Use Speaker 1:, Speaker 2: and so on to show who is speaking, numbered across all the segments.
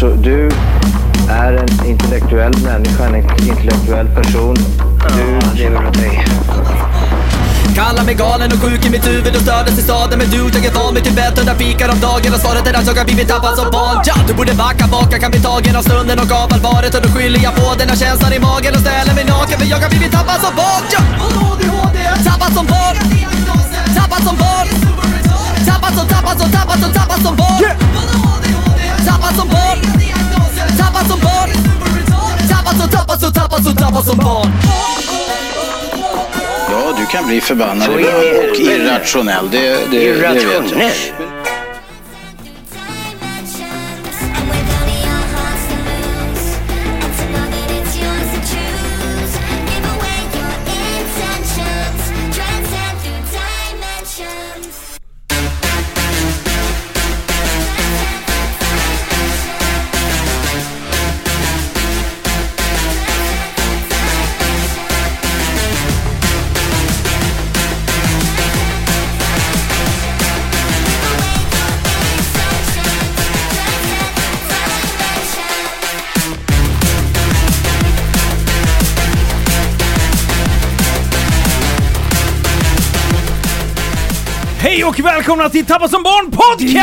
Speaker 1: så du är en intellektuell människa, en intellektuell person. Du lever åt dig.
Speaker 2: Kallar mig galen och sjuk i mitt huvud och stördes i staden Men du, jag är van vid Tibet och där fikar om dagen Och svaret är att jag har blivit tappad som barn ja! Du borde backa bak, jag kan bli tagen av stunden och av allvaret Och då skyller jag på den här känslan i magen och ställer mig naken För jag har blivit tappad som barn ja! Tappad som barn Tappad som barn Tappad som, tappad som, tappad som, tappad som barn Tappad som barn Tappad som barn Tappad som, tappad som, tappad som, tappad som barn
Speaker 3: Ja, du kan bli förbannad
Speaker 1: Så in i
Speaker 3: ibland och
Speaker 1: helvete.
Speaker 3: irrationell. Det, det, det vet jag.
Speaker 1: Irrationell.
Speaker 4: Dimensions.
Speaker 5: Hej och välkomna till Tappa som barn podcast!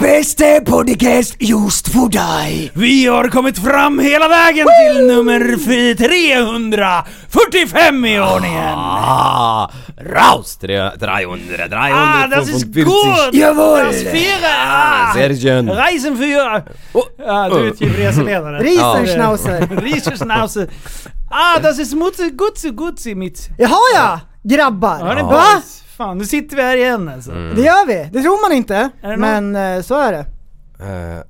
Speaker 6: Bästa podcast just för dig!
Speaker 5: Vi har kommit fram hela vägen till nummer fi- 345 i ordningen!
Speaker 7: Ah, Raus! 300, 300, 300,
Speaker 5: Ah, das ist gut!
Speaker 6: Jawohl!
Speaker 5: Das Vierer! Ah,
Speaker 7: Sehr schön.
Speaker 5: Reisen für...
Speaker 7: Oh.
Speaker 5: Ah, du är typ reseledare.
Speaker 8: Riesenschnauzer.
Speaker 5: Riesenschnauzer. Ah, das ist Mutzi, Gutzi, Gutzi mitt.
Speaker 8: Jaha ja! Grabbar.
Speaker 5: Hör
Speaker 8: Va?
Speaker 5: ni
Speaker 8: Mm.
Speaker 5: boys? Fan, nu sitter vi här igen alltså.
Speaker 8: Det gör vi. Det tror man inte.
Speaker 5: Är det
Speaker 8: Men eh, så är det.
Speaker 7: Eh,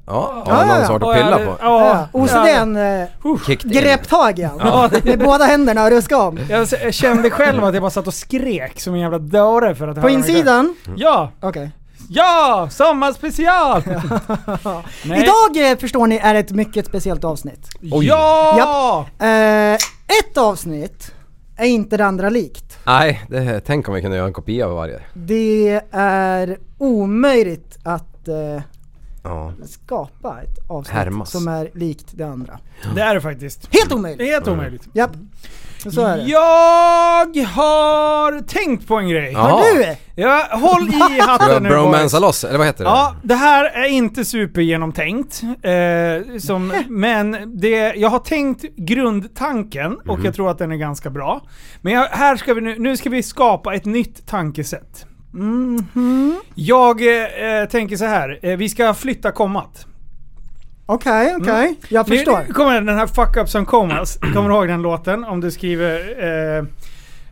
Speaker 7: Ja,
Speaker 8: Ja,
Speaker 7: har
Speaker 8: ja,
Speaker 7: någon
Speaker 8: ja.
Speaker 7: svart
Speaker 5: Och
Speaker 7: att pilla
Speaker 5: jag-
Speaker 7: på?
Speaker 8: Ja.
Speaker 5: Ja.
Speaker 8: OCDn eh,
Speaker 7: Kicked in.
Speaker 8: grep tag i han.
Speaker 5: Ja.
Speaker 8: Med båda händerna och ruska om.
Speaker 5: Jag s- jag kände själv att jag bara satt och skrek som en jävla dåre för att
Speaker 8: På
Speaker 5: höra mig själv.
Speaker 8: insidan?
Speaker 5: Ja!
Speaker 8: Okej.
Speaker 5: Ja! Sommarspecial! Nej.
Speaker 8: Idag eh, förstår ni är ett mycket speciellt avsnitt.
Speaker 5: Ja!
Speaker 8: Eh, ett avsnitt är inte det andra likt.
Speaker 7: Nej, det, tänk om vi kunde göra en kopia av varje.
Speaker 8: Det är omöjligt att eh,
Speaker 7: Ja.
Speaker 8: skapa ett avsnitt
Speaker 7: Härmas.
Speaker 8: som är likt det andra.
Speaker 5: Det är det faktiskt.
Speaker 8: Helt
Speaker 5: Det
Speaker 8: omöjligt!
Speaker 5: är helt omöjligt.
Speaker 8: Japp. Så är det.
Speaker 5: Jag har tänkt på en grej.
Speaker 7: Ja.
Speaker 8: Har du?
Speaker 5: Jag, håll i
Speaker 7: Ska
Speaker 5: hatten
Speaker 7: vi
Speaker 5: nu boys.
Speaker 7: bromansa loss, eller vad heter det?
Speaker 5: Ja, det här är inte supergenomtänkt. Eh, som, men det, jag har tänkt grundtanken och jag tror att den är ganska bra. Men jag, här ska vi nu, nu ska vi skapa ett nytt tankesätt. Mm-hmm.
Speaker 8: Mm-hmm.
Speaker 5: Jag eh, eh, tänker så här, eh, vi ska flytta kommat.
Speaker 8: Okej, okej. Jag
Speaker 5: Mm. Nu-
Speaker 8: förstår.
Speaker 5: Nu kommer den här Fuck Up Some Comas. Kommer du ihåg den låten? Om du skriver... Eh,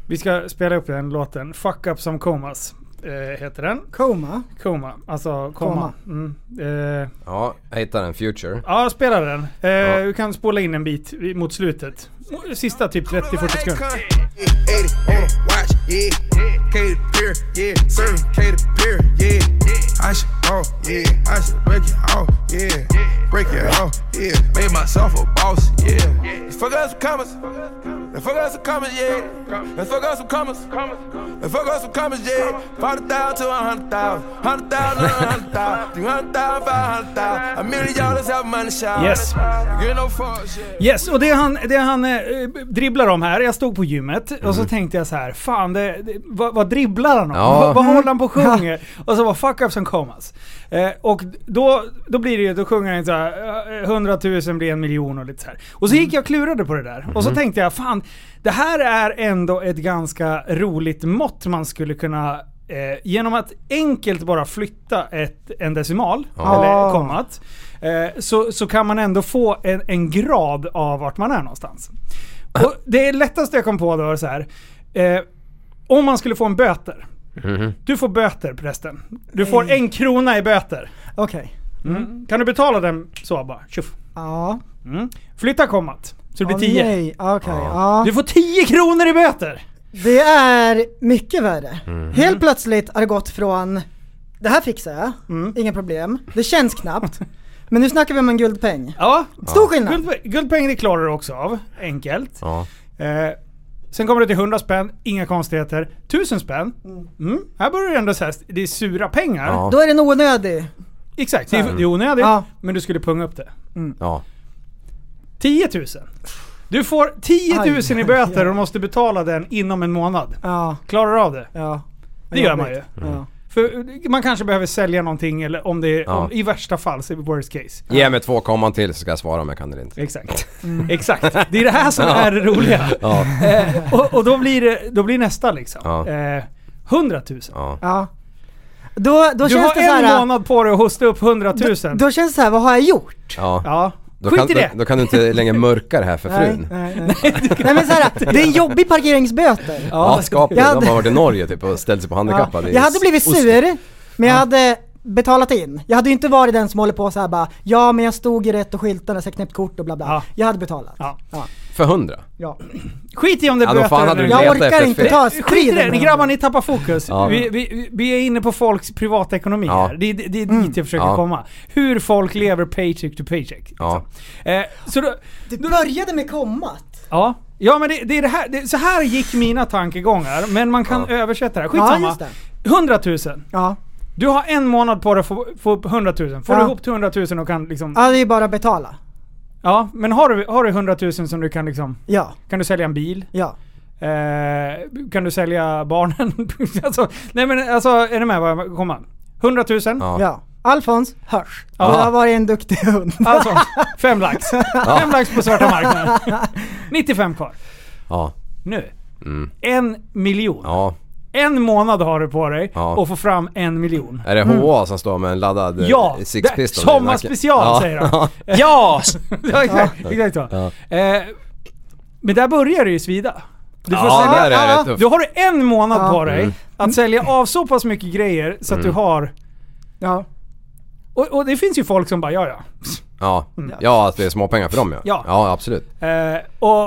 Speaker 5: vi ska spela upp den låten. Fuck Up Some Comas eh, heter den.
Speaker 8: Koma.
Speaker 5: Koma. Alltså komma.
Speaker 8: Koma.
Speaker 5: Mm. Eh,
Speaker 7: ja, jag hittade den, Future.
Speaker 5: ja, spela den. Eh,
Speaker 7: Ja.
Speaker 5: Du kan spola in en bit i- mot slutet. Sista typ 30-40 sekunder.
Speaker 9: 80 on a watch, yeah. K to pier, yeah. Serving K to pier, yeah. I should off, yeah. I should break it off, yeah. Break it off, yeah. Made myself a boss, yeah. Let's fuck out some commas. Let's fuck out some commas, yeah. Let's fuck out some commas. Let's fuck out some commas, yeah. 40,000 to 100,000. 100,000 to 100,000. 300,000, 500,000. A million dollars out money shot.
Speaker 5: Yes.
Speaker 9: You know, fuck shit.
Speaker 5: Yes, och det han, det han eh, dribblar om här, jag stod på gymmet och så tänkte jag så här, fan det, det, vad, vad dribblar han om?
Speaker 7: Ja.
Speaker 5: Vad, vad håller han på och sjunger? och så var fuck up som commas. Eh, och då, då blir det ju, då sjunger han så här, eh, 100 000 blir en miljon och lite så här. Och så gick jag och klurade på det där. Och så tänkte jag, fan det här är ändå ett ganska roligt mått man skulle kunna Eh, genom att enkelt bara flytta ett, en decimal, eller kommat, eh, så, så kan man ändå få en, en grad av vart man är någonstans. Och det lättaste jag kom på då var så här. Eh, om man skulle få en böter. Du får böter prästen. Du får en krona i böter. Mm.
Speaker 8: Okej.
Speaker 5: Kan du betala den så bara? Tjuff.
Speaker 8: Ja.
Speaker 5: Flytta kommat. Så det blir
Speaker 8: Åh,
Speaker 5: 10.
Speaker 8: nej. Okej. Ja.
Speaker 5: Du får 10 kronor i böter!
Speaker 8: Det är mycket värre. Helt plötsligt har det gått från det här fixar jag,
Speaker 5: Mm.
Speaker 8: inga problem. Det känns knappt. Men nu snackar vi om en guldpeng.
Speaker 5: Ja.
Speaker 8: Stor skillnad.
Speaker 5: Guldpe- guldpengen det klarar du också av. Enkelt.
Speaker 7: Ja.
Speaker 5: Eh, sen kommer det till 100 spänn, inga konstigheter. Mm. 1000 spänn. Mm. Här börjar det ändå sägas, det är sura pengar.
Speaker 7: Ja.
Speaker 8: Då är den onödig.
Speaker 5: Exakt, det är, det är onödigt.
Speaker 8: Ja.
Speaker 5: Men du skulle punga upp det.
Speaker 7: Ja.
Speaker 5: 10 000. Du får 10 000 i
Speaker 8: Aj,
Speaker 5: böter
Speaker 8: aj.
Speaker 5: och måste betala den inom en månad.
Speaker 8: Ja,
Speaker 5: Klarar du av det?
Speaker 8: ja.
Speaker 5: Det gör man ju.
Speaker 8: Ja.
Speaker 5: För eh, man kanske behöver sälja någonting eller om det är,
Speaker 7: Ja.
Speaker 5: om, i värsta fall så är det worst case.
Speaker 7: Ge mig två komman till så ska jag svara om jag kan eller inte.
Speaker 5: Exakt.
Speaker 8: Mm.
Speaker 5: Exakt. Det är det här som är det roliga.
Speaker 7: Ja.
Speaker 5: Eh, och och då, blir det, då blir nästa liksom.
Speaker 7: Ja.
Speaker 5: Eh, 100 000.
Speaker 7: Ja.
Speaker 8: ja. Då, då
Speaker 5: Du
Speaker 8: känns det
Speaker 5: har
Speaker 8: så
Speaker 5: en
Speaker 8: här. äh,
Speaker 5: månad på dig att hosta upp 100 000.
Speaker 8: Då, då känns det så här, vad har jag gjort?
Speaker 7: ja.
Speaker 5: ja.
Speaker 7: Då,
Speaker 5: Skit
Speaker 7: kan,
Speaker 5: i
Speaker 7: då,
Speaker 5: det.
Speaker 7: då kan du inte längre mörka det här för
Speaker 8: Nej,
Speaker 7: frun.
Speaker 8: nej, nej. nej men så här, det är en jobbig parkeringsböter.
Speaker 7: Ja, skapligt.
Speaker 8: Jag
Speaker 7: De
Speaker 8: hade-
Speaker 7: har varit i Norge typ och ställt sig på handikappade. i
Speaker 8: Jag hade blivit
Speaker 7: Oslo.
Speaker 8: sur, men jag hade betalat in. Jag hade ju inte varit den som håller på så här bara ja men jag stod ju rätt och skyltarna så jag knäppt kort och bla bla.
Speaker 5: Ja.
Speaker 8: Jag hade betalat.
Speaker 5: Ja.
Speaker 7: För hundra?
Speaker 8: Ja.
Speaker 5: Skit i om det är
Speaker 7: Ja, då
Speaker 5: böter
Speaker 7: fan hade
Speaker 5: eller-
Speaker 7: du
Speaker 8: Jag
Speaker 7: Leta
Speaker 8: orkar
Speaker 7: efter
Speaker 8: inte
Speaker 7: fel.
Speaker 8: ta
Speaker 5: Skit i
Speaker 8: striden.
Speaker 5: det, ni grabbar ni tappar fokus.
Speaker 7: Ja.
Speaker 5: Vi, vi, vi är inne på folks privatekonomi
Speaker 7: Ja.
Speaker 5: här. Det, är- det, det är
Speaker 8: Mm.
Speaker 5: dit jag försöker
Speaker 7: Ja.
Speaker 5: komma. Hur folk lever paycheck to paycheck.
Speaker 8: Mm.
Speaker 7: Ja.
Speaker 5: Eh, så då,
Speaker 8: Du började med kommat.
Speaker 5: ja. ja men det, det är det här, det, så här gick mina tankegångar, men man kan översätta det här.
Speaker 8: Ja,
Speaker 5: Skitsamma.
Speaker 8: just det.
Speaker 5: 100 000.
Speaker 8: Ja.
Speaker 5: Du har en månad på dig att få, få upp 100 000. Får
Speaker 8: Ja.
Speaker 5: du ihop till 100 000 och kan liksom... Ja,
Speaker 8: ja, det är ju bara att betala.
Speaker 5: men har du, har du 100 000 som du kan liksom...
Speaker 8: Ja,
Speaker 5: Kan du sälja en bil?
Speaker 8: ja.
Speaker 5: Eh, kan du sälja barnen? alltså, nej men alltså, är ni med vad jag kommer? 100 000?
Speaker 7: Ja.
Speaker 8: Ja. Alfons hörs.
Speaker 5: Ja.
Speaker 8: Du har varit en duktig hund.
Speaker 5: Alltså, fem lax. Fem lax på svarta marknaden. 95 kvar.
Speaker 7: Ja.
Speaker 5: Nu.
Speaker 7: Mm.
Speaker 5: En miljon.
Speaker 7: ja.
Speaker 5: En månad har du på dig
Speaker 7: Ja.
Speaker 5: och få fram en miljon.
Speaker 7: Är det HA
Speaker 8: Mm.
Speaker 7: som står med en laddad eh,
Speaker 5: Ja!
Speaker 7: Six
Speaker 5: det-
Speaker 7: Pistol i nacken?
Speaker 5: Sommarspecial
Speaker 7: ja.
Speaker 5: säger han.
Speaker 7: ja!
Speaker 5: Ja, exakt, exakt så. Eh, men där börjar det ju svida. Du får
Speaker 7: Ja,
Speaker 5: sälja,
Speaker 7: där är det
Speaker 5: Ja,
Speaker 7: tufft.
Speaker 5: Då har du en månad
Speaker 8: Ja. Mm.
Speaker 5: på dig att sälja av så pass mycket grejer så att du har...
Speaker 8: Ja.
Speaker 5: Och, och det finns ju folk som bara ja ja.
Speaker 7: Ja.
Speaker 8: Mm.
Speaker 7: ja, att det är småpengar för dem ja.
Speaker 5: Ja.
Speaker 7: ja absolut.
Speaker 5: Eh, och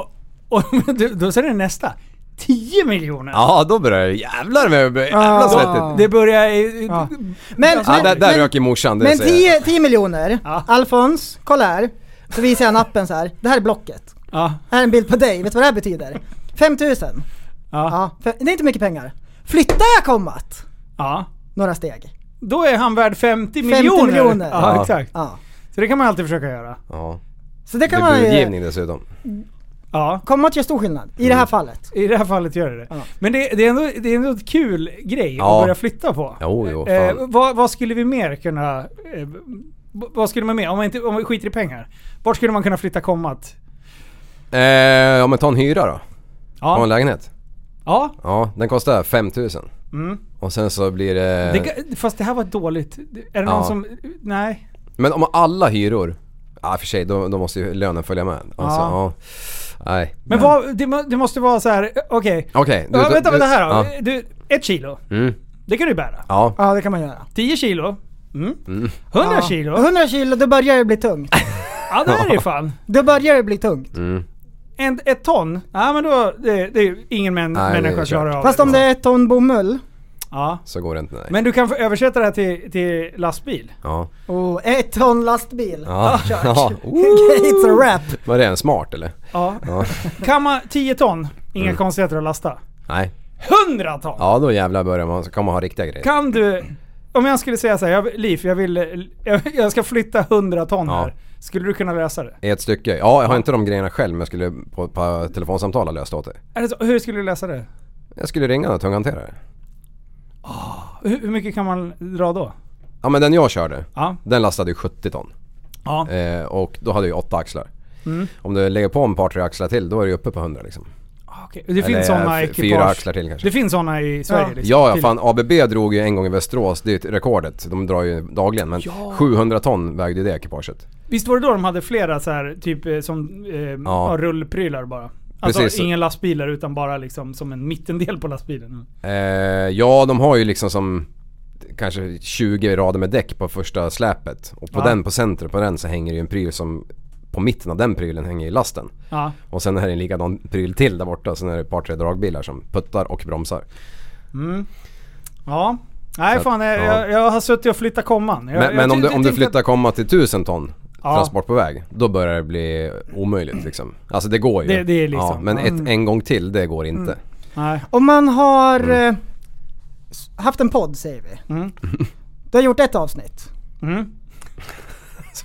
Speaker 5: och du- då säger det nästa. 10 miljoner.
Speaker 7: Ja, då börjar det jävlar med det blir jävla
Speaker 8: Ja.
Speaker 7: svettigt.
Speaker 5: Det börjar... i-
Speaker 8: Ja.
Speaker 5: Men,
Speaker 8: Men,
Speaker 7: Ja, där,
Speaker 8: men,
Speaker 7: där
Speaker 8: men,
Speaker 7: röker morsan, det
Speaker 8: men
Speaker 7: säger jag.
Speaker 8: 10, 10 miljoner.
Speaker 5: Ja.
Speaker 8: Alfons, kolla här. Så visar jag en appen så här. Det här är blocket.
Speaker 5: ja,
Speaker 8: Här är en bild på dig. Vet du vad det här betyder? 5000.
Speaker 5: ja,
Speaker 8: Ja, fe- det är inte mycket pengar. Flyttar jag kommat
Speaker 5: ja.
Speaker 8: några steg?
Speaker 5: Då är han värd 50,
Speaker 8: 50
Speaker 5: miljoner.
Speaker 8: miljoner.
Speaker 5: Ja,
Speaker 7: Ja.
Speaker 5: exakt.
Speaker 8: Ja.
Speaker 5: Så det kan man alltid försöka göra.
Speaker 7: Ja.
Speaker 8: Så det
Speaker 7: Det
Speaker 8: kan
Speaker 7: är
Speaker 8: man ju...
Speaker 7: budgivning Mm. dessutom.
Speaker 5: Ja.
Speaker 8: Kommat gör stor skillnad i det här fallet.
Speaker 5: I det här fallet gör det det.
Speaker 8: Ja.
Speaker 5: Men det, det, är ändå, det är ändå ett kul grej
Speaker 7: Ja.
Speaker 5: att börja flytta på.
Speaker 7: Jo, jo, fan.
Speaker 5: eh, vad, vad skulle vi mer kunna... Eh, v- vad skulle man mer, om man, inte, om man skiter i pengar. Vart skulle man kunna flytta kommat?
Speaker 7: Eh, ja men ta en hyra då. Ta en
Speaker 5: Ja,
Speaker 7: lägenhet.
Speaker 5: ja.
Speaker 7: Ja, den kostar 5000.
Speaker 5: Mm.
Speaker 7: Och sen så blir det...
Speaker 5: Det, ga- fast det här var dåligt. Är det någon
Speaker 7: Eh. Ja.
Speaker 5: som... Nej.
Speaker 7: Men om alla hyror... Ja för sig, då, då måste ju lönen följa med. Alltså,
Speaker 5: Ja.
Speaker 7: ja. Nej.
Speaker 5: Men vad, det, må- det måste vara så här. okej.
Speaker 7: Okej. du-
Speaker 5: Ja,
Speaker 7: du-
Speaker 5: vänta,
Speaker 7: du-
Speaker 5: vänta här då.
Speaker 7: Ja.
Speaker 5: Du, ett kilo.
Speaker 7: Mm.
Speaker 5: Det kan du bära.
Speaker 7: Ja.
Speaker 8: Ja, det kan man göra.
Speaker 5: 10 kilo. Mm. 100
Speaker 8: Ja.
Speaker 5: kilo.
Speaker 8: 100 kilo, då börjar det bli tungt.
Speaker 5: Ja, det här är ju fan.
Speaker 8: Då börjar det bli tungt.
Speaker 7: Mm.
Speaker 5: En, ett ton? Ja men då, det, det är ju ingen män,
Speaker 7: Nej, det är
Speaker 5: människa
Speaker 7: kört.
Speaker 5: klarar av
Speaker 8: Fast om det är ett ton bomull
Speaker 5: Ja.
Speaker 7: Så går det inte nej.
Speaker 5: Men du kan få översätta det här till, till lastbil?
Speaker 7: Ja.
Speaker 8: och ett ton lastbil.
Speaker 7: Ja. ja.
Speaker 8: It's a wrap.
Speaker 7: Var det en smart eller?
Speaker 5: Ja.
Speaker 7: Ja.
Speaker 5: Kan man 10 ton? Inga
Speaker 7: Mm.
Speaker 5: konstigheter att lasta.
Speaker 7: Nej.
Speaker 5: 100 ton!
Speaker 7: Ja då jävlar börjar man, så kan man ha riktiga grejer.
Speaker 5: Kan du... Om jag skulle säga så här, jag, Liv, jag vill... Jag, jag ska flytta 100 ton
Speaker 7: Ja.
Speaker 5: här. Skulle du kunna lösa det?
Speaker 7: I ett stycke. Ja, jag har inte de grejerna själv men jag skulle på, på telefonsamtal ha löst åt det.
Speaker 5: Är det så, hur skulle du lösa det?
Speaker 7: Jag skulle ringa en tunghanterare.
Speaker 5: Hur, hur mycket kan man dra då?
Speaker 7: Ja men den jag körde,
Speaker 5: Ja.
Speaker 7: den lastade ju 70 ton.
Speaker 5: Ja. Mm.
Speaker 7: Eh, och då hade jag ju 8 axlar. Om du lägger på en par tre axlar till då är du uppe på 100 liksom.
Speaker 5: Ah, Okej, Det
Speaker 7: Eller eh,
Speaker 5: finns sådana
Speaker 7: f-
Speaker 5: ekipage.
Speaker 7: Fyra axlar till kanske.
Speaker 5: Det finns sådana i Sverige liksom.
Speaker 7: Ja, ja
Speaker 5: Till-
Speaker 7: fan ABB drog ju en gång i Västerås, det är ju rekordet. De drar ju dagligen men 700 ton vägde ju det ekipaget.
Speaker 5: Visst var det då de hade flera så här, typ eh, som eh, ja, rullprylar bara? Alltså
Speaker 7: Precis.
Speaker 5: ingen lastbilar utan bara liksom som en mittendel på lastbilen.
Speaker 7: Eh, ja, de har ju liksom som kanske 20 rader med däck på första släpet. Och på
Speaker 5: Ja.
Speaker 7: den, på centret på den så hänger ju en pryl som på mitten av den prylen hänger i lasten.
Speaker 5: Ja.
Speaker 7: Och sen är det en likadan pryl till där borta. Sen är det ett par tre dragbilar som puttar och bromsar.
Speaker 5: ja. Nej
Speaker 7: Så-
Speaker 5: fan, jag,
Speaker 7: ja.
Speaker 5: jag, jag har suttit och flyttat komman. Jag,
Speaker 7: Men,
Speaker 5: jag
Speaker 7: men om,
Speaker 5: ty-
Speaker 7: du,
Speaker 5: ty-
Speaker 7: om du
Speaker 5: tänkte
Speaker 7: flyttar komma till 1000 ton
Speaker 5: Ja.
Speaker 7: transport på väg. Då börjar det bli omöjligt liksom. Alltså det går ju.
Speaker 5: Det- det är liksom- Mm.
Speaker 7: ja, men ett, en gång till, det går inte.
Speaker 5: att- Nej.
Speaker 8: Om man
Speaker 7: Mm.
Speaker 8: har eh, s- haft en podd säger vi. Du har gjort ett avsnitt.
Speaker 5: Mm.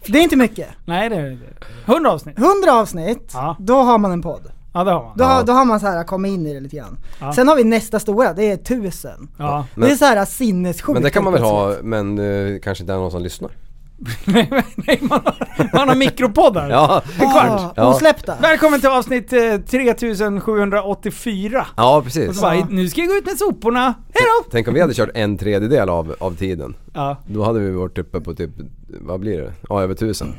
Speaker 8: Det är inte mycket.
Speaker 5: Nej det är det inte. 100 avsnitt.
Speaker 8: 100 avsnitt,
Speaker 5: Ja.
Speaker 8: då har man en podd.
Speaker 5: Ja det har man.
Speaker 8: Då, har- då har man så här kommit in i det lite grann.
Speaker 5: Ja.
Speaker 8: Sen har vi nästa stora, det är 1000.
Speaker 5: Ja.
Speaker 7: Men-
Speaker 8: det är så här sinnessjukt.
Speaker 7: Men det kan man väl
Speaker 8: helt
Speaker 7: ha,
Speaker 8: plötsligt.
Speaker 7: men eh, kanske inte är någon som lyssnar.
Speaker 5: nej, nej, man har, man har mikropoddar.
Speaker 7: Ja,
Speaker 8: Ja,
Speaker 7: Ja.
Speaker 8: osläppta.
Speaker 5: Välkommen till avsnitt eh, 3784.
Speaker 7: ja
Speaker 5: Och
Speaker 7: precis.
Speaker 5: så bara, nu ska jag gå ut med soporna. Hejdå!
Speaker 7: Tänk om vi hade kört en tredjedel av, av tiden.
Speaker 5: Ja.
Speaker 7: Då hade vi varit uppe på typ, vad blir det? Ja, över tusen.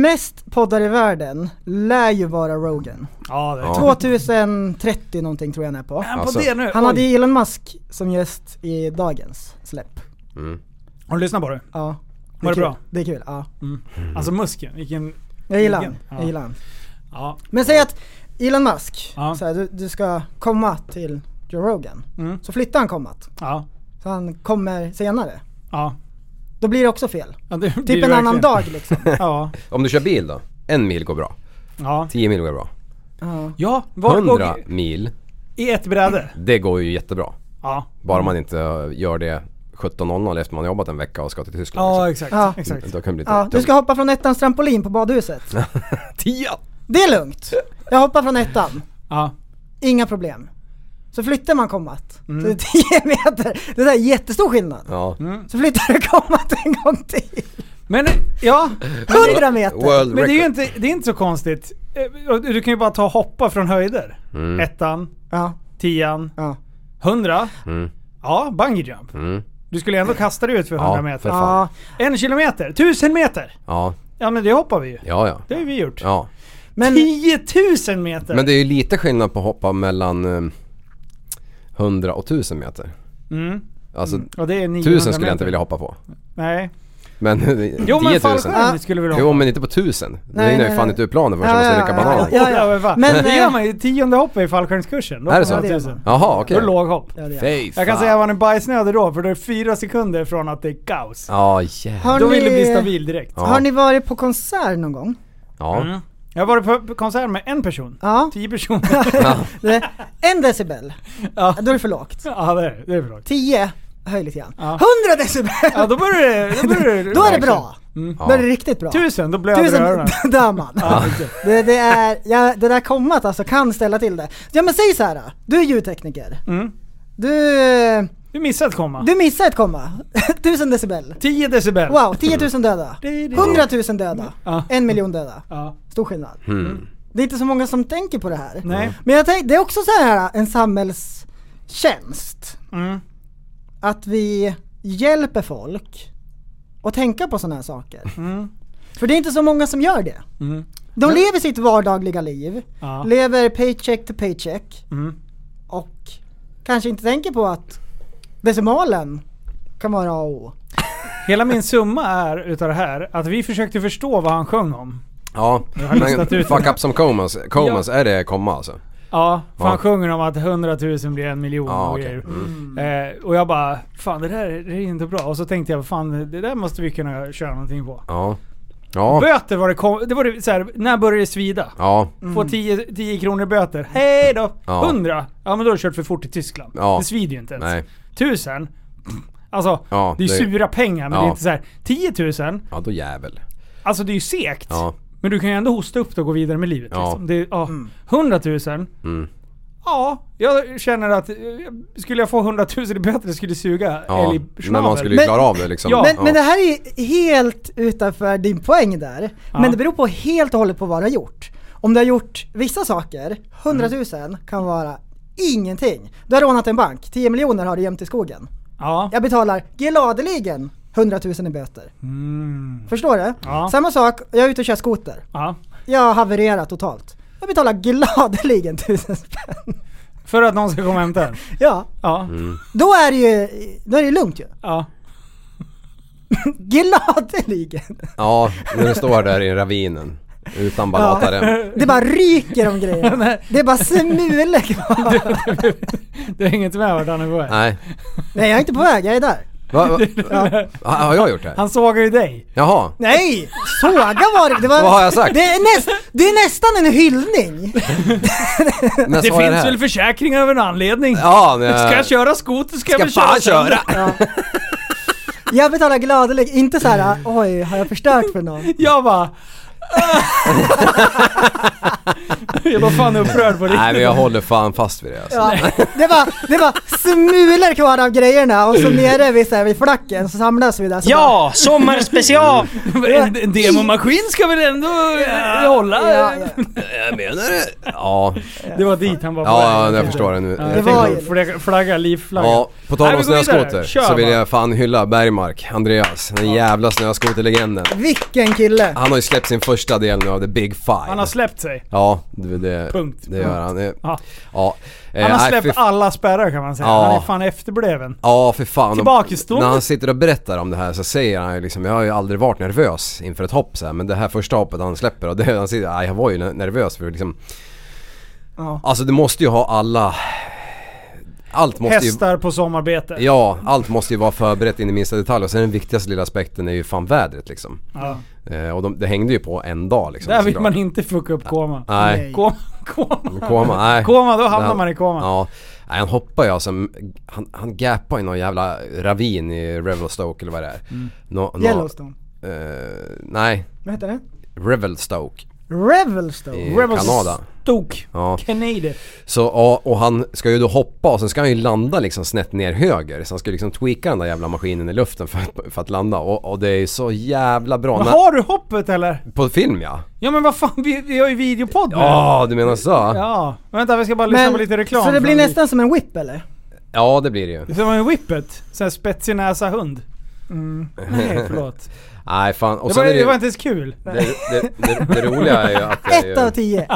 Speaker 8: Mest poddar i världen lär ju vara Rogan.
Speaker 5: Ja, det är
Speaker 7: Ja.
Speaker 5: ja.
Speaker 8: 2030 någonting tror jag han är på.
Speaker 5: Han på
Speaker 7: Alltså,
Speaker 5: det nu.
Speaker 8: Han
Speaker 5: Oj.
Speaker 8: hade ju Elon Musk som gäst i dagens släpp.
Speaker 7: Mm.
Speaker 5: Har du lyssnat på det?
Speaker 8: Ja.
Speaker 5: Var det
Speaker 8: är kul.
Speaker 5: bra?
Speaker 8: Det är kul, ja.
Speaker 5: Alltså muskeln, vilken...
Speaker 8: Jag gillar
Speaker 5: Vilken?
Speaker 8: han.
Speaker 5: Ja.
Speaker 8: Jag gillar han.
Speaker 5: Ja.
Speaker 8: Men säg att Elon Musk,
Speaker 5: Ja.
Speaker 8: så här, du, du ska komma till Joe Rogan.
Speaker 5: Mm.
Speaker 8: Så flyttar han kommat.
Speaker 5: Ja.
Speaker 8: Så han kommer senare.
Speaker 5: Ja.
Speaker 8: Då blir det också fel.
Speaker 5: ja det blir
Speaker 8: Typ
Speaker 5: det
Speaker 8: en annan
Speaker 5: verkligen.
Speaker 8: dag liksom.
Speaker 5: Ja.
Speaker 7: Om du kör bil då? En mil går bra.
Speaker 5: Ja.
Speaker 7: Tio mil går bra.
Speaker 8: Ja.
Speaker 5: Ja, var går
Speaker 7: Hundra mil,
Speaker 5: i ett bräde?
Speaker 7: det går ju jättebra.
Speaker 5: Ja.
Speaker 7: Bara man inte eh, gör det 17.00 efter man har jobbat en vecka och ska till Tyskland.
Speaker 5: Ja,
Speaker 7: liksom.
Speaker 5: exakt.
Speaker 8: Ja.
Speaker 5: exakt.
Speaker 7: Då kan det bli
Speaker 8: ja. Du ska hoppa från ettans trampolin på badhuset.
Speaker 7: tia!
Speaker 8: Det är lugnt. Jag hoppar från ettan.
Speaker 5: Ja.
Speaker 8: Inga problem. Så flyttar man kommat.
Speaker 5: Mm.
Speaker 8: Så det är 10 meter. Det är så här jättestor skillnad.
Speaker 7: Ja.
Speaker 8: Så flyttar du kommat en gång till.
Speaker 5: Men, ja.
Speaker 8: 100 meter.
Speaker 7: World
Speaker 5: Men det är ju
Speaker 7: record.
Speaker 5: inte, det är inte så konstigt. Eh, och Du kan ju bara ta och hoppa från höjder. Ettan,
Speaker 8: Ja,
Speaker 5: tian,
Speaker 8: ja.
Speaker 5: hundra.
Speaker 7: Mm.
Speaker 5: Ja, bungee jump.
Speaker 7: Mm.
Speaker 5: Du skulle ändå kasta dig ut för 100
Speaker 7: Ja,
Speaker 5: meter.
Speaker 7: för fan.
Speaker 8: ja.
Speaker 5: En kilometer, tusen meter!
Speaker 7: Ja,
Speaker 5: Ja men det hoppar vi ju.
Speaker 7: ja, ja.
Speaker 5: Det har ju vi gjort.
Speaker 7: ja.
Speaker 8: Men,
Speaker 5: 10 000 meter!
Speaker 7: Men det är ju lite skillnad på att hoppa mellan eh, 100 och 1000 meter.
Speaker 5: Mm.
Speaker 7: Alltså
Speaker 5: Och det är 900
Speaker 7: 1000 skulle jag
Speaker 5: meter.
Speaker 7: inte vilja hoppa på.
Speaker 5: Nej.
Speaker 7: Men
Speaker 5: Jo
Speaker 7: 10
Speaker 5: men
Speaker 7: 000.
Speaker 5: fallskärm skulle vi vilja
Speaker 7: Jo
Speaker 5: hoppa.
Speaker 7: men inte på 1000. Då
Speaker 8: Nej,
Speaker 7: hinner ju
Speaker 8: nej,
Speaker 7: fan
Speaker 8: nej.
Speaker 7: inte ur planen förrän
Speaker 8: Ja,
Speaker 7: man
Speaker 8: ja,
Speaker 7: stryka
Speaker 8: ja,
Speaker 7: banan.
Speaker 8: ja,
Speaker 5: Ja, men, fan.
Speaker 8: Men,
Speaker 5: det
Speaker 8: eh,
Speaker 5: gör man ju. Tionde hoppet i fallskärmskursen. Då
Speaker 7: Är det
Speaker 5: får man
Speaker 8: så?
Speaker 5: 1000.
Speaker 7: Jaha
Speaker 5: Då
Speaker 7: okej.
Speaker 5: är det låghopp.
Speaker 8: ja, det är.
Speaker 7: Fy
Speaker 5: Jag kan
Speaker 7: fan.
Speaker 5: säga vad en bajsnödig då, för då är det fyra sekunder från att det är kaos.
Speaker 7: Ja jävlar.
Speaker 8: Har
Speaker 5: Då vill
Speaker 8: ni-
Speaker 5: du bli stabil direkt.
Speaker 7: Ja.
Speaker 8: Har ni varit på konsert någon gång?
Speaker 7: Ja.
Speaker 5: Mm. Jag har varit på konsert med en person.
Speaker 8: Ja.
Speaker 5: Tio personer.
Speaker 8: Det är en decibel,
Speaker 5: Ja.
Speaker 8: då är det för lågt.
Speaker 5: ja det är, det är bra.
Speaker 8: Tio, höj lite grann.
Speaker 5: Ja.
Speaker 8: Hundra decibel!
Speaker 5: Ja då börjar det... Då, börjar det,
Speaker 8: Då är det bra. Då är det
Speaker 7: Ja.
Speaker 8: riktigt bra.
Speaker 5: Tusen, då blöder
Speaker 8: Tusen
Speaker 5: öronen.
Speaker 8: dör man.
Speaker 5: Ja, exakt.
Speaker 8: Det, det, är, ja, det där kommat alltså kan ställa till det. Ja men säg så här. då. du är ljudtekniker.
Speaker 5: Mm.
Speaker 8: Du,
Speaker 5: Du missade att komma.
Speaker 8: du missar ett komma. Tusen decibel.
Speaker 5: 10 decibel.
Speaker 8: Wow, 10 000 döda. 100 000 döda.
Speaker 5: Ja.
Speaker 8: En miljon döda.
Speaker 5: Ja.
Speaker 8: Stor skillnad.
Speaker 7: Hmm.
Speaker 8: Det är inte så många som tänker på det här.
Speaker 5: Nej.
Speaker 8: Men jag tänk, det är också så här en samhällstjänst.
Speaker 5: Mm.
Speaker 8: Att vi hjälper folk att tänka på sådana här saker.
Speaker 5: Mm.
Speaker 8: För det är inte så många som gör det.
Speaker 5: Mm.
Speaker 8: De lever sitt vardagliga liv,
Speaker 5: Ja.
Speaker 8: lever paycheck to paycheck
Speaker 5: Mm.
Speaker 8: och kanske inte tänker på att decimalen kan vara A och O.
Speaker 5: Hela min summa är utav det här att vi försökte förstå vad han sjöng om.
Speaker 7: Ja.
Speaker 5: listat
Speaker 7: Men
Speaker 5: ut
Speaker 7: fuck
Speaker 5: det.
Speaker 7: up som comas. Comas, är det komma alltså?
Speaker 5: Ja, för
Speaker 7: Ja.
Speaker 5: han sjunger om att 100 000 blir en miljon
Speaker 7: Ja
Speaker 5: och
Speaker 7: okej.
Speaker 5: grejer.
Speaker 7: Mm.
Speaker 5: Eh, och jag bara, fan det där är- det är inte bra. Och så tänkte jag, fan det där måste vi kunna köra någonting på.
Speaker 7: Ja. Ja.
Speaker 5: Böter var det, kom, det var det så här, när började det svida?
Speaker 7: Ja.
Speaker 5: Få 10, 10 kronor i böter. Hej då!
Speaker 7: Mm. Ja.
Speaker 5: 100! Ja men då har du kört för fort i Tyskland.
Speaker 7: Ja.
Speaker 5: Det svider ju inte ens.
Speaker 7: Nej.
Speaker 5: 1000? Alltså,
Speaker 7: Ja,
Speaker 5: det är
Speaker 7: det-
Speaker 5: sura pengar men det är
Speaker 7: Ja.
Speaker 5: inte så här. 10 000?
Speaker 7: Ja då jävel.
Speaker 5: Alltså det är ju segt.
Speaker 7: Ja.
Speaker 5: Men du kan ju ändå hosta upp det och gå vidare med livet.
Speaker 7: Ja.
Speaker 5: Liksom. Det, är- ja. 100 000?
Speaker 7: Mm.
Speaker 5: Ja, jag känner att eh, skulle jag få 100 000 i böter det skulle suga
Speaker 7: Ja.
Speaker 5: älg
Speaker 7: Men man skulle ju
Speaker 8: Men-
Speaker 7: klara av det liksom.
Speaker 5: Ja.
Speaker 8: Men, men det här är ju helt utanför din poäng där. Men det beror på helt och hållet på vad du har gjort. Om du har gjort vissa saker, 100 000
Speaker 5: Mm.
Speaker 8: kan vara ingenting. Du har rånat en bank, 10 miljoner har du gömt i skogen.
Speaker 5: Ja.
Speaker 8: Jag betalar gladeligen 100 000 i böter. Förstår du?
Speaker 5: Mm. Ja.
Speaker 8: Samma sak, jag är ute och kör skoter.
Speaker 5: ja.
Speaker 8: Jag havererar totalt. Jag betalar gladeligen 1000 spänn.
Speaker 5: För att någon ska komma och hämta
Speaker 7: Mm.
Speaker 5: en.
Speaker 8: Ja,
Speaker 5: Ja.
Speaker 8: då är det ju, då är det ju lugnt ju.
Speaker 5: ja.
Speaker 8: Gladeligen.
Speaker 7: Ja, när du står där i ravinen. Utan balatarem.
Speaker 8: Det bara ryker om grejerna. Det är bara smulor kvar.
Speaker 5: Du är inget med vart han är på väg.
Speaker 7: Nej.
Speaker 8: Nej jag är inte på väg, jag är där.
Speaker 7: Va, va? Ha- Har jag gjort det här?
Speaker 5: Han sågar ju dig.
Speaker 7: Jaha.
Speaker 8: Nej! Såga var det. det var,
Speaker 7: Vad har jag sagt?
Speaker 8: Det är, näst, det är nästan en hyllning.
Speaker 7: När
Speaker 5: Det
Speaker 7: sa jag
Speaker 5: finns
Speaker 7: här?
Speaker 5: väl försäkringar av en anledning?
Speaker 7: Ja, men,
Speaker 5: Ska jag köra skoter ska, jag
Speaker 7: Ska
Speaker 5: väl köra
Speaker 7: fan
Speaker 5: sönder.
Speaker 7: köra!
Speaker 8: Ja. Jag betalar gladeligen, inte så här oj, har jag förstört för någon?
Speaker 5: Jag bara... "Ah." jag var fan upprörd på riktigt.
Speaker 7: Nej men jag håller fan fast vid det alltså.
Speaker 8: Ja, det, var, det var smulor kvar av grejerna och så nere vid, så här, vid flacken så samlas vi där. Så
Speaker 10: Ja, sommarspecial!
Speaker 5: En, en demomaskin ska väl ändå eh, hålla?
Speaker 8: bara, ja, ja.
Speaker 7: Jag menar det. Ja,
Speaker 5: Det var dit han var på väg.
Speaker 7: ja jag förstår det nu.
Speaker 5: Ja,
Speaker 7: Jag
Speaker 8: det
Speaker 5: tänkte
Speaker 8: var
Speaker 7: tänkte-
Speaker 8: ju-
Speaker 5: flagga- Flagga, livflagga.
Speaker 7: Ja, på tal
Speaker 5: Nej,
Speaker 7: om
Speaker 5: vi går vidare.
Speaker 7: snöskoter
Speaker 5: Kör
Speaker 7: så vill
Speaker 5: bara.
Speaker 7: jag fan hylla Bergmark, Andreas, den jävla snöskoterlegenden.
Speaker 8: Vilken kille!
Speaker 7: Han har ju släppt sin första del nu av The Big Five.
Speaker 5: Han har släppt sig.
Speaker 7: Ja, det, det,
Speaker 5: Punkt.
Speaker 7: det gör han. Det,
Speaker 5: Ja.
Speaker 7: ja. Eh,
Speaker 5: Han har
Speaker 7: nej,
Speaker 5: släppt
Speaker 7: fy-
Speaker 5: alla spärrar kan man säga.
Speaker 7: Ja.
Speaker 5: Han är fan efterbleven.
Speaker 7: Ja för fan.
Speaker 5: Tillbakastående.
Speaker 7: När han sitter och berättar om det här så säger han ju liksom, jag har ju aldrig varit nervös inför ett hopp så här, men det här första hoppet han släpper och det, han säger, "Ja, jag var ju ne- nervös för liksom
Speaker 5: Ja.
Speaker 7: Alltså du måste ju ha alla Allt måste ju
Speaker 5: Hästar på sommarbete.
Speaker 7: Ja, allt måste ju vara förberett in i minsta detalj och sen den viktigaste lilla aspekten är ju fan vädret liksom.
Speaker 5: Ja.
Speaker 7: Eh, och de, det hängde ju på en dag liksom.
Speaker 5: Där vill
Speaker 7: såklart.
Speaker 5: man inte fucka upp koma.
Speaker 7: Nej.
Speaker 5: Koma, koma.
Speaker 7: Koma, nej.
Speaker 5: Koma, då hamnar
Speaker 7: Där-
Speaker 5: man i koma.
Speaker 7: Ja. Nej, han hoppar ju alltså, han, han gapar i någon jävla ravin i Revelstoke eller vad det är.
Speaker 5: Mm.
Speaker 7: Nå- nå-
Speaker 8: Yellowstone.
Speaker 7: eh, nej,
Speaker 8: Vad heter det?
Speaker 7: Revelstoke i Eh.
Speaker 8: Revelstone.
Speaker 7: Kanada.
Speaker 5: Stok.
Speaker 7: Ja.
Speaker 5: Canadian.
Speaker 7: Så, ja, och han ska ju då hoppa och sen ska han ju landa liksom snett ner höger. Så han ska liksom tweaka den där jävla maskinen i luften för att, för att landa. Och, och det är ju så jävla bra.
Speaker 5: Men
Speaker 7: När-
Speaker 5: har du hoppet eller?
Speaker 7: På film ja.
Speaker 5: Ja men vad fan, vi, vi har ju videopodd nu.
Speaker 7: Ja, du menar så? Ja.
Speaker 5: Ja. Vänta vi ska bara lyssna på lite reklam.
Speaker 8: så det blir
Speaker 5: från-
Speaker 8: nästan som en whip eller?
Speaker 7: det blir det ju.
Speaker 5: Som en whippet. Sån här spetsig näsa hund.
Speaker 8: Mm.
Speaker 5: Nej förlåt.
Speaker 7: Nej fan. Och
Speaker 5: Det
Speaker 7: sen
Speaker 5: var,
Speaker 7: är det,
Speaker 5: det
Speaker 7: ju,
Speaker 5: var
Speaker 7: det,
Speaker 5: inte ens kul.
Speaker 7: det, det, det roliga är ju att det är
Speaker 8: Ett av
Speaker 7: ju,
Speaker 8: tio.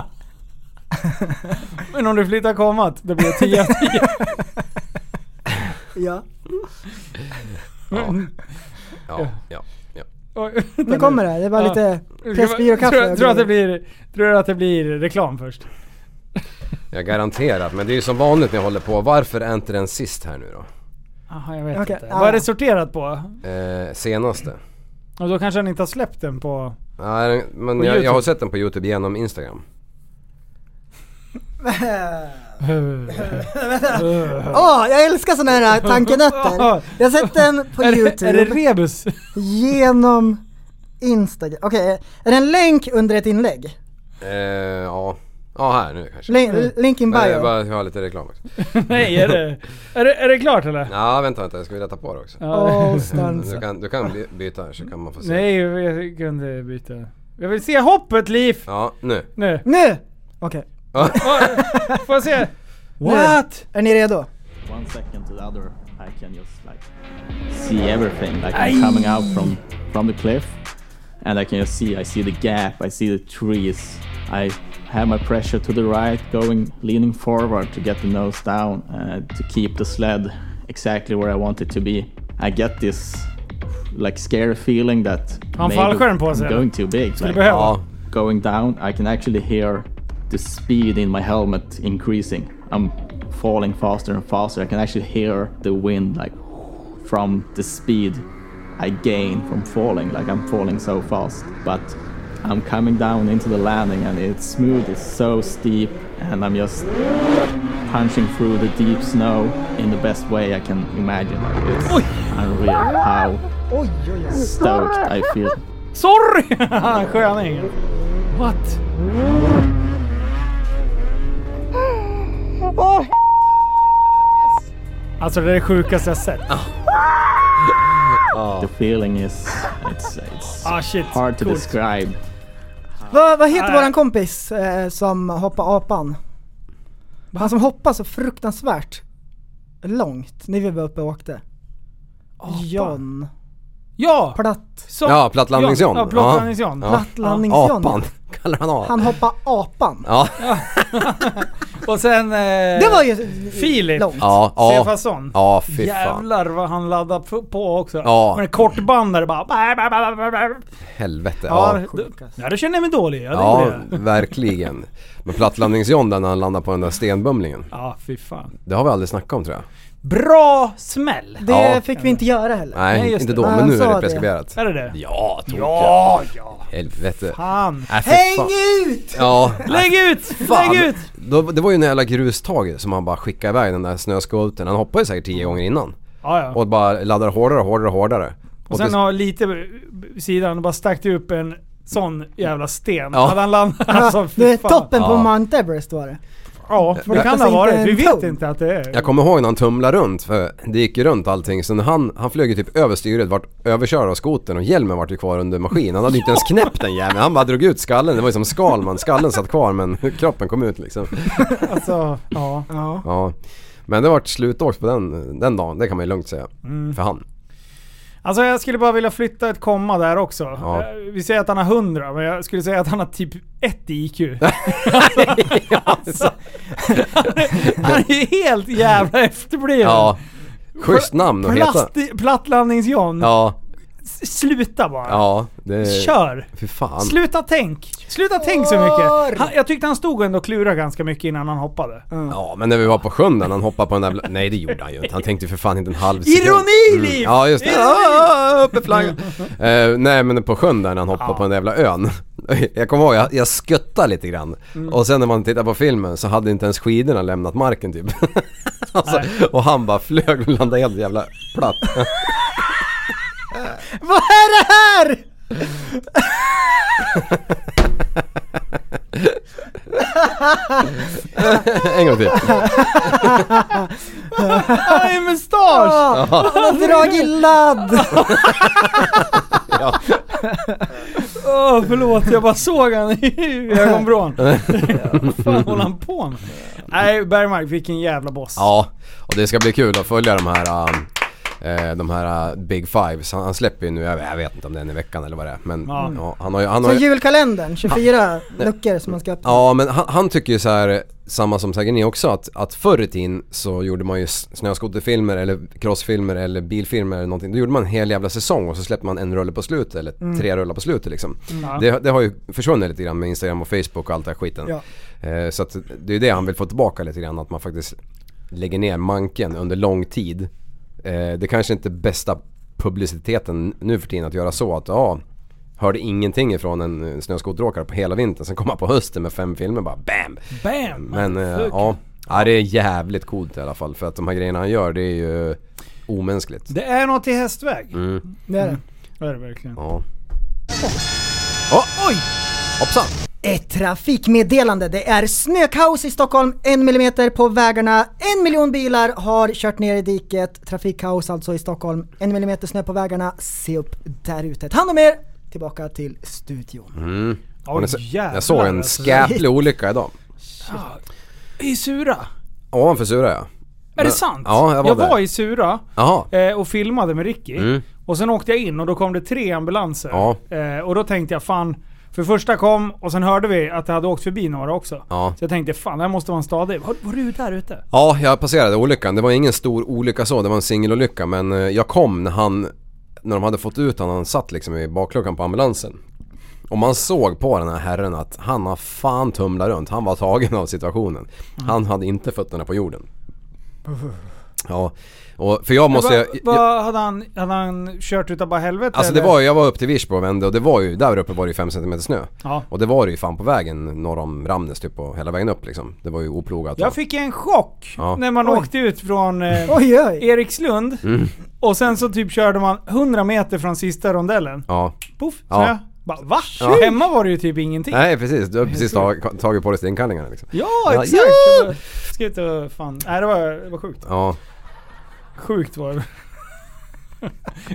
Speaker 5: Men om du flyttar komat, det blir 10 av 10.
Speaker 8: Ja.
Speaker 7: ja, ja, ja.
Speaker 5: Oj,
Speaker 8: Nu kommer det, det var
Speaker 5: Ja.
Speaker 8: lite
Speaker 5: Tror, jag-
Speaker 8: pressbyråkaffe.
Speaker 5: tror, att det blir, tror jag att det blir reklam först?
Speaker 7: Jag garanterat. Men det är ju som vanligt när jag håller på. Varför är inte den sist här nu då?
Speaker 5: Jaha, jag vet
Speaker 8: Okej,
Speaker 5: inte.
Speaker 8: ja.
Speaker 5: Vad är det sorterat på?
Speaker 7: Eh, senaste.
Speaker 5: Och då kanske han inte har släppt den på...
Speaker 7: Nej, den- men
Speaker 5: På
Speaker 7: jag, jag har
Speaker 5: YouTube.
Speaker 7: sett den på Youtube genom Instagram.
Speaker 8: Öh. Åh, jag älskar såna här tankenötter. Jag har sett den på
Speaker 5: är, det,
Speaker 8: youtube.
Speaker 5: är det rebus?
Speaker 8: Genom Instagram. Okej, är det en länk under ett inlägg?
Speaker 7: Eh, ja. Ja här nu kanske.
Speaker 8: Länk, link in
Speaker 7: Nej, Mm. jag
Speaker 8: bio?
Speaker 7: bara jag har lite reklam också.
Speaker 5: Nej, är det, är det, är det klart eller?
Speaker 7: Ja vänta vänta, jag ska vi rätta på det också.
Speaker 8: Åh,
Speaker 7: Du
Speaker 8: stansa.
Speaker 7: kan, du kan by- byta här så kan man få se.
Speaker 5: Nej, jag kunde byta. Jag vill se hoppet Liv!
Speaker 7: Ja, nu.
Speaker 5: Nu.
Speaker 8: Nu! Okej,
Speaker 5: Får jag se?
Speaker 8: What? är ni redo?
Speaker 2: One second to the other, I can just like see everything. Like I'm coming out from from the cliff, and I can just see. I see the gap. I see the trees. I have my pressure to the right, going leaning forward to get the nose down uh, to keep the sled exactly where I want it to be. I get this like scary feeling that
Speaker 5: Han
Speaker 2: maybe
Speaker 5: fallskärm på
Speaker 2: I'm
Speaker 5: sig,
Speaker 2: going too big.
Speaker 5: Skulle
Speaker 2: like,
Speaker 5: behöva.
Speaker 7: Ja.
Speaker 2: going down, I can actually hear the speed in my helmet increasing. I'm falling faster and faster. I can actually hear the wind like from the speed I gain from falling. Like I'm falling so fast, but I'm coming down into the landing and it's smooth, it's so steep, and I'm just punching through the deep snow in the best way I can imagine. Like it's unreal how stoked I feel.
Speaker 5: Sorry! Han sköning. What? Alltså det är det sjukaste jag sett.
Speaker 2: The feeling is it's it's
Speaker 5: Ah shit.
Speaker 2: hard to
Speaker 5: Coolt.
Speaker 2: describe.
Speaker 8: Vad, vad heter
Speaker 5: Nej.
Speaker 8: våran kompis eh, som hoppar apan? Han som hoppar så fruktansvärt långt när vi var uppe och åkte. John.
Speaker 5: Ja!
Speaker 8: Platt.
Speaker 5: Som,
Speaker 7: Ja, plattlandningsjon.
Speaker 5: Ja, plattlandningsjon.
Speaker 7: Ja.
Speaker 8: Plattlandnings-John.
Speaker 7: Apan kallar han apan.
Speaker 8: Han hoppar apan.
Speaker 7: Ja,
Speaker 5: Och sen... Eh,
Speaker 8: Det var ju
Speaker 5: Filip.
Speaker 8: långt.
Speaker 7: ja, ja.
Speaker 5: Stefansson.
Speaker 7: Ja, fy fan.
Speaker 5: Jävlar vad han laddade f- på också.
Speaker 7: Ja.
Speaker 5: Med en kortbandare bara... Bah, bah, bah, bah, bah.
Speaker 7: Helvete.
Speaker 5: Ja,
Speaker 7: Ja,
Speaker 5: då, ja, då känner jag mig dålig. Ja, det
Speaker 7: ja
Speaker 5: gjorde jag.
Speaker 7: verkligen. Men plattlandningsjon där när han landar på den där stenbumlingen.
Speaker 5: ja, fy fan.
Speaker 7: Det har vi aldrig snackat om tror jag.
Speaker 5: Bra smäll!
Speaker 8: Det
Speaker 7: Ja.
Speaker 8: fick vi inte göra heller.
Speaker 7: Nej,
Speaker 5: Nej, just
Speaker 7: inte
Speaker 5: det.
Speaker 7: då.
Speaker 8: Nej,
Speaker 7: Men
Speaker 8: han
Speaker 7: nu
Speaker 8: sa
Speaker 7: är
Speaker 8: det.
Speaker 7: det preskriberat.
Speaker 5: Är det det?
Speaker 7: Ja, tokigt.
Speaker 5: ja.
Speaker 7: Helvete.
Speaker 5: Fan.
Speaker 7: Äh, fy
Speaker 8: Häng
Speaker 7: fan.
Speaker 8: ut!
Speaker 7: Ja.
Speaker 5: Lägg ut! Lägg ut!
Speaker 7: Då, det var ju en jävla grustage som han bara skickade iväg den där snöskotern. Han hoppade ju säkert tio gånger innan.
Speaker 5: Ja, ja.
Speaker 7: Och bara laddar hårdare, hårdare, hårdare.
Speaker 5: Och sen
Speaker 7: det-
Speaker 5: har lite vid sidan och bara stack det upp en sån jävla sten.
Speaker 7: Ja.
Speaker 5: Hade han landat alltså, fy
Speaker 8: det är
Speaker 5: fan.
Speaker 8: toppen på
Speaker 7: Ja.
Speaker 8: Mount Everest var det.
Speaker 5: Ja, för det kan det ha
Speaker 8: Alltså,
Speaker 5: varit.
Speaker 8: inte
Speaker 5: Vi
Speaker 8: en
Speaker 5: vet
Speaker 8: tum.
Speaker 5: inte att det är.
Speaker 7: Jag kommer ihåg när han tumlade runt för det gick ju runt allting. Så när han, han flög ju typ över styret, vart överkörd av skotern och hjälmen vart ju kvar under maskin. Han hade ju inte ens knäppt den jäveln. Han bara drog ut skallen. Det var ju som Skalman. Skallen satt kvar men kroppen kom ut liksom.
Speaker 5: Alltså, ja.
Speaker 8: Ja.
Speaker 7: Ja. Men det vart slutåkt på den, den dagen. Det kan man ju lugnt säga.
Speaker 5: Mm.
Speaker 7: För han.
Speaker 5: Alltså jag skulle bara vilja flytta ett komma där också.
Speaker 7: Ja.
Speaker 5: Eh, Vi säger att han har 100, men jag skulle säga att han har typ 1 i IQ. alltså, han är ju helt jävla efterbliven.
Speaker 7: Ja. Schysst namn att heta.
Speaker 5: Plast- Plattlandnings-John.
Speaker 7: Ja.
Speaker 5: S- Sluta bara.
Speaker 7: Ja. eh, Det...
Speaker 5: Kör!
Speaker 7: Fy fan.
Speaker 5: Sluta tänk! Sluta tänk så mycket! Han, jag tyckte han stod ändå och klurade ganska mycket innan han hoppade.
Speaker 7: Ja men när vi var på sjön där, när han hoppade på den där bla- Nej det gjorde han ju inte, han tänkte ju för fan inte en halv sekund Mm.
Speaker 5: Ironi, Liv!
Speaker 7: Ja just det, ah, uppe flaggan! Eh, nej men på sjön där när han hoppade på den där jävla ön Jag kommer ihåg, jag, jag sköttade lite grann
Speaker 5: Mm.
Speaker 7: Och sen när man tittar på filmen så hade inte ens skidorna lämnat marken typ alltså, Och han bara flög och landade helt jävla platt
Speaker 8: Vad är det här?
Speaker 7: En gång till
Speaker 5: Han är mustasch!
Speaker 8: Ja, han har dragit ladd!
Speaker 5: Åh förlåt, jag bara såg han i ögonvrån. Vad fan håller han på med? Nej Bergmark, vilken jävla boss.
Speaker 7: Ja, och det ska bli kul att följa de här eh, de här eh, Big Fives, han, han släpper ju nu, jag, jag vet inte om det är en i veckan eller vad det är men
Speaker 5: Ja.
Speaker 7: ja, han har ju, han har
Speaker 8: Så
Speaker 7: ju
Speaker 8: julkalendern, 24 luckor som man ska öppna.
Speaker 7: Ja men han, han tycker ju så här samma som säkert ni också att, att förr i tiden så gjorde man ju s- snöskoterfilmer eller crossfilmer eller bilfilmer eller någonting. Då gjorde man en hel jävla säsong och så släppte man en rulle på slutet eller tre rullar på slutet liksom. Det, det har ju försvunnit lite grann med Instagram och Facebook och allt det här skiten. Eh, så att det är ju det han vill få tillbaka lite grann att man faktiskt lägger ner manken under lång tid. Eh, det kanske inte är bästa publiciteten nu för tiden att göra så att ja Hörde ingenting ifrån en eh, snöskoteråkare på hela vintern. Sen kom han på hösten med fem filmer bara BAM!
Speaker 5: Bam!
Speaker 7: Men eh,
Speaker 5: Fuck.
Speaker 7: ja. ja, det är jävligt coolt i alla fall. För att de här grejerna han gör det är ju omänskligt.
Speaker 5: Det är något i hästväg.
Speaker 7: Mm.
Speaker 8: Det är det.
Speaker 5: Det är det verkligen.
Speaker 7: Ja. Oh, oj! Hoppsan!
Speaker 8: Ett trafikmeddelande. Det är snökaos i Stockholm, en millimeter på vägarna. En miljon bilar har kört ner i diket. Trafikkaos alltså i Stockholm. En millimeter snö på vägarna. Se upp där ute. Ta hand om er! Tillbaka till studion.
Speaker 7: Mm.
Speaker 5: Oj,
Speaker 7: Och när-
Speaker 5: jävlar,
Speaker 7: jag såg en
Speaker 5: alltså.
Speaker 7: skäplig olycka idag.
Speaker 5: I Sura?
Speaker 7: Ovanför Sura ja.
Speaker 5: Är det
Speaker 7: Men-
Speaker 5: sant?
Speaker 7: Ja, jag var där.
Speaker 5: i Sura
Speaker 7: Jaha.
Speaker 5: eh, och filmade med Ricky.
Speaker 7: Mm.
Speaker 5: Och sen åkte jag in och då kom det tre ambulanser.
Speaker 7: Ja.
Speaker 5: Eh, och då tänkte jag fan, för första kom och sen hörde vi att det hade åkt förbi några också.
Speaker 7: Ja.
Speaker 5: Så jag tänkte fan, det här måste vara en stadig. Var, var du där ute?
Speaker 7: Ja, jag passerade olyckan. Det var ingen stor olycka så, det var en singelolycka. Men eh, jag kom när han, när de hade fått ut honom, han satt liksom i bakluckan på ambulansen. Och man såg på den här herren att han har fan tumlat runt. Han var tagen av situationen.
Speaker 5: Mm.
Speaker 7: Han hade inte fötterna på jorden. Ja, och för jag måste...
Speaker 5: Va,
Speaker 7: jag- jag-
Speaker 5: va, hade, han, hade han kört utav bara helvete
Speaker 7: Alltså det
Speaker 5: eller?
Speaker 7: var ju, jag var upp till Virsbo och vände och det var ju, där uppe var det ju 5 cm snö.
Speaker 5: Ja.
Speaker 7: Och det var det ju fan på vägen norr om Ramnäs typ och hela vägen upp liksom. Det var ju oplogat.
Speaker 5: Jag fick en chock
Speaker 7: Ja.
Speaker 5: när man
Speaker 8: Oj.
Speaker 5: åkte ut från eh,
Speaker 8: Oj oj!
Speaker 5: Erikslund.
Speaker 7: Mm.
Speaker 5: Och sen så typ körde man 100 meter från sista rondellen.
Speaker 7: Ja.
Speaker 5: Poff,
Speaker 7: Ja.
Speaker 5: snö. Bara, va?
Speaker 7: Ja.
Speaker 5: Hemma var det ju typ ingenting.
Speaker 7: Nej precis, du har precis tag, tagit på dig stenkallingarna liksom.
Speaker 5: Ja,
Speaker 7: Ja,
Speaker 5: exakt!
Speaker 7: ja.
Speaker 5: Jag bara, Ska inte vara fan... Nej det var, det var sjukt.
Speaker 7: Ja,
Speaker 5: Sjukt var det.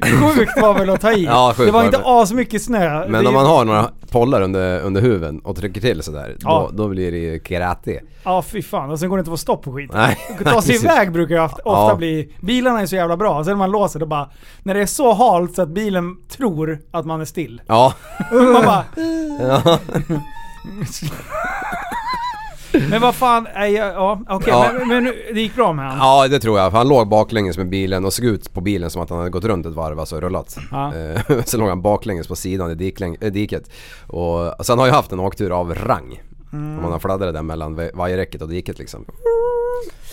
Speaker 5: sjukt var väl att ta i.
Speaker 7: Ja, sjukt
Speaker 5: det var
Speaker 7: var
Speaker 5: inte
Speaker 7: det.
Speaker 5: asmycket snö.
Speaker 7: men
Speaker 5: det,
Speaker 7: om man har några pollar under, under huven och trycker till sådär,
Speaker 5: Ja.
Speaker 7: då, då blir det ju karate.
Speaker 5: Ja fy fan, och sen går det inte att få stopp på skiten.
Speaker 7: Nej.
Speaker 5: Ta sig
Speaker 7: precis.
Speaker 5: iväg brukar ju ofta, ofta
Speaker 7: Ja.
Speaker 5: bli... Bilarna är så jävla bra, sen när man låser det bara... När det är så halt så att bilen tror att man är still.
Speaker 7: Ja.
Speaker 5: Man bara...
Speaker 7: ja.
Speaker 5: Men vad fan, nej, jag- ja okej.
Speaker 7: Ja.
Speaker 5: Men, men nu- det gick bra med han.
Speaker 7: Ja det tror jag, för han låg baklänges med bilen och såg ut på bilen som att han hade gått runt ett varv, alltså rullat.
Speaker 5: Ja.
Speaker 7: Eh, Sen låg han baklänges på sidan i dikläng- äh, diket. Och sen har jag haft en åktur av rang. Om
Speaker 5: Mm.
Speaker 7: man har fladdrat där mellan va- vajerräcket och diket liksom.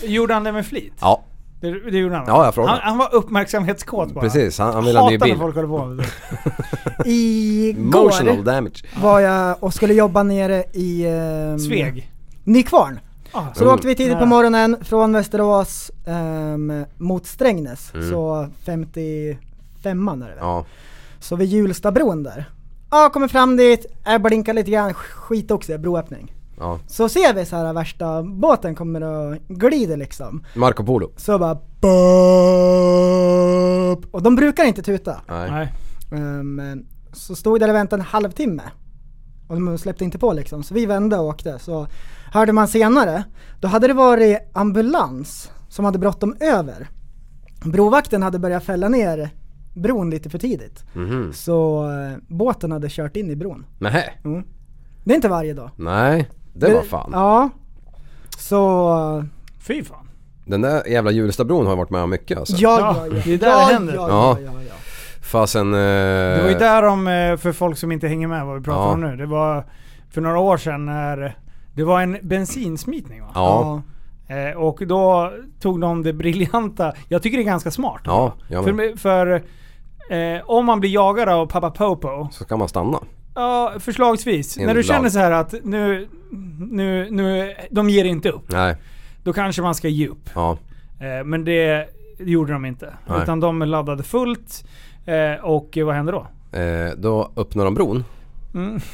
Speaker 5: Gjorde han det med flit?
Speaker 7: Ja,
Speaker 5: Det, det gjorde han?
Speaker 7: Ja, jag frågade.
Speaker 5: Han, han var uppmärksamhetskåt bara.
Speaker 7: precis. Han, han vill ha en ny
Speaker 5: Hatar när
Speaker 7: bil.
Speaker 5: folk håller på med det.
Speaker 8: Igår
Speaker 7: Emotional damage.
Speaker 8: var jag och skulle jobba nere i... ehm,
Speaker 7: Mm.
Speaker 5: Sveg.
Speaker 8: Nykvarn.
Speaker 5: Ah.
Speaker 8: Så då åkte vi tidigt på
Speaker 5: Mm.
Speaker 8: morgonen från Västerås ehm, mot Strängnäs. Så 50, femman är det väl?
Speaker 7: Ja.
Speaker 8: Så vid Hjulstabron där. Ja, kommer fram dit, jag blinkar lite grann, skit också, det är broöppning.
Speaker 7: Ja.
Speaker 8: Så ser vi så här värsta båten kommer och glider liksom.
Speaker 7: Marco Polo.
Speaker 8: Så bara BOOP! Och de brukar inte tuta.
Speaker 7: Nej.
Speaker 8: Ehm, så stod där och väntade en halvtimme. Och de släppte inte på liksom. Så vi vände och åkte. Så hörde man senare, då hade det varit ambulans som hade bråttom över. Brovakten hade börjat fälla ner bron lite för tidigt.
Speaker 7: Mhm.
Speaker 8: Så eh, båten hade kört in i bron.
Speaker 7: Nähä.
Speaker 8: Mm. Det är inte varje dag.
Speaker 7: Nej, det var fan.
Speaker 8: Ja. Så...
Speaker 5: Fy fan.
Speaker 7: Den där jävla Hjulstabron har jag varit med om mycket alltså.
Speaker 8: Ja, ja, ja.
Speaker 5: Det är där
Speaker 8: ja,
Speaker 5: det händer.
Speaker 8: Ja,
Speaker 7: Ja.
Speaker 8: ja, ja, ja.
Speaker 7: Fasen... Eh,
Speaker 5: Det var ju där om, eh, för folk som inte hänger med vad vi pratar
Speaker 7: Ja.
Speaker 5: om nu. Det var för några år sedan när det var en bensinsmitning va?
Speaker 7: Ja.
Speaker 5: Eh, Och då tog de det briljanta, jag tycker det är ganska smart.
Speaker 7: Ja, jag med.
Speaker 5: För, för eh, om man blir jagad av Papa Popo,
Speaker 7: Så kan man stanna.
Speaker 5: ja förslagsvis,
Speaker 7: En
Speaker 5: när du känner
Speaker 7: land.
Speaker 5: så här att nu, nu, nu, de ger inte upp.
Speaker 7: Nej.
Speaker 5: Då kanske man ska ge upp.
Speaker 7: Ja.
Speaker 5: Eh, Men det gjorde de inte.
Speaker 7: Nej.
Speaker 5: Utan de laddade fullt. Eh, Och eh, vad hände då?
Speaker 7: Eh, då öppnar de bron.
Speaker 5: Mm.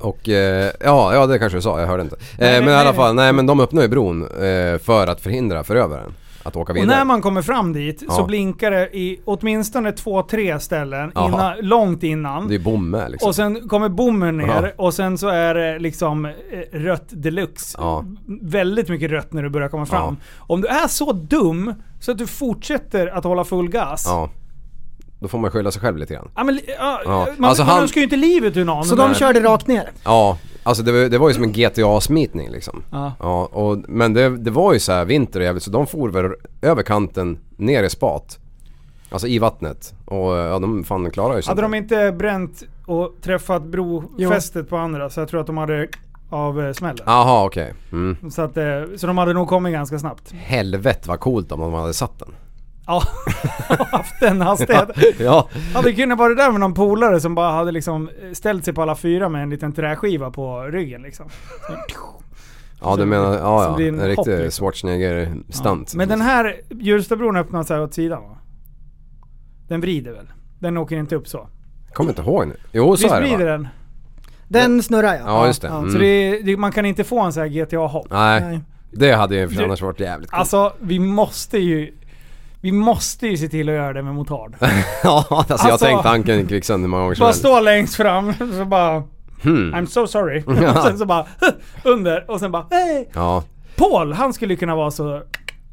Speaker 7: Och eh, ja, ja det kanske du sa, jag hörde inte. Eh, men i
Speaker 5: nej,
Speaker 7: alla
Speaker 5: nej.
Speaker 7: fall, nej men de öppnar ju bron eh, för att förhindra förövaren att åka
Speaker 5: Och
Speaker 7: vidare.
Speaker 5: när man kommer fram dit så
Speaker 7: Ja.
Speaker 5: blinkar det i åtminstone två, tre ställen.
Speaker 7: Jaha.
Speaker 5: Innan, långt innan.
Speaker 7: Det är bomme liksom.
Speaker 5: Och sen kommer bommen ner
Speaker 7: Ja.
Speaker 5: och sen så är det liksom eh, rött deluxe.
Speaker 7: Ja.
Speaker 5: Väldigt mycket rött när du börjar komma fram. Om du är så dum så att du fortsätter att hålla full gas. Ja.
Speaker 7: Ja. Då får man skylla sig själv lite grann.
Speaker 5: men, li- ja,
Speaker 7: Ja.
Speaker 5: Man,
Speaker 7: Alltså,
Speaker 5: man
Speaker 7: han-
Speaker 5: önskar ju inte livet ur någon.
Speaker 8: Så de
Speaker 5: men-
Speaker 8: körde rakt ner.
Speaker 7: Ja, alltså det, var- det var ju som en GTA-smitning liksom.
Speaker 5: Ja.
Speaker 7: Ja, och, men det, det var ju så här vinter och jävligt så de for väl över kanten ner i spat. Alltså i vattnet. Och ja, de fan klarade ju sig
Speaker 5: Hade de
Speaker 7: inte.
Speaker 5: inte bränt och träffat brofästet på andra så jag tror att de hade av eh, smällen.
Speaker 7: Jaha okej. Mm.
Speaker 5: Så, att, eh, så de hade nog kommit ganska snabbt.
Speaker 7: Helvete vad coolt om de hade satt den.
Speaker 5: Ja, haft den hastighet.
Speaker 7: Ja.
Speaker 5: Hade kunnat vara där med någon polare som bara hade liksom ställt sig på alla fyra med en liten träskiva på ryggen liksom.
Speaker 7: Ja du
Speaker 5: Som-
Speaker 7: menar,
Speaker 5: som
Speaker 7: ja ja.
Speaker 5: blir en
Speaker 7: En riktig
Speaker 5: hopp, liksom.
Speaker 7: Schwarzenegger-stunt.
Speaker 5: Men den här Hjulstabron öppnas här åt sidan va? Den vrider väl? Den åker inte upp så?
Speaker 7: Kommer inte ihåg nu. Jo så
Speaker 5: Visst
Speaker 7: är det
Speaker 5: vrider
Speaker 7: va?
Speaker 5: den?
Speaker 8: Den snurrar jag.
Speaker 7: Ja just det.
Speaker 5: Så
Speaker 7: Mm.
Speaker 5: det, är- det, man kan inte få en sån här GTA-hopp.
Speaker 7: Nej.
Speaker 8: Nej.
Speaker 7: Det hade ju för
Speaker 5: Du-
Speaker 7: annars varit jävligt coolt.
Speaker 5: Alltså vi måste ju... Vi måste ju se till att göra det med motard.
Speaker 7: Ja alltså jag har
Speaker 5: alltså-
Speaker 7: tänkt tanken i kvicksand hur många gånger som
Speaker 5: Bara
Speaker 7: helst.
Speaker 5: stå längst fram så bara
Speaker 7: Hmm.
Speaker 5: I'm so sorry. Och sen så bara under och sen bara hey.
Speaker 7: Ja.
Speaker 5: Paul, han skulle kunna vara så...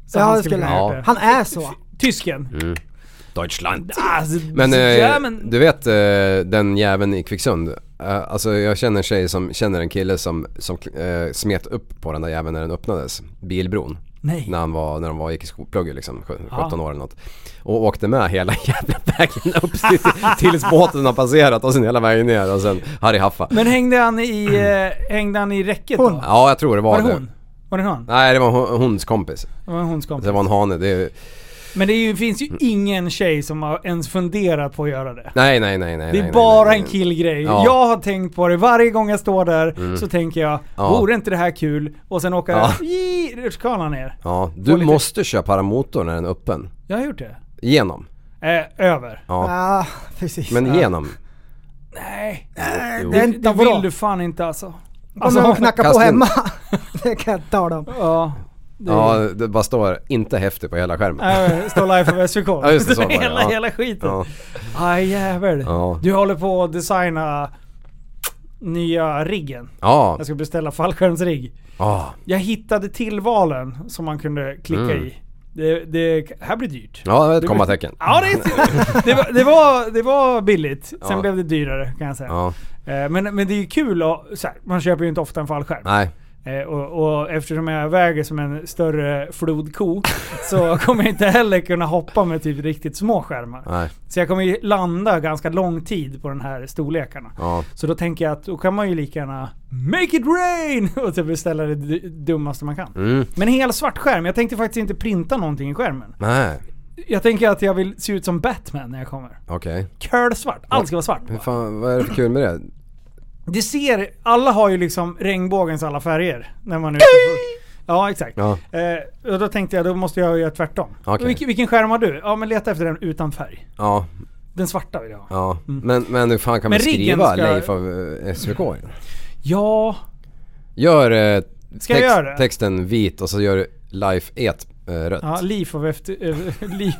Speaker 5: så
Speaker 8: Ja,
Speaker 5: han
Speaker 8: det
Speaker 5: skulle
Speaker 8: skulle
Speaker 5: kunna ha
Speaker 7: jag.
Speaker 5: gjort det.
Speaker 8: Han är så.
Speaker 5: Tysken.
Speaker 7: Deutschland.
Speaker 5: Alltså,
Speaker 7: Mm. Men, eh,
Speaker 5: ja, men
Speaker 7: du vet eh, den jäveln i Kvicksund? Eh, alltså jag känner en tjej som känner en kille som, som eh, smet upp på den där jäveln när den öppnades. Bilbron.
Speaker 5: Nej.
Speaker 7: När, han var, när de var, gick i skolplugget liksom, sju-
Speaker 5: Ja.
Speaker 7: 17 år eller något. Och åkte med hela jävla vägen upp till- tills båten har passerat och sen hela vägen ner och sen Harry Haffa.
Speaker 5: Men hängde han i, eh, hängde han i räcket då?
Speaker 7: Mm. Ja jag tror det var,
Speaker 5: Var det hon? Var det han?
Speaker 7: Nej det var hon, hons kompis.
Speaker 5: Det var en hons kompis.
Speaker 7: Det var en hane. Det, är-
Speaker 5: Men det är ju, finns ju ingen tjej som har ens funderat på att göra det.
Speaker 7: nej nej nej nej.
Speaker 5: Det är
Speaker 7: nej,
Speaker 5: bara
Speaker 7: nej, nej.
Speaker 5: en killgrej.
Speaker 7: Ja. Mm.
Speaker 5: Jag har tänkt på det varje gång jag står där så tänker jag,
Speaker 7: Ja.
Speaker 5: vore inte det här kul? Och sen åker
Speaker 7: Ja.
Speaker 5: jag i rutschkanan ner.
Speaker 7: Ja,
Speaker 5: Få
Speaker 7: du
Speaker 5: lite-
Speaker 7: måste köra paramotor när den är öppen.
Speaker 5: Jag har gjort det.
Speaker 7: Genom.
Speaker 5: Eh, över.
Speaker 7: Ja.
Speaker 8: Ja, precis.
Speaker 7: Men
Speaker 8: ja.
Speaker 7: genom.
Speaker 5: Nej,
Speaker 7: Jo.
Speaker 8: Det är
Speaker 5: Äh, det
Speaker 8: inte
Speaker 5: vill
Speaker 8: bra.
Speaker 5: du fan inte alltså.
Speaker 8: Kommer de knacka på
Speaker 7: kasta in.
Speaker 8: hemma. det kan jag tala om.
Speaker 5: Ja.
Speaker 7: Ja, det bara står inte häftig på hela skärmen.
Speaker 5: Äh, Stå live för SVK.
Speaker 7: Ja, just det, så var det,
Speaker 5: hela,
Speaker 7: ja.
Speaker 5: hela skiten.
Speaker 7: Ja.
Speaker 5: Aj jävel.
Speaker 7: Ja.
Speaker 5: Du håller på att designa nya riggen.
Speaker 7: Ja.
Speaker 5: Jag ska beställa fallskärmsrigg.
Speaker 7: Ja.
Speaker 5: Jag hittade tillvalen som man kunde klicka
Speaker 7: Mm.
Speaker 5: i. Det, det här blir dyrt.
Speaker 7: Ja, det var ett kommatecken.
Speaker 5: Ja, det, är- det, var, det, var, det var billigt. Sen
Speaker 7: Ja.
Speaker 5: blev det dyrare kan jag säga.
Speaker 7: Ja.
Speaker 5: Eh, Men, men det är ju kul att, så här, man köper ju inte ofta en fallskärm.
Speaker 7: Nej.
Speaker 5: Eh, Och, och eftersom jag väger som en större flodko så kommer jag inte heller kunna hoppa med typ riktigt små skärmar.
Speaker 7: Nej.
Speaker 5: Så jag kommer ju landa ganska lång tid på den här storlekarna.
Speaker 7: Ja.
Speaker 5: Så då tänker jag att då kan man ju lika gärna Make it rain! Och så beställa det d- dummaste man kan.
Speaker 7: Mm.
Speaker 5: Men en hel svart skärm. Jag tänkte faktiskt inte printa någonting i skärmen.
Speaker 7: Nej.
Speaker 5: Jag tänker att jag vill se ut som Batman när jag kommer.
Speaker 7: Okej.
Speaker 5: Curl-svart. Allt ska vara svart.
Speaker 7: Hur fan, vad är det för kul med det?
Speaker 5: Det ser... Alla har ju liksom regnbågens alla färger. När man är ute på- Ja, exakt.
Speaker 7: Ja.
Speaker 5: Eh, och då tänkte jag, då måste jag göra tvärtom.
Speaker 7: Okej.
Speaker 5: Vilken, vilken skärm har du? Ja, men leta efter den utan färg.
Speaker 7: Ja.
Speaker 5: Den svarta vill jag ha.
Speaker 7: Ja, men, men hur fan kan
Speaker 5: Mm. Men
Speaker 7: man
Speaker 5: riggen
Speaker 7: skriva
Speaker 5: ska-
Speaker 7: Leif av eh, SVK? igen?
Speaker 5: Ja,
Speaker 7: Gör eh,
Speaker 5: Ska jag
Speaker 7: text-
Speaker 5: göra det?
Speaker 7: texten vit och så gör du Leif et eh, rött.
Speaker 5: ja Leaf of efter... eh, Leaf.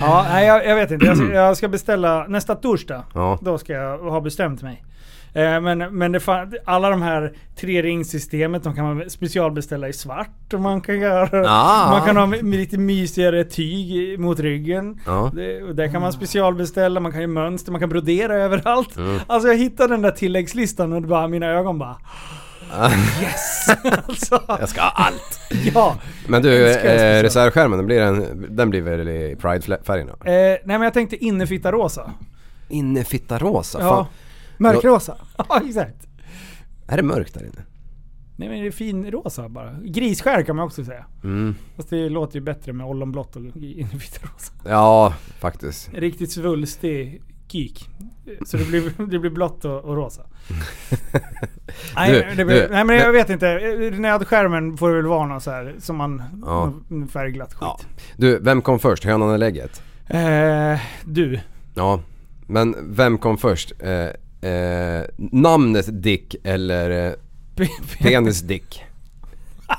Speaker 5: ja, nej jag, jag vet inte. Jag ska, jag ska beställa nästa torsdag.
Speaker 7: Ja.
Speaker 5: Då ska jag ha bestämt mig. Eh, Men, men det fan, alla de här tre ringsystemet de kan man specialbeställa i svart. Och man kan göra...
Speaker 7: Ah.
Speaker 5: Man kan ha med med lite mysigare tyg i- mot ryggen.
Speaker 7: Ja.
Speaker 5: Det, och där kan man specialbeställa, man kan göra mönster, man kan brodera överallt. Alltså jag hittade den där tilläggslistan och det bara, mina ögon bara... Yes! alltså,
Speaker 7: Jag ska ha allt!
Speaker 5: ja.
Speaker 7: Men du,
Speaker 5: Älskar det
Speaker 7: eh,
Speaker 5: speciellt.
Speaker 7: reservskärmen, den blir, en, den blir väl i Pride-färgen då?
Speaker 5: Eh, nej men jag tänkte innefitta rosa.
Speaker 7: Innefitta rosa,
Speaker 5: Ja.
Speaker 7: fan.
Speaker 8: Mörkrosa.
Speaker 5: Ja, exakt.
Speaker 7: Är det mörkt där inne?
Speaker 5: Nej men det är fin rosa bara. Grisskär kan man också säga.
Speaker 7: Mm.
Speaker 5: Fast det låter ju bättre med ollonblått och innefitta rosa.
Speaker 7: Ja, faktiskt.
Speaker 5: Riktigt svulstig geek. Så det blir, det blir blått och, och rosa. nej,
Speaker 7: Du,
Speaker 5: men det blir,
Speaker 7: du,
Speaker 5: nej men jag
Speaker 7: men-
Speaker 5: vet inte. Eh, Nödskärmen får det väl vara någon så här som man...
Speaker 7: Ja.
Speaker 5: någon Färgglatt skit.
Speaker 7: Ja. Du, vem kom först? Hönan eller ägget?
Speaker 5: Eh, du.
Speaker 7: Ja. Men vem kom först? Eh, eh, namnet Dick eller eh, penis Dick?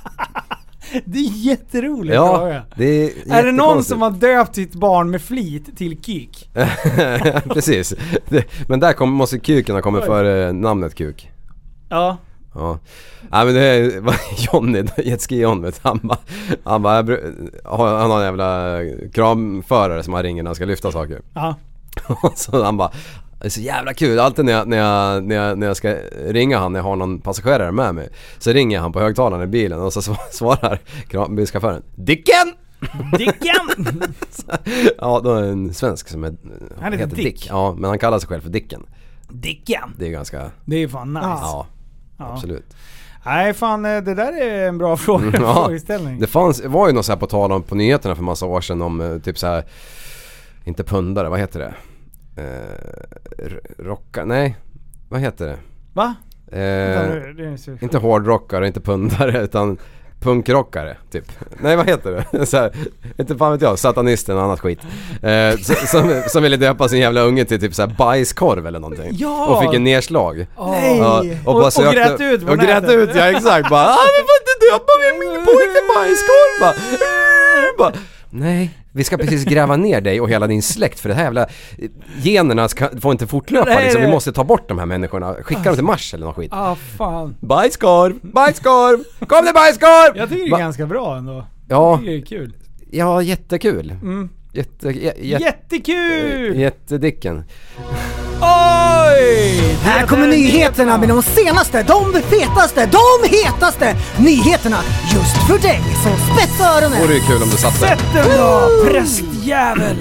Speaker 5: Det är jätteroligt att höra.
Speaker 7: Ja, det är
Speaker 5: Är det någon
Speaker 7: jättekonstigt.
Speaker 5: som har döpt sitt barn med flit till geek?
Speaker 7: Precis. Det- Men där kom, måste kuken ha kommit före namnet kuk.
Speaker 5: Ja.
Speaker 7: Ja. Nej men det var Johnny, Jetski-John vet du, han bara, han, bara, jag bru- han har en jävla kramförare som han ringer när han ska lyfta saker.
Speaker 5: ja.
Speaker 7: Och så han bara det är så jävla kul, alltid när jag, när, jag, när, jag, när jag ska ringa han, när jag har någon passagerare med mig Så ringer han på högtalaren i bilen och så sva- svarar kram- bilchauffören Dicken!
Speaker 5: Dicken!
Speaker 7: Ja, då är det en svensk som är,
Speaker 5: Han heter Dick.
Speaker 7: Ja, men han kallar sig själv för Dicken
Speaker 5: Dicken!
Speaker 7: Det är ganska,
Speaker 5: Det är fan nice.
Speaker 7: ja,
Speaker 5: Ja.
Speaker 7: absolut
Speaker 5: Nej fan, eh, det där är en bra fråga,
Speaker 7: Ja,
Speaker 5: frågeställning.
Speaker 7: det fanns, det var ju något så här på tal om på nyheterna för massa år sedan om eh, typ så här Inte pundare, vad heter det? Eh, r- rocka, nej, vad heter det?
Speaker 5: Va? Vänta
Speaker 7: Eh,
Speaker 5: nu, det är så-
Speaker 7: Inte hårdrockare, inte pundare utan punkrockare typ. Nej vad heter det? Så här, inte fan vet jag, satanisten och annat skit. Eh, s- som, som ville döpa sin jävla unge till typ så här bajskorv eller någonting.
Speaker 5: Ja!
Speaker 7: Och fick en nerslag.
Speaker 8: Nej!
Speaker 7: Ja,
Speaker 5: Och- och grät ut på
Speaker 7: Och grät
Speaker 5: nätet.
Speaker 7: ut ja exakt bara ah, vi får inte döpa min min pojke till bajskorv bara. Eh, bara. Nej, vi ska precis gräva ner dig och hela din släkt för det här jävla eh, generna ska, får inte fortlöpa
Speaker 5: Nej,
Speaker 7: liksom. Vi
Speaker 5: nej.
Speaker 7: måste ta bort de här människorna, skicka dem till Mars eller någon skit.
Speaker 5: Ah fan.
Speaker 7: Bajskorv, bajskorv, kom nu bajskorv!
Speaker 5: Jag tycker det är
Speaker 7: Va-
Speaker 5: ganska bra ändå.
Speaker 7: Ja,
Speaker 5: Det är kul. Mm.
Speaker 7: ja jättekul. Jätte, jä, jä,
Speaker 5: Jättekul!
Speaker 7: Jättedicken.
Speaker 5: Oj!
Speaker 8: Här kommer nyheterna med de senaste, de fetaste, de hetaste nyheterna just för dig. Så spetsa öronen!
Speaker 7: Vore ju kul om du satt där.
Speaker 5: Sätt den då, prästjävel!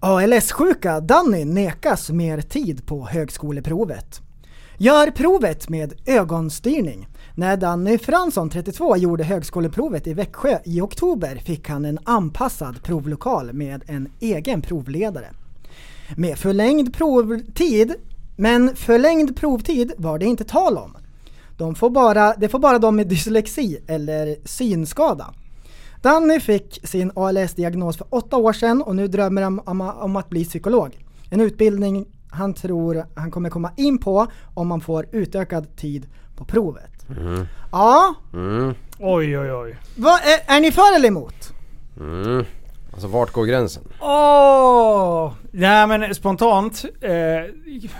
Speaker 8: ALS-sjuka Danny nekas mer tid på högskoleprovet. Gör provet med ögonstyrning. När Danny Fransson, 32, gjorde högskoleprovet i Växjö i oktober fick han en anpassad provlokal med en egen provledare. Med förlängd provtid, men förlängd provtid var det inte tal om. De får bara, det får bara de med dyslexi eller synskada. Danny fick sin ALS-diagnos för åtta år sedan och nu drömmer han om, om att bli psykolog. En utbildning han tror han kommer komma in på om han får utökad tid på provet. Ja,
Speaker 5: Oj oj oj.
Speaker 8: vad är, är ni för eller emot?
Speaker 7: Mm. Alltså vart går gränsen?
Speaker 5: Åh! Nej men spontant, eh,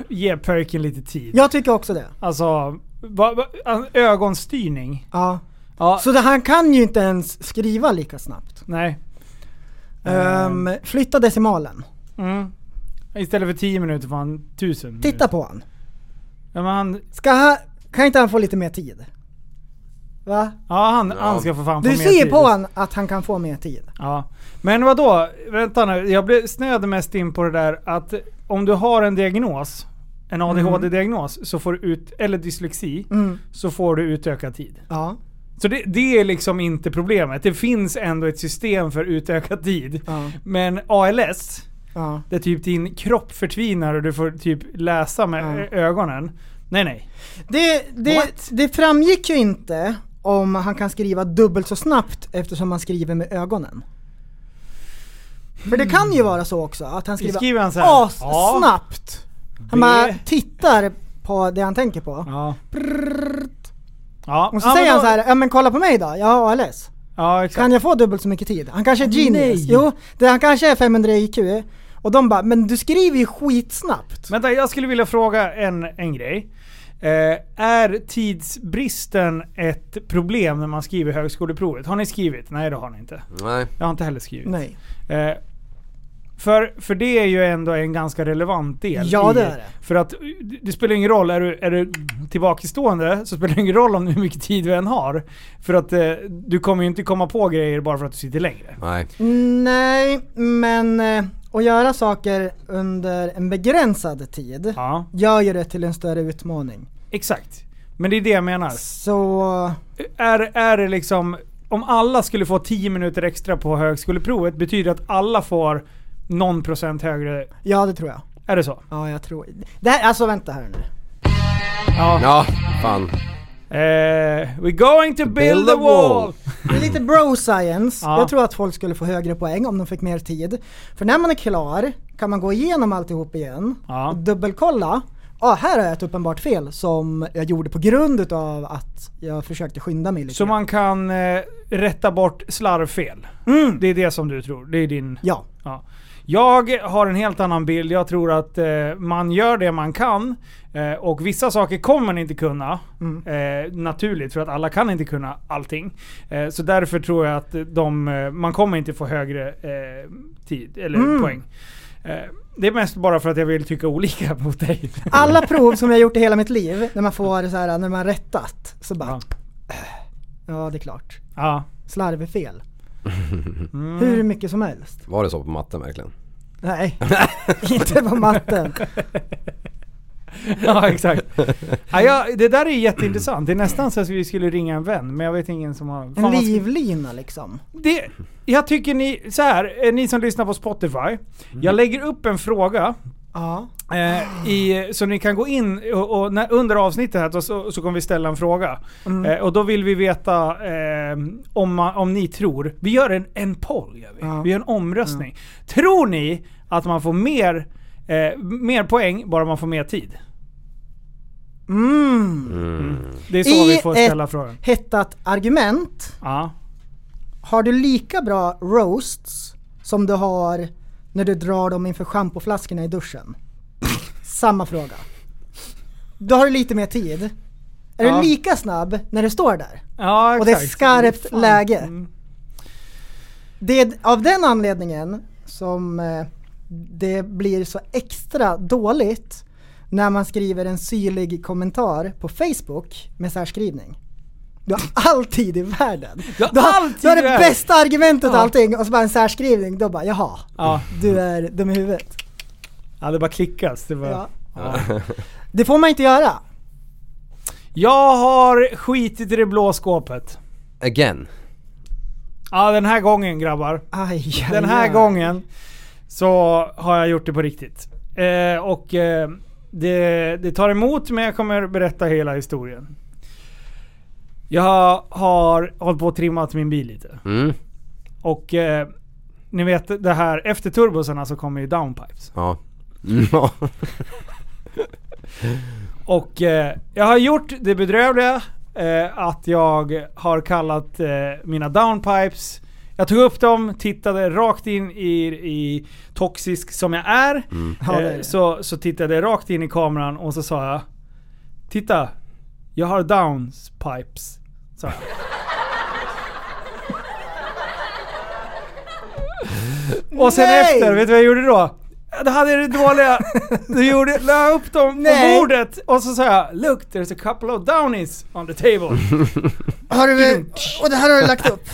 Speaker 5: ge pöjken lite tid.
Speaker 8: Jag tycker också det.
Speaker 5: Alltså, va, va, ögonstyrning.
Speaker 8: Ja.
Speaker 5: Ja,
Speaker 8: Så det, han kan ju inte ens skriva lika snabbt.
Speaker 5: nej.
Speaker 8: Ehm, flytta decimalen.
Speaker 5: Mm. Istället för 10 minuter får han 1000
Speaker 8: Titta på han.
Speaker 5: Ja, men han,
Speaker 8: Ska han, kan inte han få lite mer tid? Va?
Speaker 5: ja, han, han ska för fan få
Speaker 8: Du
Speaker 5: mer
Speaker 8: ser
Speaker 5: tid.
Speaker 8: på han att han kan få mer tid.
Speaker 5: Ja. Men vad då? Vänta nu, jag blev snöade mest in på det där att om du har en diagnos, en ADHD-diagnos, så får du ut, eller dyslexi,
Speaker 8: Mm.
Speaker 5: så får du utökad tid.
Speaker 8: Ja.
Speaker 5: Så det, det är liksom inte problemet. Det finns ändå ett system för utökad tid.
Speaker 8: Ja.
Speaker 5: Men ALS,
Speaker 8: ja.
Speaker 5: där typ din kropp förtvinar och du får typ läsa med
Speaker 8: Ja.
Speaker 5: ö- ögonen. Nej nej.
Speaker 8: Det, det,
Speaker 5: What?
Speaker 8: det framgick ju inte om han kan skriva dubbelt så snabbt eftersom han skriver med ögonen. För det kan ju vara så också att han skriver,
Speaker 5: Skriver han så här?
Speaker 8: assnabbt. Han
Speaker 5: B.
Speaker 8: bara tittar på det han tänker på.
Speaker 5: Ja. Ja.
Speaker 8: Och så
Speaker 5: ja, men
Speaker 8: säger han
Speaker 5: då-
Speaker 8: så här, ja men kolla på mig då, jag har ALS.
Speaker 5: Ja, exakt.
Speaker 8: Kan jag få dubbelt så mycket tid? Han kanske är genius.
Speaker 5: Nej.
Speaker 8: Jo, det, han kanske är 500 IQ. Och de bara, men du skriver ju skitsnabbt.
Speaker 5: Vänta, jag skulle vilja fråga en, en grej. Eh, är tidsbristen ett problem när man skriver högskoleprovet? Har ni skrivit? Nej, det har ni inte.
Speaker 7: Nej.
Speaker 5: Jag har inte heller skrivit.
Speaker 8: Nej.
Speaker 5: Eh, för, för det är ju ändå en ganska relevant del.
Speaker 8: Ja,
Speaker 5: i-
Speaker 8: det är det.
Speaker 5: För att det- det spelar ingen roll, är du, är du tillbakastående så spelar det ingen roll om hur mycket tid du än har. För att eh, du kommer ju inte komma på grejer bara för att du sitter längre.
Speaker 7: Nej.
Speaker 8: Nej, men eh, att göra saker under en begränsad tid
Speaker 5: Ja,
Speaker 8: gör ju det till en större utmaning.
Speaker 5: exakt. Men det är det jag menar.
Speaker 8: Så...
Speaker 5: Är, är det liksom, om alla skulle få 10 minuter extra på högskoleprovet, betyder det att alla får någon procent högre?
Speaker 8: Ja, det tror jag.
Speaker 5: Är det så?
Speaker 8: Ja, jag tror... Det här, alltså vänta här nu.
Speaker 5: Ja.
Speaker 7: Ja, fan.
Speaker 5: Eh, we're going to build, a wall!
Speaker 8: Det är lite bro science.
Speaker 5: Ja.
Speaker 8: Jag tror att folk skulle få högre poäng om de fick mer tid. För när man är klar kan man gå igenom alltihop igen
Speaker 5: Ja.
Speaker 8: och dubbelkolla. Ja, ah, här har jag ett uppenbart fel som jag gjorde på grund utav att jag försökte skynda mig lite.
Speaker 5: Så
Speaker 8: grann.
Speaker 5: man kan eh, rätta bort slarvfel? Det är det som du tror? Det är din...
Speaker 8: Ja.
Speaker 5: Ja. Jag har en helt annan bild. Jag tror att eh, man gör det man kan. Eh, och vissa saker kommer man inte kunna. Eh, naturligt, för att alla kan inte kunna allting. Eh, så därför tror jag att de, eh, man kommer inte få högre eh, tid, eller poäng. Eh, det är mest bara för att jag vill tycka olika mot dig.
Speaker 8: Alla prov som jag gjort i hela mitt liv, när man får så här, när man rättat, så bara...
Speaker 5: Ja.
Speaker 8: Ja, det är klart.
Speaker 5: ja.
Speaker 8: Slarvfel.
Speaker 5: Mm.
Speaker 8: Hur mycket som helst.
Speaker 7: Var det så på matten verkligen?
Speaker 8: Nej, inte på matten.
Speaker 5: ja, exakt. Ja, jag, det där är jätteintressant. Det är nästan så att vi skulle ringa en vän, men jag vet ingen som har...
Speaker 8: En
Speaker 5: vad ska-
Speaker 8: livlina liksom.
Speaker 5: det, jag tycker ni, så här, eh, ni som lyssnar på Spotify. Jag lägger upp en fråga.
Speaker 8: Ja.
Speaker 5: Eh, i, så ni kan gå in och, och när, under avsnittet här då så, så kommer vi ställa en fråga.
Speaker 8: Mm.
Speaker 5: Eh, och då vill vi veta eh, om, man, om ni tror, vi gör en, en poll, gör vi.
Speaker 8: Ja.
Speaker 5: vi gör en omröstning. Tror ni att man får mer, eh, mer poäng bara man får mer tid?
Speaker 8: Mm.
Speaker 5: Det är så
Speaker 8: I
Speaker 5: vi får ställa
Speaker 8: ett-
Speaker 5: frågan.
Speaker 8: Hettat argument.
Speaker 5: Ja.
Speaker 8: Har du lika bra roasts som du har när du drar dem inför schampoflaskorna i duschen? Samma fråga. Då har du lite mer tid. Är
Speaker 5: Ja.
Speaker 8: du lika snabb när du står där?
Speaker 5: Ja,
Speaker 8: Och det är
Speaker 5: exakt.
Speaker 8: skarpt
Speaker 5: Fan.
Speaker 8: läge.
Speaker 5: Mm.
Speaker 8: Det är av den anledningen som eh, det blir så extra dåligt när man skriver en syrlig kommentar på Facebook med särskrivning. Du har all tid i världen.
Speaker 5: Du har all tid
Speaker 8: du har
Speaker 5: i
Speaker 8: det
Speaker 5: världen.
Speaker 8: bästa argumentet och
Speaker 5: Ja.
Speaker 8: allting och så bara en särskrivning. Då bara jaha,
Speaker 5: Ja.
Speaker 8: du är dum i huvudet.
Speaker 5: ja, det bara klickas. Det bara...
Speaker 8: Ja.
Speaker 5: Ja.
Speaker 8: Det får man inte göra.
Speaker 5: Jag har skitit i det blå skåpet.
Speaker 7: Again.
Speaker 5: Ja, den här gången grabbar.
Speaker 8: Aj, aj,
Speaker 5: Den här
Speaker 8: aj.
Speaker 5: gången så har jag gjort det på riktigt. Eh, och eh, det, det tar emot men jag kommer berätta hela historien. Jag har hållit på och trimmat min bil lite.
Speaker 7: Mm.
Speaker 5: Och eh, ni vet det här, efter turbosarna så kommer ju downpipes.
Speaker 7: Ja. Ja.
Speaker 5: Och eh, jag har gjort det bedrövliga eh, att jag har kallat eh, mina downpipes jag tog upp dem, tittade rakt in i, i toxisk som jag är.
Speaker 8: Ja, det är
Speaker 5: Eh,
Speaker 8: det.
Speaker 5: så, så tittade jag rakt in i kameran och så sa jag Titta, jag har downpipes. Sa jag. och sen
Speaker 8: Nej!
Speaker 5: efter, vet du vad jag gjorde då? Då hade jag det dåliga. Du gjorde, la upp dem på
Speaker 8: Nej.
Speaker 5: bordet och så sa jag Look, there's a couple of downies on the table.
Speaker 8: Mm. Har du, och det här har du lagt upp?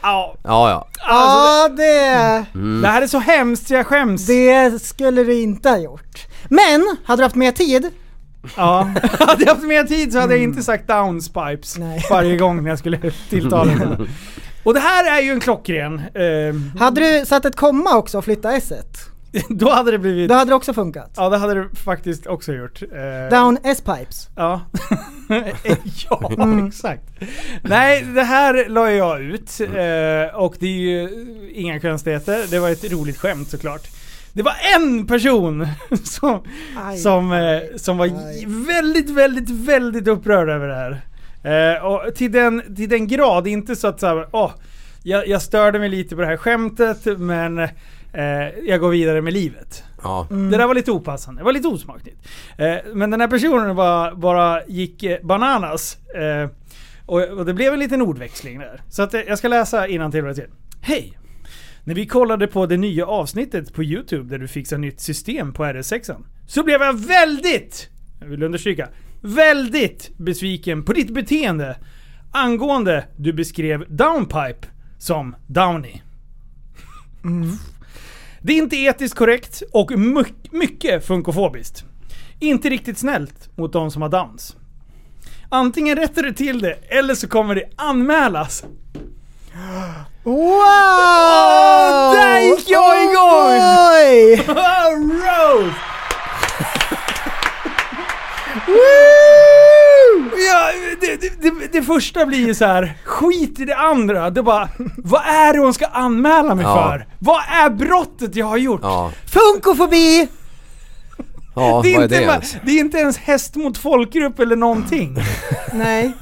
Speaker 5: Au.
Speaker 7: Ja, ja.
Speaker 8: Ja, det...
Speaker 5: Det här är så hemskt, jag skäms.
Speaker 8: Det skulle du inte ha gjort. Men, hade du haft mer tid?
Speaker 5: Ja. hade jag haft mer tid så hade jag inte sagt downspipes
Speaker 8: Nej.
Speaker 5: varje gång när jag skulle tilltala henne. Och det här är ju en klockren. Eh,
Speaker 8: Hade du satt ett komma också och flyttat s
Speaker 5: Då hade det blivit...
Speaker 8: Då hade det också funkat.
Speaker 5: Ja, det hade det faktiskt också gjort. Eh,
Speaker 8: Down S-pipes.
Speaker 5: Ja, ja exakt. Nej, det här la jag ut eh, och det är ju inga konstigheter. Det var ett roligt skämt såklart. Det var en person som,
Speaker 8: Aj.
Speaker 5: som, eh, som var j- väldigt, väldigt, väldigt upprörd över det här. Eh, och till den, till den grad, inte så att så här, åh, jag, jag störde mig lite på det här skämtet men eh, jag går vidare med livet.
Speaker 7: Ja.
Speaker 5: Det där var lite opassande, det var lite osmakligt. Eh, men den här personen bara, bara gick eh, bananas. Eh, och, och det blev en liten ordväxling där. Så att, eh, jag ska läsa innantill vad det till. Hej! När vi kollade på det nya avsnittet på Youtube där du fixar nytt system på RS6 så blev jag väldigt, jag vill understryka, väldigt besviken på ditt beteende angående du beskrev downpipe som downy. Det är inte etiskt korrekt och myck- mycket funkofobiskt. Inte riktigt snällt mot de som har downs. Antingen rättar du till det eller så kommer det anmälas.
Speaker 8: Wow!
Speaker 5: där gick jag igång!
Speaker 8: Oj!
Speaker 5: Rose! Ja, det, det, det, det första blir ju så här. skit i det andra. Det är bara, vad är det hon ska anmäla mig
Speaker 7: Ja.
Speaker 5: för? Vad är brottet jag har gjort?
Speaker 7: Ja.
Speaker 8: Funkofobi!
Speaker 7: Ja,
Speaker 5: Det är,
Speaker 7: vad är
Speaker 5: inte
Speaker 7: det
Speaker 5: bara-
Speaker 7: ens?
Speaker 5: det är inte ens häst mot folkgrupp eller någonting.
Speaker 8: Nej.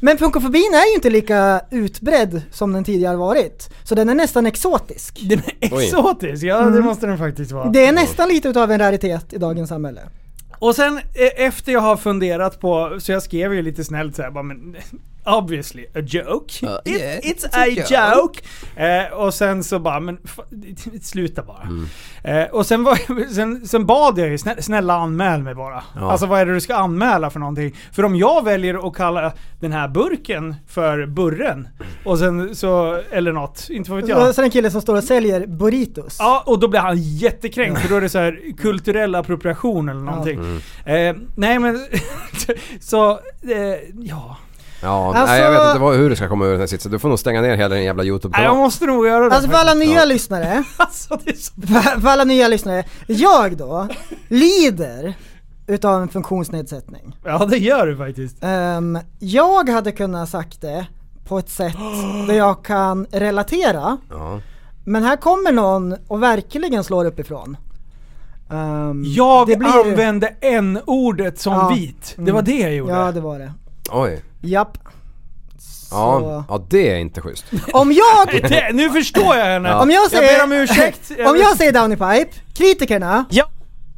Speaker 8: Men funkofobin är ju inte lika utbredd som den tidigare varit. Så den är nästan exotisk.
Speaker 5: Den är
Speaker 7: Oj. Mm.
Speaker 5: exotisk, ja det måste den faktiskt vara.
Speaker 8: Det är nästan lite utav en raritet i dagens samhälle.
Speaker 5: Och sen eh, efter jag har funderat på, så jag skrev ju lite snällt såhär bara men obviously a joke.
Speaker 7: Ja,
Speaker 5: It,
Speaker 7: yeah,
Speaker 5: it's,
Speaker 7: it's
Speaker 5: a
Speaker 7: a
Speaker 5: joke. Eh, och sen så bara men fa- sluta bara. Eh, och sen, var, sen, sen bad jag ju snälla, snälla anmäl mig bara.
Speaker 7: Ja.
Speaker 5: Alltså vad är det du ska anmäla för någonting? För om jag väljer att kalla den här burken för burren och sen så, eller något, inte vad vet jag.
Speaker 8: Ja. Så den killen som står och säljer burritos.
Speaker 5: Ja, och då blir han jättekränkt för då är det så här kulturell appropriation eller någonting. Eh, nej men, så, eh, ja.
Speaker 7: Ja,
Speaker 8: Alltså-
Speaker 7: nej, jag vet inte vad, hur du ska komma ur den här sitsen. Du får nog stänga ner hela den jävla
Speaker 5: Nej, jag
Speaker 7: YouTube-kanalen.
Speaker 5: måste nog göra det.
Speaker 8: Alltså för alla nya
Speaker 7: Ja.
Speaker 8: lyssnare.
Speaker 5: alltså, det är så...
Speaker 8: För, för alla nya lyssnare. Jag då lider utav en funktionsnedsättning.
Speaker 5: Ja det gör du faktiskt.
Speaker 8: Ehm, jag hade kunnat sagt det på ett sätt där jag kan relatera.
Speaker 7: Ja.
Speaker 8: Men här kommer någon och verkligen slår uppifrån. Um,
Speaker 5: Jag använde n-ordet som
Speaker 8: Ja. Mm.
Speaker 5: vit. Det var det jag gjorde.
Speaker 8: Ja, det var det.
Speaker 7: Oj.
Speaker 8: Japp.
Speaker 7: Ja. ja, det är inte schysst.
Speaker 8: Om jag,
Speaker 5: Det- nu förstår jag henne.
Speaker 7: Ja.
Speaker 8: om jag säger...
Speaker 5: ber om ursäkt.
Speaker 8: om jag säger Downy Pipe, kritikerna,
Speaker 10: Ja,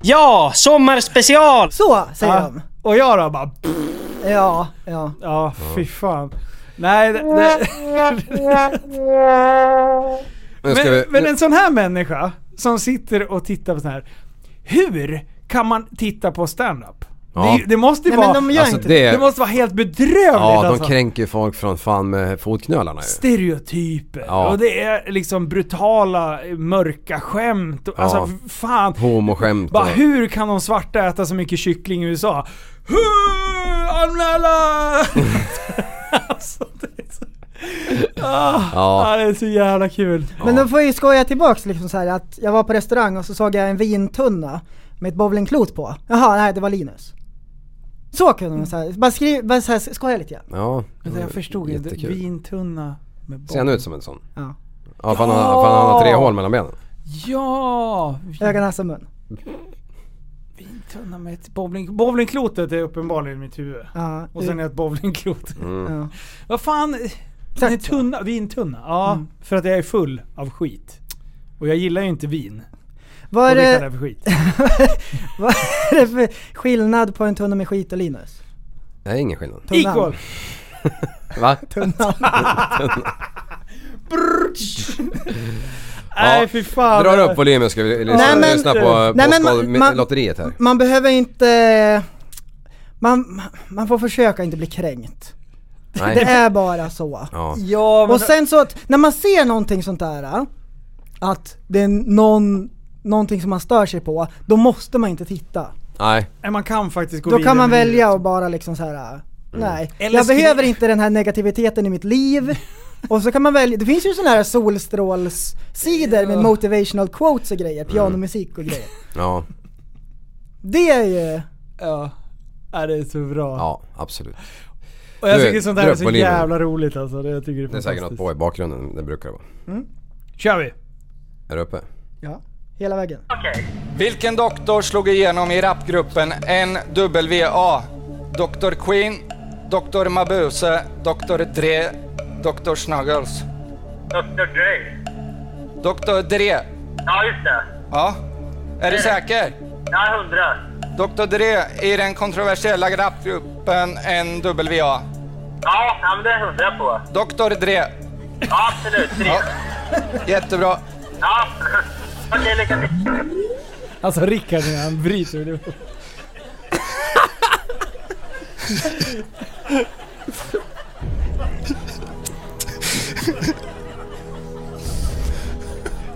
Speaker 10: ja sommarspecial!
Speaker 8: så säger
Speaker 5: Ja.
Speaker 8: de.
Speaker 5: Och jag då bara...
Speaker 8: Ja, ja.
Speaker 5: Ja, fy fan. Nej, det, det,
Speaker 7: Nu ska
Speaker 5: Men,
Speaker 7: vi,
Speaker 5: men en sån här människa som sitter och tittar på sån här. Hur kan man titta på stand-up?
Speaker 7: Ja.
Speaker 5: Det, det måste ju
Speaker 8: Nej men
Speaker 5: vara...
Speaker 8: de gör
Speaker 7: alltså
Speaker 8: inte det.
Speaker 7: det,
Speaker 5: Det måste vara helt bedrövligt
Speaker 7: ja de
Speaker 5: alltså.
Speaker 7: kränker ju folk från fan med fotknölarna ju.
Speaker 5: Stereotyper.
Speaker 7: Ja.
Speaker 5: Och det är liksom brutala, eh, mörka skämt. Och, Alltså
Speaker 7: Ja.
Speaker 5: f- fan.
Speaker 7: Homoskämt
Speaker 5: Bara
Speaker 7: och-
Speaker 5: hur kan de svarta äta så mycket kyckling i USA? Huh, Anmäla! alltså, det är så... Ah,
Speaker 7: Ja.
Speaker 5: ah, det är så jävla kul.
Speaker 8: Men de får ju skoja tillbaks liksom så här att jag var på restaurang och så såg jag en vintunna med ett bowlingklot på. Jaha, nej det var Linus. Så kunde de så här, bara, skriv, bara så här, skoja lite grann.
Speaker 7: Ja.
Speaker 5: Men Alltså, jag förstod inte.
Speaker 7: Jättekul.
Speaker 5: Vintunna med boll.
Speaker 7: Ser han ut som en sån?
Speaker 8: Ja.
Speaker 7: Ja, fan, han, fan han har tre hål mellan benen.
Speaker 5: Ja!
Speaker 8: Ögon, näsa, mun.
Speaker 5: Vintunna med ett bowling... Bowlingklotet är uppenbarligen mitt huvud.
Speaker 8: Ja,
Speaker 5: Och sen
Speaker 8: ja.
Speaker 5: är ett bowlingklot.
Speaker 8: ja.
Speaker 5: Vad fan? Den är tunna, vintunna. Ja, för att jag är full av skit. Och jag gillar ju inte vin.
Speaker 8: Vad
Speaker 5: Vad
Speaker 8: är
Speaker 5: det är
Speaker 8: det,
Speaker 5: för skit.
Speaker 8: vad är det för skillnad på en tunna med skit och Linus?
Speaker 7: Det är ingen skillnad.
Speaker 8: Tunnan.
Speaker 5: Equal!
Speaker 7: Va?
Speaker 5: Nej fy fan.
Speaker 7: Drar upp volymen ska vi lyssna,
Speaker 8: Nej, men-
Speaker 7: lyssna på
Speaker 8: Nej, men man- man-
Speaker 7: Postkodlotteriet här.
Speaker 8: Man behöver inte... Man, man får försöka inte bli kränkt. Det
Speaker 7: Nej.
Speaker 8: är bara så.
Speaker 7: Ja.
Speaker 5: Ja, men
Speaker 8: Och sen så att när man ser någonting sånt där, äh, att det är någon, någonting som man stör sig på, då måste man inte titta.
Speaker 7: Nej.
Speaker 5: Nej, man kan faktiskt gå
Speaker 8: Då
Speaker 5: vidare
Speaker 8: kan man
Speaker 5: med
Speaker 8: välja
Speaker 5: livet. Mm.
Speaker 8: och bara liksom så här. Nej,
Speaker 5: Eller
Speaker 8: jag
Speaker 5: skri-
Speaker 8: behöver inte den här negativiteten i mitt liv. Och så kan man välja, det finns ju sådana här solstrålssidor med motivational quotes och
Speaker 5: Mm.
Speaker 8: grejer, pianomusik och grejer.
Speaker 7: Ja,
Speaker 8: Det är ju...
Speaker 5: Ja. Ja, det är så bra.
Speaker 7: ja absolut.
Speaker 5: Och jag
Speaker 7: Du,
Speaker 5: tycker sånt här är
Speaker 7: dröp
Speaker 5: så
Speaker 7: på livet.
Speaker 5: jävla roligt alltså. Det, jag tycker det är
Speaker 7: Det är säkert något
Speaker 5: fantastiskt.
Speaker 7: på i bakgrunden, det brukar det vara.
Speaker 5: Kör vi!
Speaker 7: Är du uppe?
Speaker 8: Ja, hela vägen.
Speaker 11: Vilken doktor slog igenom i rapgruppen NWA? Dr Queen, Dr Mabuse, Dr Dre, Dr Snuggles.
Speaker 12: Dr Dre.
Speaker 11: Dr Dre,
Speaker 12: Ja, just det.
Speaker 11: ja? Är du säker?
Speaker 12: Ja, hundra.
Speaker 11: Dr Dre i den kontroversiella rapgruppen NWA.
Speaker 12: Ja, ja, men det är jag hundra på.
Speaker 11: Dr Dre,
Speaker 12: Ja, absolut. Tre. Ja.
Speaker 11: jättebra.
Speaker 12: Okej, lycka till.
Speaker 5: Alltså Rickard när han bryter det.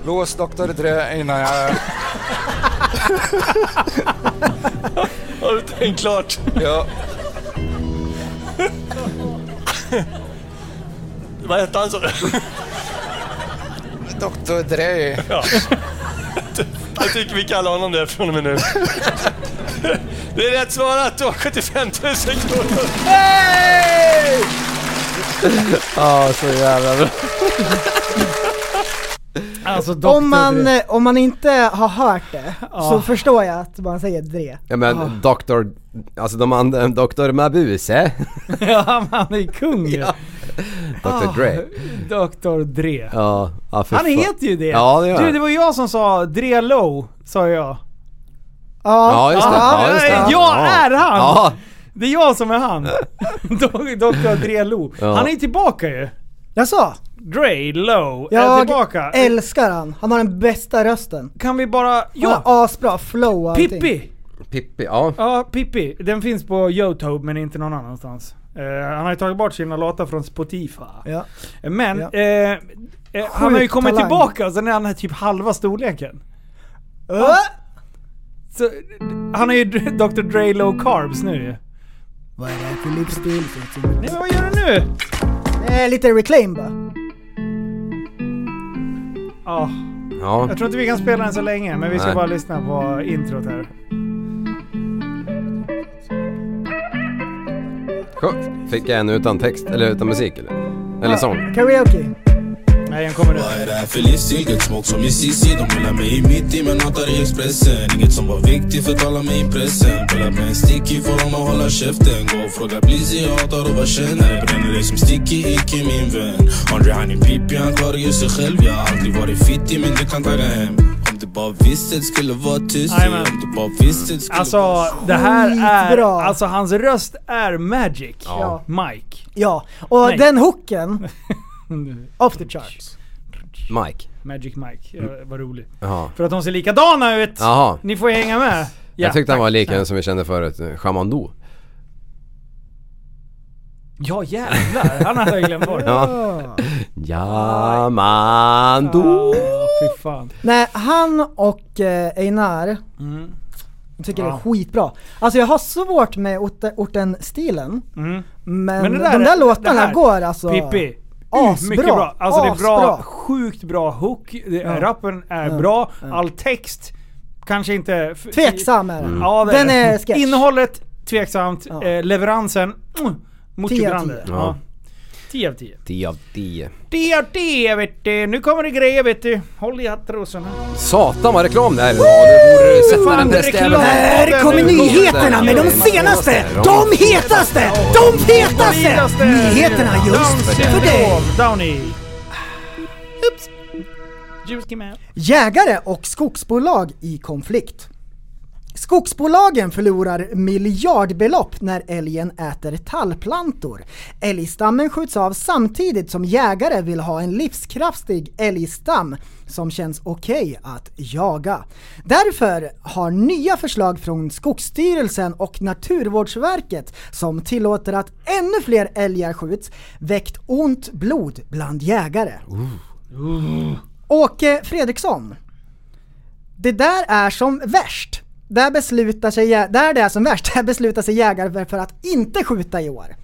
Speaker 11: Lås Dr Dre innan jag...
Speaker 12: Har du tänkt klart?
Speaker 11: Ja.
Speaker 12: Vad hette han sa du?
Speaker 11: Dr Dre.
Speaker 12: Ja. Jag tycker vi kallar honom det från och med nu. Det är rätt svarat. Du har 75 000 kronor. Hey!
Speaker 2: Ja, så jävla bra.
Speaker 5: Alltså
Speaker 8: Om man, eh, om man inte har hört det så
Speaker 7: Ja.
Speaker 8: förstår jag att man säger Dre.
Speaker 7: Ja men
Speaker 8: Ah.
Speaker 7: Dr. Alltså de andra, Dr. Mabuse,
Speaker 5: ja, men han är kung ju.
Speaker 7: Dr. Dre.
Speaker 5: Ah, Dr Dre.
Speaker 7: Ja, ja för
Speaker 5: Han
Speaker 7: fan.
Speaker 5: heter ju det.
Speaker 7: Ja det gör
Speaker 5: du,
Speaker 7: han.
Speaker 5: det var jag som sa Dre Low, sa jag.
Speaker 7: Ja, just det. Ja, just det.
Speaker 5: Jag
Speaker 7: Ja.
Speaker 5: är han!
Speaker 7: Ja.
Speaker 5: Det är jag som är han. Do- Dr Dre Low.
Speaker 7: Ja.
Speaker 5: Han är ju tillbaka ju.
Speaker 8: Jag sa.
Speaker 5: Dre Low är
Speaker 8: Jag
Speaker 5: Eh, tillbaka.
Speaker 8: älskar han. Han har den bästa rösten.
Speaker 5: Kan vi bara...
Speaker 8: Ja! Han har asbra flow och allting.
Speaker 5: Pippi!
Speaker 7: Pippi, ja.
Speaker 5: Ja, Pippi. Den finns på Youtube men inte någon annanstans. Eh, han har ju tagit bort sina låtar från Spotify.
Speaker 8: Ja.
Speaker 5: Men
Speaker 8: Ja.
Speaker 5: eh, eh, han har ju
Speaker 8: Sjuk
Speaker 5: kommit
Speaker 8: talang.
Speaker 5: tillbaka och sen är han typ halva storleken.
Speaker 8: Ja.
Speaker 5: Så, han är ju Dr. Dre Low Carbs nu ju.
Speaker 8: Vad är det här för livsstil?
Speaker 5: Nej men vad gör du nu?
Speaker 8: Eh, lite reclaim bara.
Speaker 5: Ja,
Speaker 7: Ja.
Speaker 5: jag tror inte vi kan spela den så länge men vi ska
Speaker 7: Nej.
Speaker 5: bara lyssna på introt här.
Speaker 7: Skönt. Fick jag en utan text, eller utan musik eller? Eller sång?
Speaker 8: Karaoke.
Speaker 5: Nej, den kommer nu.
Speaker 13: Vad är det här för livsstil? Gött smak som i CC. De hyllar mig i mitt i men hatar i Expressen. Inget som var viktigt förtalar mig i pressen. Pullar med en sticky får dem att hålla käften. Gå och fråga Blizzy, jag hatar och vad känner. Bränner dig som sticky, icke min vän. Andre han är pippi, han klarar ju sig själv. Jag har aldrig varit fittig men du kan tagga hem. Om du bara visste det skulle vara tyst.
Speaker 5: Jajamän.
Speaker 13: Om du bara visste det skulle
Speaker 5: Alltså det här är... Alltså hans röst är magic.
Speaker 8: Ja.
Speaker 5: Mike.
Speaker 8: Ja, och
Speaker 5: Nej.
Speaker 8: den hooken. off the charts.
Speaker 7: Mike.
Speaker 5: Magic Mike. Ja, vad rolig.
Speaker 7: Jaha.
Speaker 5: För att de ser likadana ut.
Speaker 7: Jaha.
Speaker 5: Ni får hänga med.
Speaker 7: jag tyckte han var lik en som vi kände förut, eh, Chamando.
Speaker 5: Ja jävlar, han hade jag glömt bort.
Speaker 7: Ja. Jamando.
Speaker 5: Ja, fy fan.
Speaker 8: Nej, han och eh, Einar
Speaker 5: Mm.
Speaker 8: jag tycker det
Speaker 5: Ja.
Speaker 8: är skitbra. Alltså jag har svårt med orte- orten-stilen.
Speaker 5: Mm.
Speaker 8: Men,
Speaker 5: Men
Speaker 8: de
Speaker 5: det där-
Speaker 8: där
Speaker 5: det
Speaker 8: låtarna
Speaker 5: här-
Speaker 8: går alltså...
Speaker 5: Pippi.
Speaker 8: Asbra.
Speaker 5: Mycket bra. Alltså det är bra,
Speaker 8: Asbra.
Speaker 5: sjukt bra hook. Det-
Speaker 8: Ja.
Speaker 5: Rappen är
Speaker 8: Ja.
Speaker 5: bra. All text kanske inte... f-
Speaker 8: Tveksam är den.
Speaker 5: Mm. Ja, det
Speaker 8: Den
Speaker 5: det.
Speaker 8: är sketch.
Speaker 5: Innehållet tveksamt. Eh, leveransen, mm, mucho
Speaker 8: Tio av
Speaker 5: grande. Ja.
Speaker 7: tio. Ja.
Speaker 5: 10 av 10.
Speaker 7: 10 av 10.
Speaker 5: 10 av 10 vet du. Nu kommer det grejer vet du. Håll i hattrosorna.
Speaker 7: Satan vad reklam det här är idag. Det borde sätta den där stäven.
Speaker 6: Här kommer nyheterna med de senaste, de hetaste, de fetaste nyheterna just för dig.
Speaker 5: Downy. Oops. Juice came out.
Speaker 8: Jägare och skogsbolag i konflikt. Skogsbolagen förlorar miljardbelopp när älgen äter tallplantor. Älgstammen skjuts av samtidigt som jägare vill ha en livskraftig älgstam som känns okej att jaga. Därför har nya förslag från Skogsstyrelsen och Naturvårdsverket som tillåter att ännu fler älgar skjuts väckt ont blod bland jägare. Åke Fredriksson. Det där är som värst. Där, beslutar sig, jä- där det är som värst, där beslutar sig jägare för att inte skjuta i år.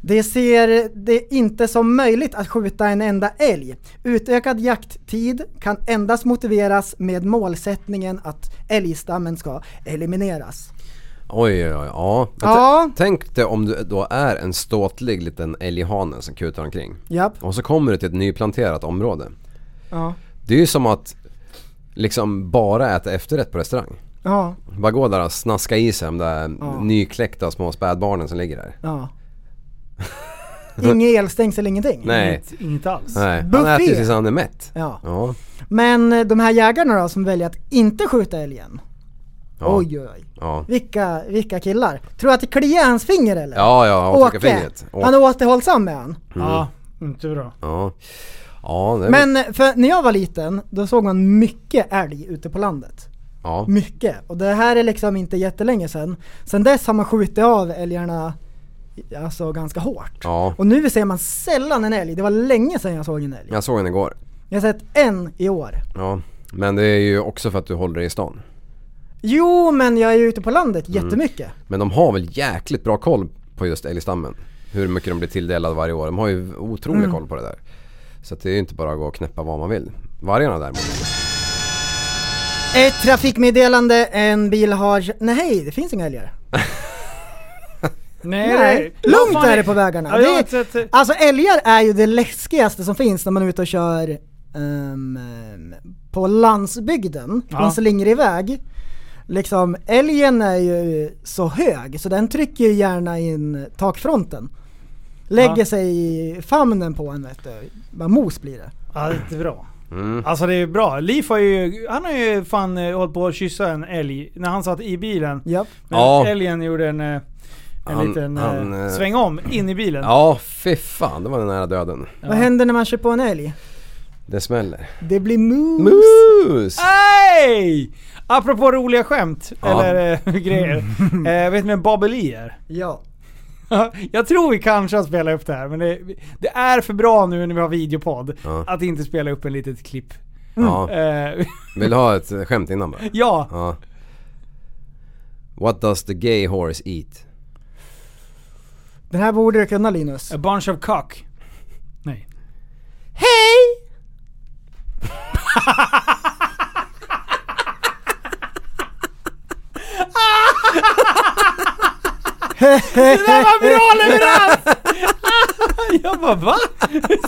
Speaker 8: Det ser det inte som möjligt att skjuta en enda älg. Utökad jakttid kan endast motiveras med målsättningen att älgstammen ska elimineras.
Speaker 7: Oj, oj, oj. Ja. Men
Speaker 8: Ja.
Speaker 7: tä- Tänk dig om du då är en ståtlig liten älghane som kutar omkring.
Speaker 8: Japp.
Speaker 7: Och så kommer du till ett nyplanterat område.
Speaker 8: Ja.
Speaker 7: Det är ju som att liksom bara äta efterrätt på restaurang.
Speaker 8: Ja.
Speaker 7: Bara gå där och snaska i sig de där
Speaker 8: Ja.
Speaker 7: nykläckta små spädbarnen som ligger där.
Speaker 8: Ja. Inget elstängsel, ingenting.
Speaker 7: Nej.
Speaker 5: Inget, inget alls.
Speaker 7: Nej, han
Speaker 8: Buffé.
Speaker 7: äter ju tills han är mätt.
Speaker 8: Ja.
Speaker 7: Ja.
Speaker 8: Men eh, de här jägarna då som väljer att inte skjuta älgen.
Speaker 7: Ja.
Speaker 8: Oj, oj, oj.
Speaker 7: Ja.
Speaker 8: Vilka, vilka killar. Tror du att det kliar hans finger eller?
Speaker 7: Ja, ja, han trycker
Speaker 8: Åke.
Speaker 7: fingret. Åke.
Speaker 8: Han är återhållsam med han.
Speaker 7: Mm.
Speaker 5: Ja, inte bra.
Speaker 7: Ja. Ja, det är väl-
Speaker 8: Men eh, för när jag var liten, då såg man mycket älg ute på landet.
Speaker 7: ja.
Speaker 8: Mycket. Och det här är liksom inte jättelänge sedan. Sen dess har man skjutit av älgarna alltså, ganska hårt.
Speaker 7: ja.
Speaker 8: Och nu ser man sällan en älg. Det var länge sedan jag såg en älg.
Speaker 7: Jag såg den igår.
Speaker 8: Jag har sett en i år.
Speaker 7: Ja. Men det är ju också för att du håller dig i stan.
Speaker 8: Jo, men jag är ju ute på landet
Speaker 7: Mm.
Speaker 8: jättemycket.
Speaker 7: Men de har väl jäkligt bra koll på just älgstammen. Hur mycket de blir tilldelade varje år. De har ju otrolig
Speaker 8: Mm.
Speaker 7: koll på det där. Så att det är ju inte bara att gå och knäppa vad man vill. Vargarna däremot.
Speaker 8: Ett trafikmeddelande, en bil har... Nej, det finns inga älgar.
Speaker 5: Nej, det- Vad
Speaker 8: Lugnt
Speaker 5: fan
Speaker 8: är det på vägarna.
Speaker 5: Ja,
Speaker 8: det
Speaker 5: jag har
Speaker 8: är,
Speaker 5: inte sett-
Speaker 8: alltså älgar är ju det läskigaste som finns när man är ute och kör ehm, ehm, på landsbygden.
Speaker 5: Ja.
Speaker 8: Man slänger iväg. Liksom, älgen är ju så hög så den trycker ju gärna in takfronten. Lägger
Speaker 5: Ja.
Speaker 8: sig i famnen på en vet du. Bara mos blir det.
Speaker 5: Ja, det är inte bra.
Speaker 7: Mm.
Speaker 5: Alltså det är bra. Liv har ju, han har ju fan eh, hållit på att kyssa en älg när han satt i bilen.
Speaker 8: Japp.
Speaker 5: Men
Speaker 7: Ja.
Speaker 5: älgen gjorde en, eh, en
Speaker 7: Han-
Speaker 5: liten
Speaker 7: han,
Speaker 5: eh,
Speaker 7: eh,
Speaker 5: sväng om in i bilen.
Speaker 7: Ja, fy fan. Det var den nära döden.
Speaker 8: Vad händer när man kör på en älg?
Speaker 7: Det smäller.
Speaker 8: Det blir mos.
Speaker 7: Mus!
Speaker 5: Ah! Hej! Apropå roliga skämt,
Speaker 7: Ja.
Speaker 5: eller eh, grejer. Eh, vet ni vem Babeli är?
Speaker 8: Ja.
Speaker 5: Jag tror vi kanske har spelat upp det här, men det, det är för bra nu när vi har videopodd
Speaker 7: Ja.
Speaker 5: att inte spela upp en litet klipp.
Speaker 7: Ja.
Speaker 5: Eh,
Speaker 7: Vill du ha ett eh, skämt innan bara?
Speaker 5: Ja.
Speaker 7: ja. What does the gay horse eat?
Speaker 8: Den här borde du kunna Linus.
Speaker 5: A bunch of cock. Nej.
Speaker 8: Hej!
Speaker 5: Det där var bra leverans! Jag bara va?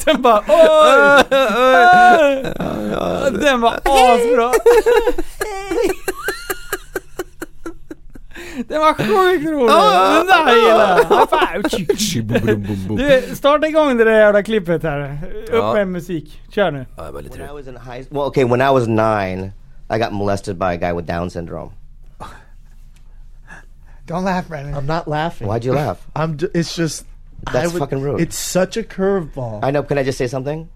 Speaker 5: Sen bara oj! oj. Den var asbra! Den var sjukt rolig! Den där gillar jag! High five. Du, starta igång det där jävla klippet här. Upp
Speaker 14: Ja.
Speaker 5: med musik. Kör nu.
Speaker 14: When I was in high, well, okay, when I was nine, I got molested by a guy with Down syndrome.
Speaker 15: Don't laugh, Brennan. I'm not laughing.
Speaker 14: Why'd you laugh?
Speaker 15: I'm. Ju- it's just.
Speaker 14: That's fucking rude.
Speaker 15: It's such a curveball.
Speaker 14: I know. Can I just say something?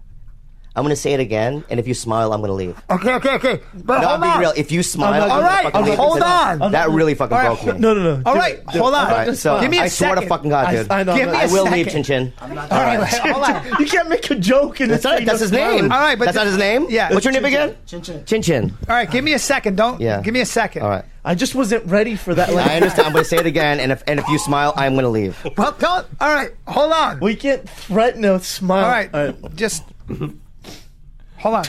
Speaker 14: I'm gonna say it again, and if you smile, I'm gonna leave.
Speaker 15: Okay, okay, okay.
Speaker 14: no, I'm being real. If you smile, I'm gonna fucking leave because That really fucking broke me.
Speaker 15: No, no, no.
Speaker 14: All
Speaker 15: Dude,
Speaker 14: right,
Speaker 15: dude,
Speaker 14: hold on.
Speaker 15: all right,
Speaker 14: Give me a
Speaker 15: I swear to
Speaker 14: second.
Speaker 15: fucking God,
Speaker 14: I-
Speaker 15: dude.
Speaker 14: I know, Give me
Speaker 15: I
Speaker 14: a
Speaker 15: will leave, Chin
Speaker 14: second.
Speaker 15: Chin.
Speaker 14: I'm
Speaker 15: All right, hold on. You can't make a joke and
Speaker 14: That's,
Speaker 15: it's
Speaker 14: it. That's his name. that's not his name. What's your name again? Chin Chin. Chin Chin.
Speaker 15: All right, give me a second. Don't.
Speaker 14: Yeah. give me
Speaker 15: a second.
Speaker 14: All right.
Speaker 15: I just wasn't ready for that.
Speaker 14: I understand. I'm gonna say it again, and if and if you smile, I'm gonna leave.
Speaker 15: Well, don't. All right, hold on. We can't threaten a smile. All right, just hold on.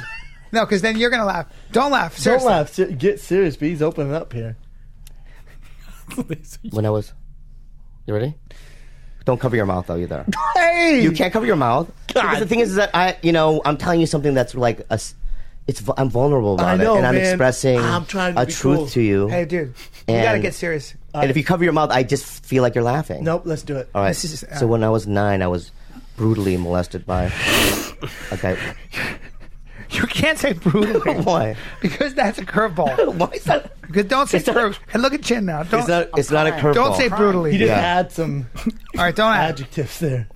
Speaker 15: No, because then you're gonna laugh. Don't laugh.
Speaker 14: seriously.
Speaker 15: Don't laugh. Se- Get serious. B's opening up here.
Speaker 14: When I was, you ready? Don't cover your mouth though either.
Speaker 15: Hey,
Speaker 14: You can't cover your mouth. Because the thing is, is that I, you know, I'm telling you something that's like a, s- it's vu- I'm vulnerable about
Speaker 15: I know,
Speaker 14: it, and I'm
Speaker 15: man.
Speaker 14: expressing
Speaker 15: I'm trying to
Speaker 14: a
Speaker 15: be
Speaker 14: truth
Speaker 15: cool.
Speaker 14: to you.
Speaker 15: Hey, dude, you gotta
Speaker 14: And-
Speaker 15: get serious.
Speaker 14: And if you cover your mouth, I just feel like you're laughing.
Speaker 15: Nope, let's do it.
Speaker 14: All right.
Speaker 15: This is-
Speaker 14: so when I was nine, I was brutally molested by. Okay.
Speaker 15: You can't say brutally.
Speaker 14: Why?
Speaker 15: Because that's a curveball.
Speaker 14: Why is that?
Speaker 15: Because don't say curve. And look at Chin now. Don't,
Speaker 14: It's not. It's not a curveball.
Speaker 15: Don't say brutally.
Speaker 14: He didn't Yeah.
Speaker 15: add some. All right, don't adjectives there.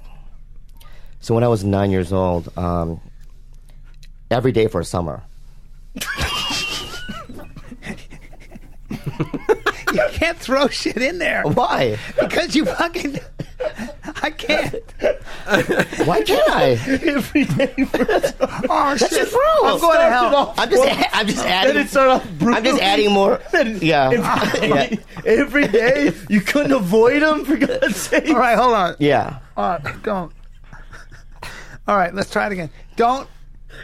Speaker 14: So when I was nine years old, um, every day for a summer.
Speaker 15: You can't throw shit in there.
Speaker 14: Why?
Speaker 15: Because you fucking. I can't.
Speaker 14: Why can't I?
Speaker 16: Every day
Speaker 15: Oh,
Speaker 14: That's
Speaker 15: shit.
Speaker 14: just rules.
Speaker 15: I'm going to hell.
Speaker 14: I'm just, I'm just adding.
Speaker 16: Then it started off
Speaker 14: I'm just adding more. Yeah. yeah.
Speaker 16: Every day, you couldn't avoid them for God's sake.
Speaker 15: All right, hold on.
Speaker 14: Yeah.
Speaker 15: All right, don't. All right, let's try it again. Don't.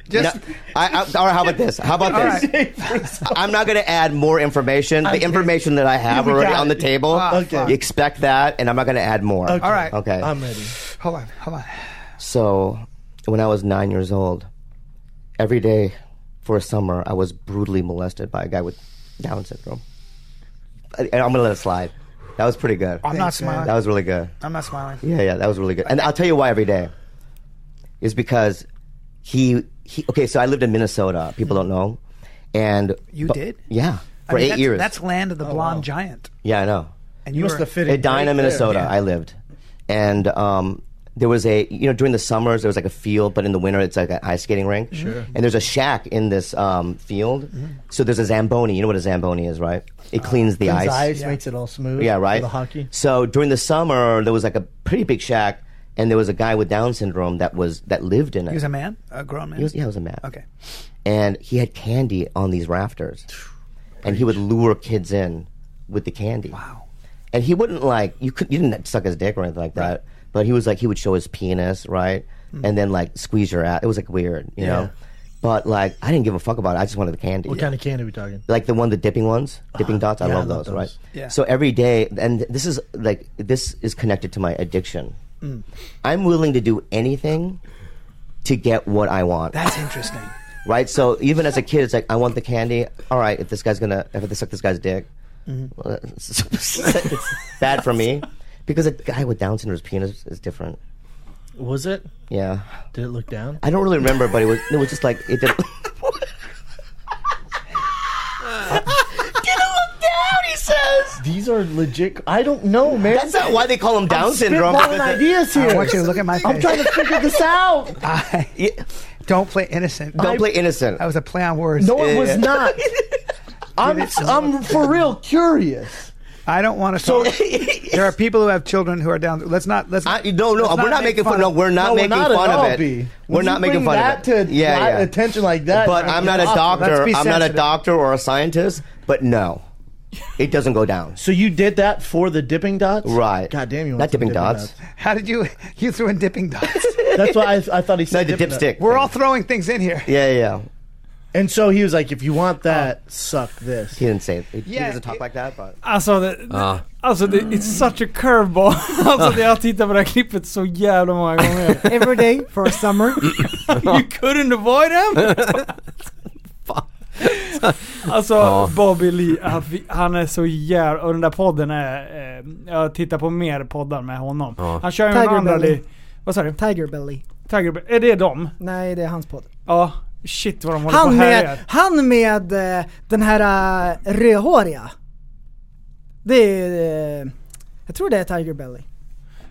Speaker 15: Just.
Speaker 14: No, I, I, all right, how about this? How about
Speaker 15: All
Speaker 14: this? I'm not going to add more information. The information that I have
Speaker 15: Yeah, we
Speaker 14: already
Speaker 15: got
Speaker 14: on the
Speaker 15: it.
Speaker 14: table,
Speaker 15: Ah, okay.
Speaker 14: you expect that, and I'm not going to add more.
Speaker 15: Okay. All right.
Speaker 14: Okay.
Speaker 16: ready.
Speaker 15: Hold on, hold on.
Speaker 14: So, when I was nine years old, every day for a summer, I was brutally molested by a guy with Down syndrome. I, I'm gonna let it slide. That was pretty good.
Speaker 15: I'm not smiling.
Speaker 14: That was really good.
Speaker 15: I'm not smiling.
Speaker 14: Yeah, yeah, that was really good. And I'll tell you why every day is because he he. Okay, so I lived in Minnesota. People don't know, and
Speaker 15: You
Speaker 14: but-
Speaker 15: did?
Speaker 14: Yeah,
Speaker 15: I
Speaker 14: for
Speaker 15: mean,
Speaker 14: eight
Speaker 15: that's,
Speaker 14: years.
Speaker 15: That's land of the blonde giant.
Speaker 14: yeah, I know.
Speaker 15: And you must have
Speaker 14: In Edina, Minnesota, I lived, and um, there was a you know during the summers there was like a field, but in the winter it's like an ice skating rink.
Speaker 16: Sure.
Speaker 15: Mm-hmm.
Speaker 14: And there's a shack in this um, field, so there's a zamboni. You know what a zamboni is, right? It cleans the
Speaker 16: Cleans
Speaker 14: ice.
Speaker 16: makes it all smooth.
Speaker 14: Yeah,
Speaker 16: for
Speaker 14: right.
Speaker 16: The hockey.
Speaker 14: So during the summer there was like a pretty big shack, and there was a guy with Down syndrome that was that lived in it.
Speaker 15: He was a man, a grown man.
Speaker 14: He was, yeah, he was a man.
Speaker 15: Okay.
Speaker 14: And he had candy on these rafters. And he would lure kids in with the candy. Wow. And he wouldn't like you could you didn't suck his dick or anything like that. But he was like he would show his penis, right?
Speaker 16: Mm.
Speaker 14: And then like squeeze your ass. It was like weird, you
Speaker 16: Yeah.
Speaker 14: know? But like I didn't give a fuck about it. I just wanted the candy.
Speaker 16: What kind of candy are we talking?
Speaker 14: Like the one, the dipping ones, dipping dots. I
Speaker 16: yeah,
Speaker 14: love
Speaker 16: I love
Speaker 14: those, right?
Speaker 16: those. Yeah.
Speaker 14: So every day, and this is like this is connected to my addiction.
Speaker 15: Mm.
Speaker 14: I'm willing to do anything to get what I want.
Speaker 15: That's interesting.
Speaker 14: right. So even as a kid, it's like I want the candy. All right, if this guy's gonna, if I suck this guy's dick,
Speaker 16: Mm-hmm.
Speaker 15: Mhm.
Speaker 14: well, it's, it's bad for me because a guy with Down syndrome's penis is different.
Speaker 16: Was it?
Speaker 14: Yeah,
Speaker 16: Did it look down?
Speaker 14: I don't really remember, but it was it was just like it did.
Speaker 16: Get him down, he says. These are legit. I don't know, man.
Speaker 14: That's not why they call him Down
Speaker 16: I'm
Speaker 14: syndrome.
Speaker 16: spitballing ideas here.
Speaker 15: I want you to look at my face.
Speaker 16: I'm trying to figure this out.
Speaker 15: Don't play innocent.
Speaker 14: Don't play innocent.
Speaker 15: That was a play on words.
Speaker 16: No, it was not. I'm, I'm for real curious.
Speaker 15: I don't want to. So there are people who have children who are down. Let's not. Let's.
Speaker 14: I, no, no,
Speaker 15: let's
Speaker 14: we're not
Speaker 15: make
Speaker 14: making fun. No, we're not
Speaker 16: No, we're
Speaker 14: making
Speaker 16: not at
Speaker 14: fun
Speaker 16: all,
Speaker 14: of it.
Speaker 16: B.
Speaker 14: We're
Speaker 16: When you
Speaker 14: not making
Speaker 16: bring
Speaker 14: fun
Speaker 16: that
Speaker 14: of it.
Speaker 16: to my attention like that,
Speaker 14: But
Speaker 16: I
Speaker 14: I'm
Speaker 16: mean,
Speaker 14: not a
Speaker 16: awful.
Speaker 14: doctor.
Speaker 16: Let's be
Speaker 14: I'm not a
Speaker 16: sensitive.
Speaker 14: doctor or a scientist. But no, it doesn't go down.
Speaker 16: So you did that for the dipping dots?
Speaker 14: Right.
Speaker 16: God damn you! want
Speaker 14: Not
Speaker 16: some
Speaker 14: dipping dots.
Speaker 15: How did you? You threw in dipping dots.
Speaker 16: That's why I, I thought he said
Speaker 14: the
Speaker 16: dipping
Speaker 14: dipstick.
Speaker 16: dots.
Speaker 15: We're all throwing things in here.
Speaker 14: Yeah, yeah.
Speaker 16: And so he was like, "If you want that, suck this." He
Speaker 14: didn't say it. He
Speaker 15: Yeah,
Speaker 14: doesn't talk like that. But
Speaker 5: Alltså, det,
Speaker 7: Ah.
Speaker 5: alltså det, it's such a curveball. Alltså det, jag har tittat på det här klippet så jävla många gånger.
Speaker 8: Every day for summer.
Speaker 5: you couldn't avoid him? Alltså
Speaker 7: Ja.
Speaker 5: Bobby Lee, han, han är så jävla... Och den där podden är... Eh, jag tittar på mer poddar med honom.
Speaker 7: Ja.
Speaker 5: Han kör ju med
Speaker 8: Tiger
Speaker 5: andra...
Speaker 8: Belly.
Speaker 5: li- Vad sa du?
Speaker 8: Tiger Belly.
Speaker 5: Tiger Belly. Är det dem?
Speaker 8: Nej, det är hans podd.
Speaker 5: Ja. Shit vad de håller
Speaker 8: Han
Speaker 5: på och
Speaker 8: med,
Speaker 5: härjar.
Speaker 8: han med eh, den här eh, rödhåriga. Det är... eh, Jag tror det är Tiger Belly.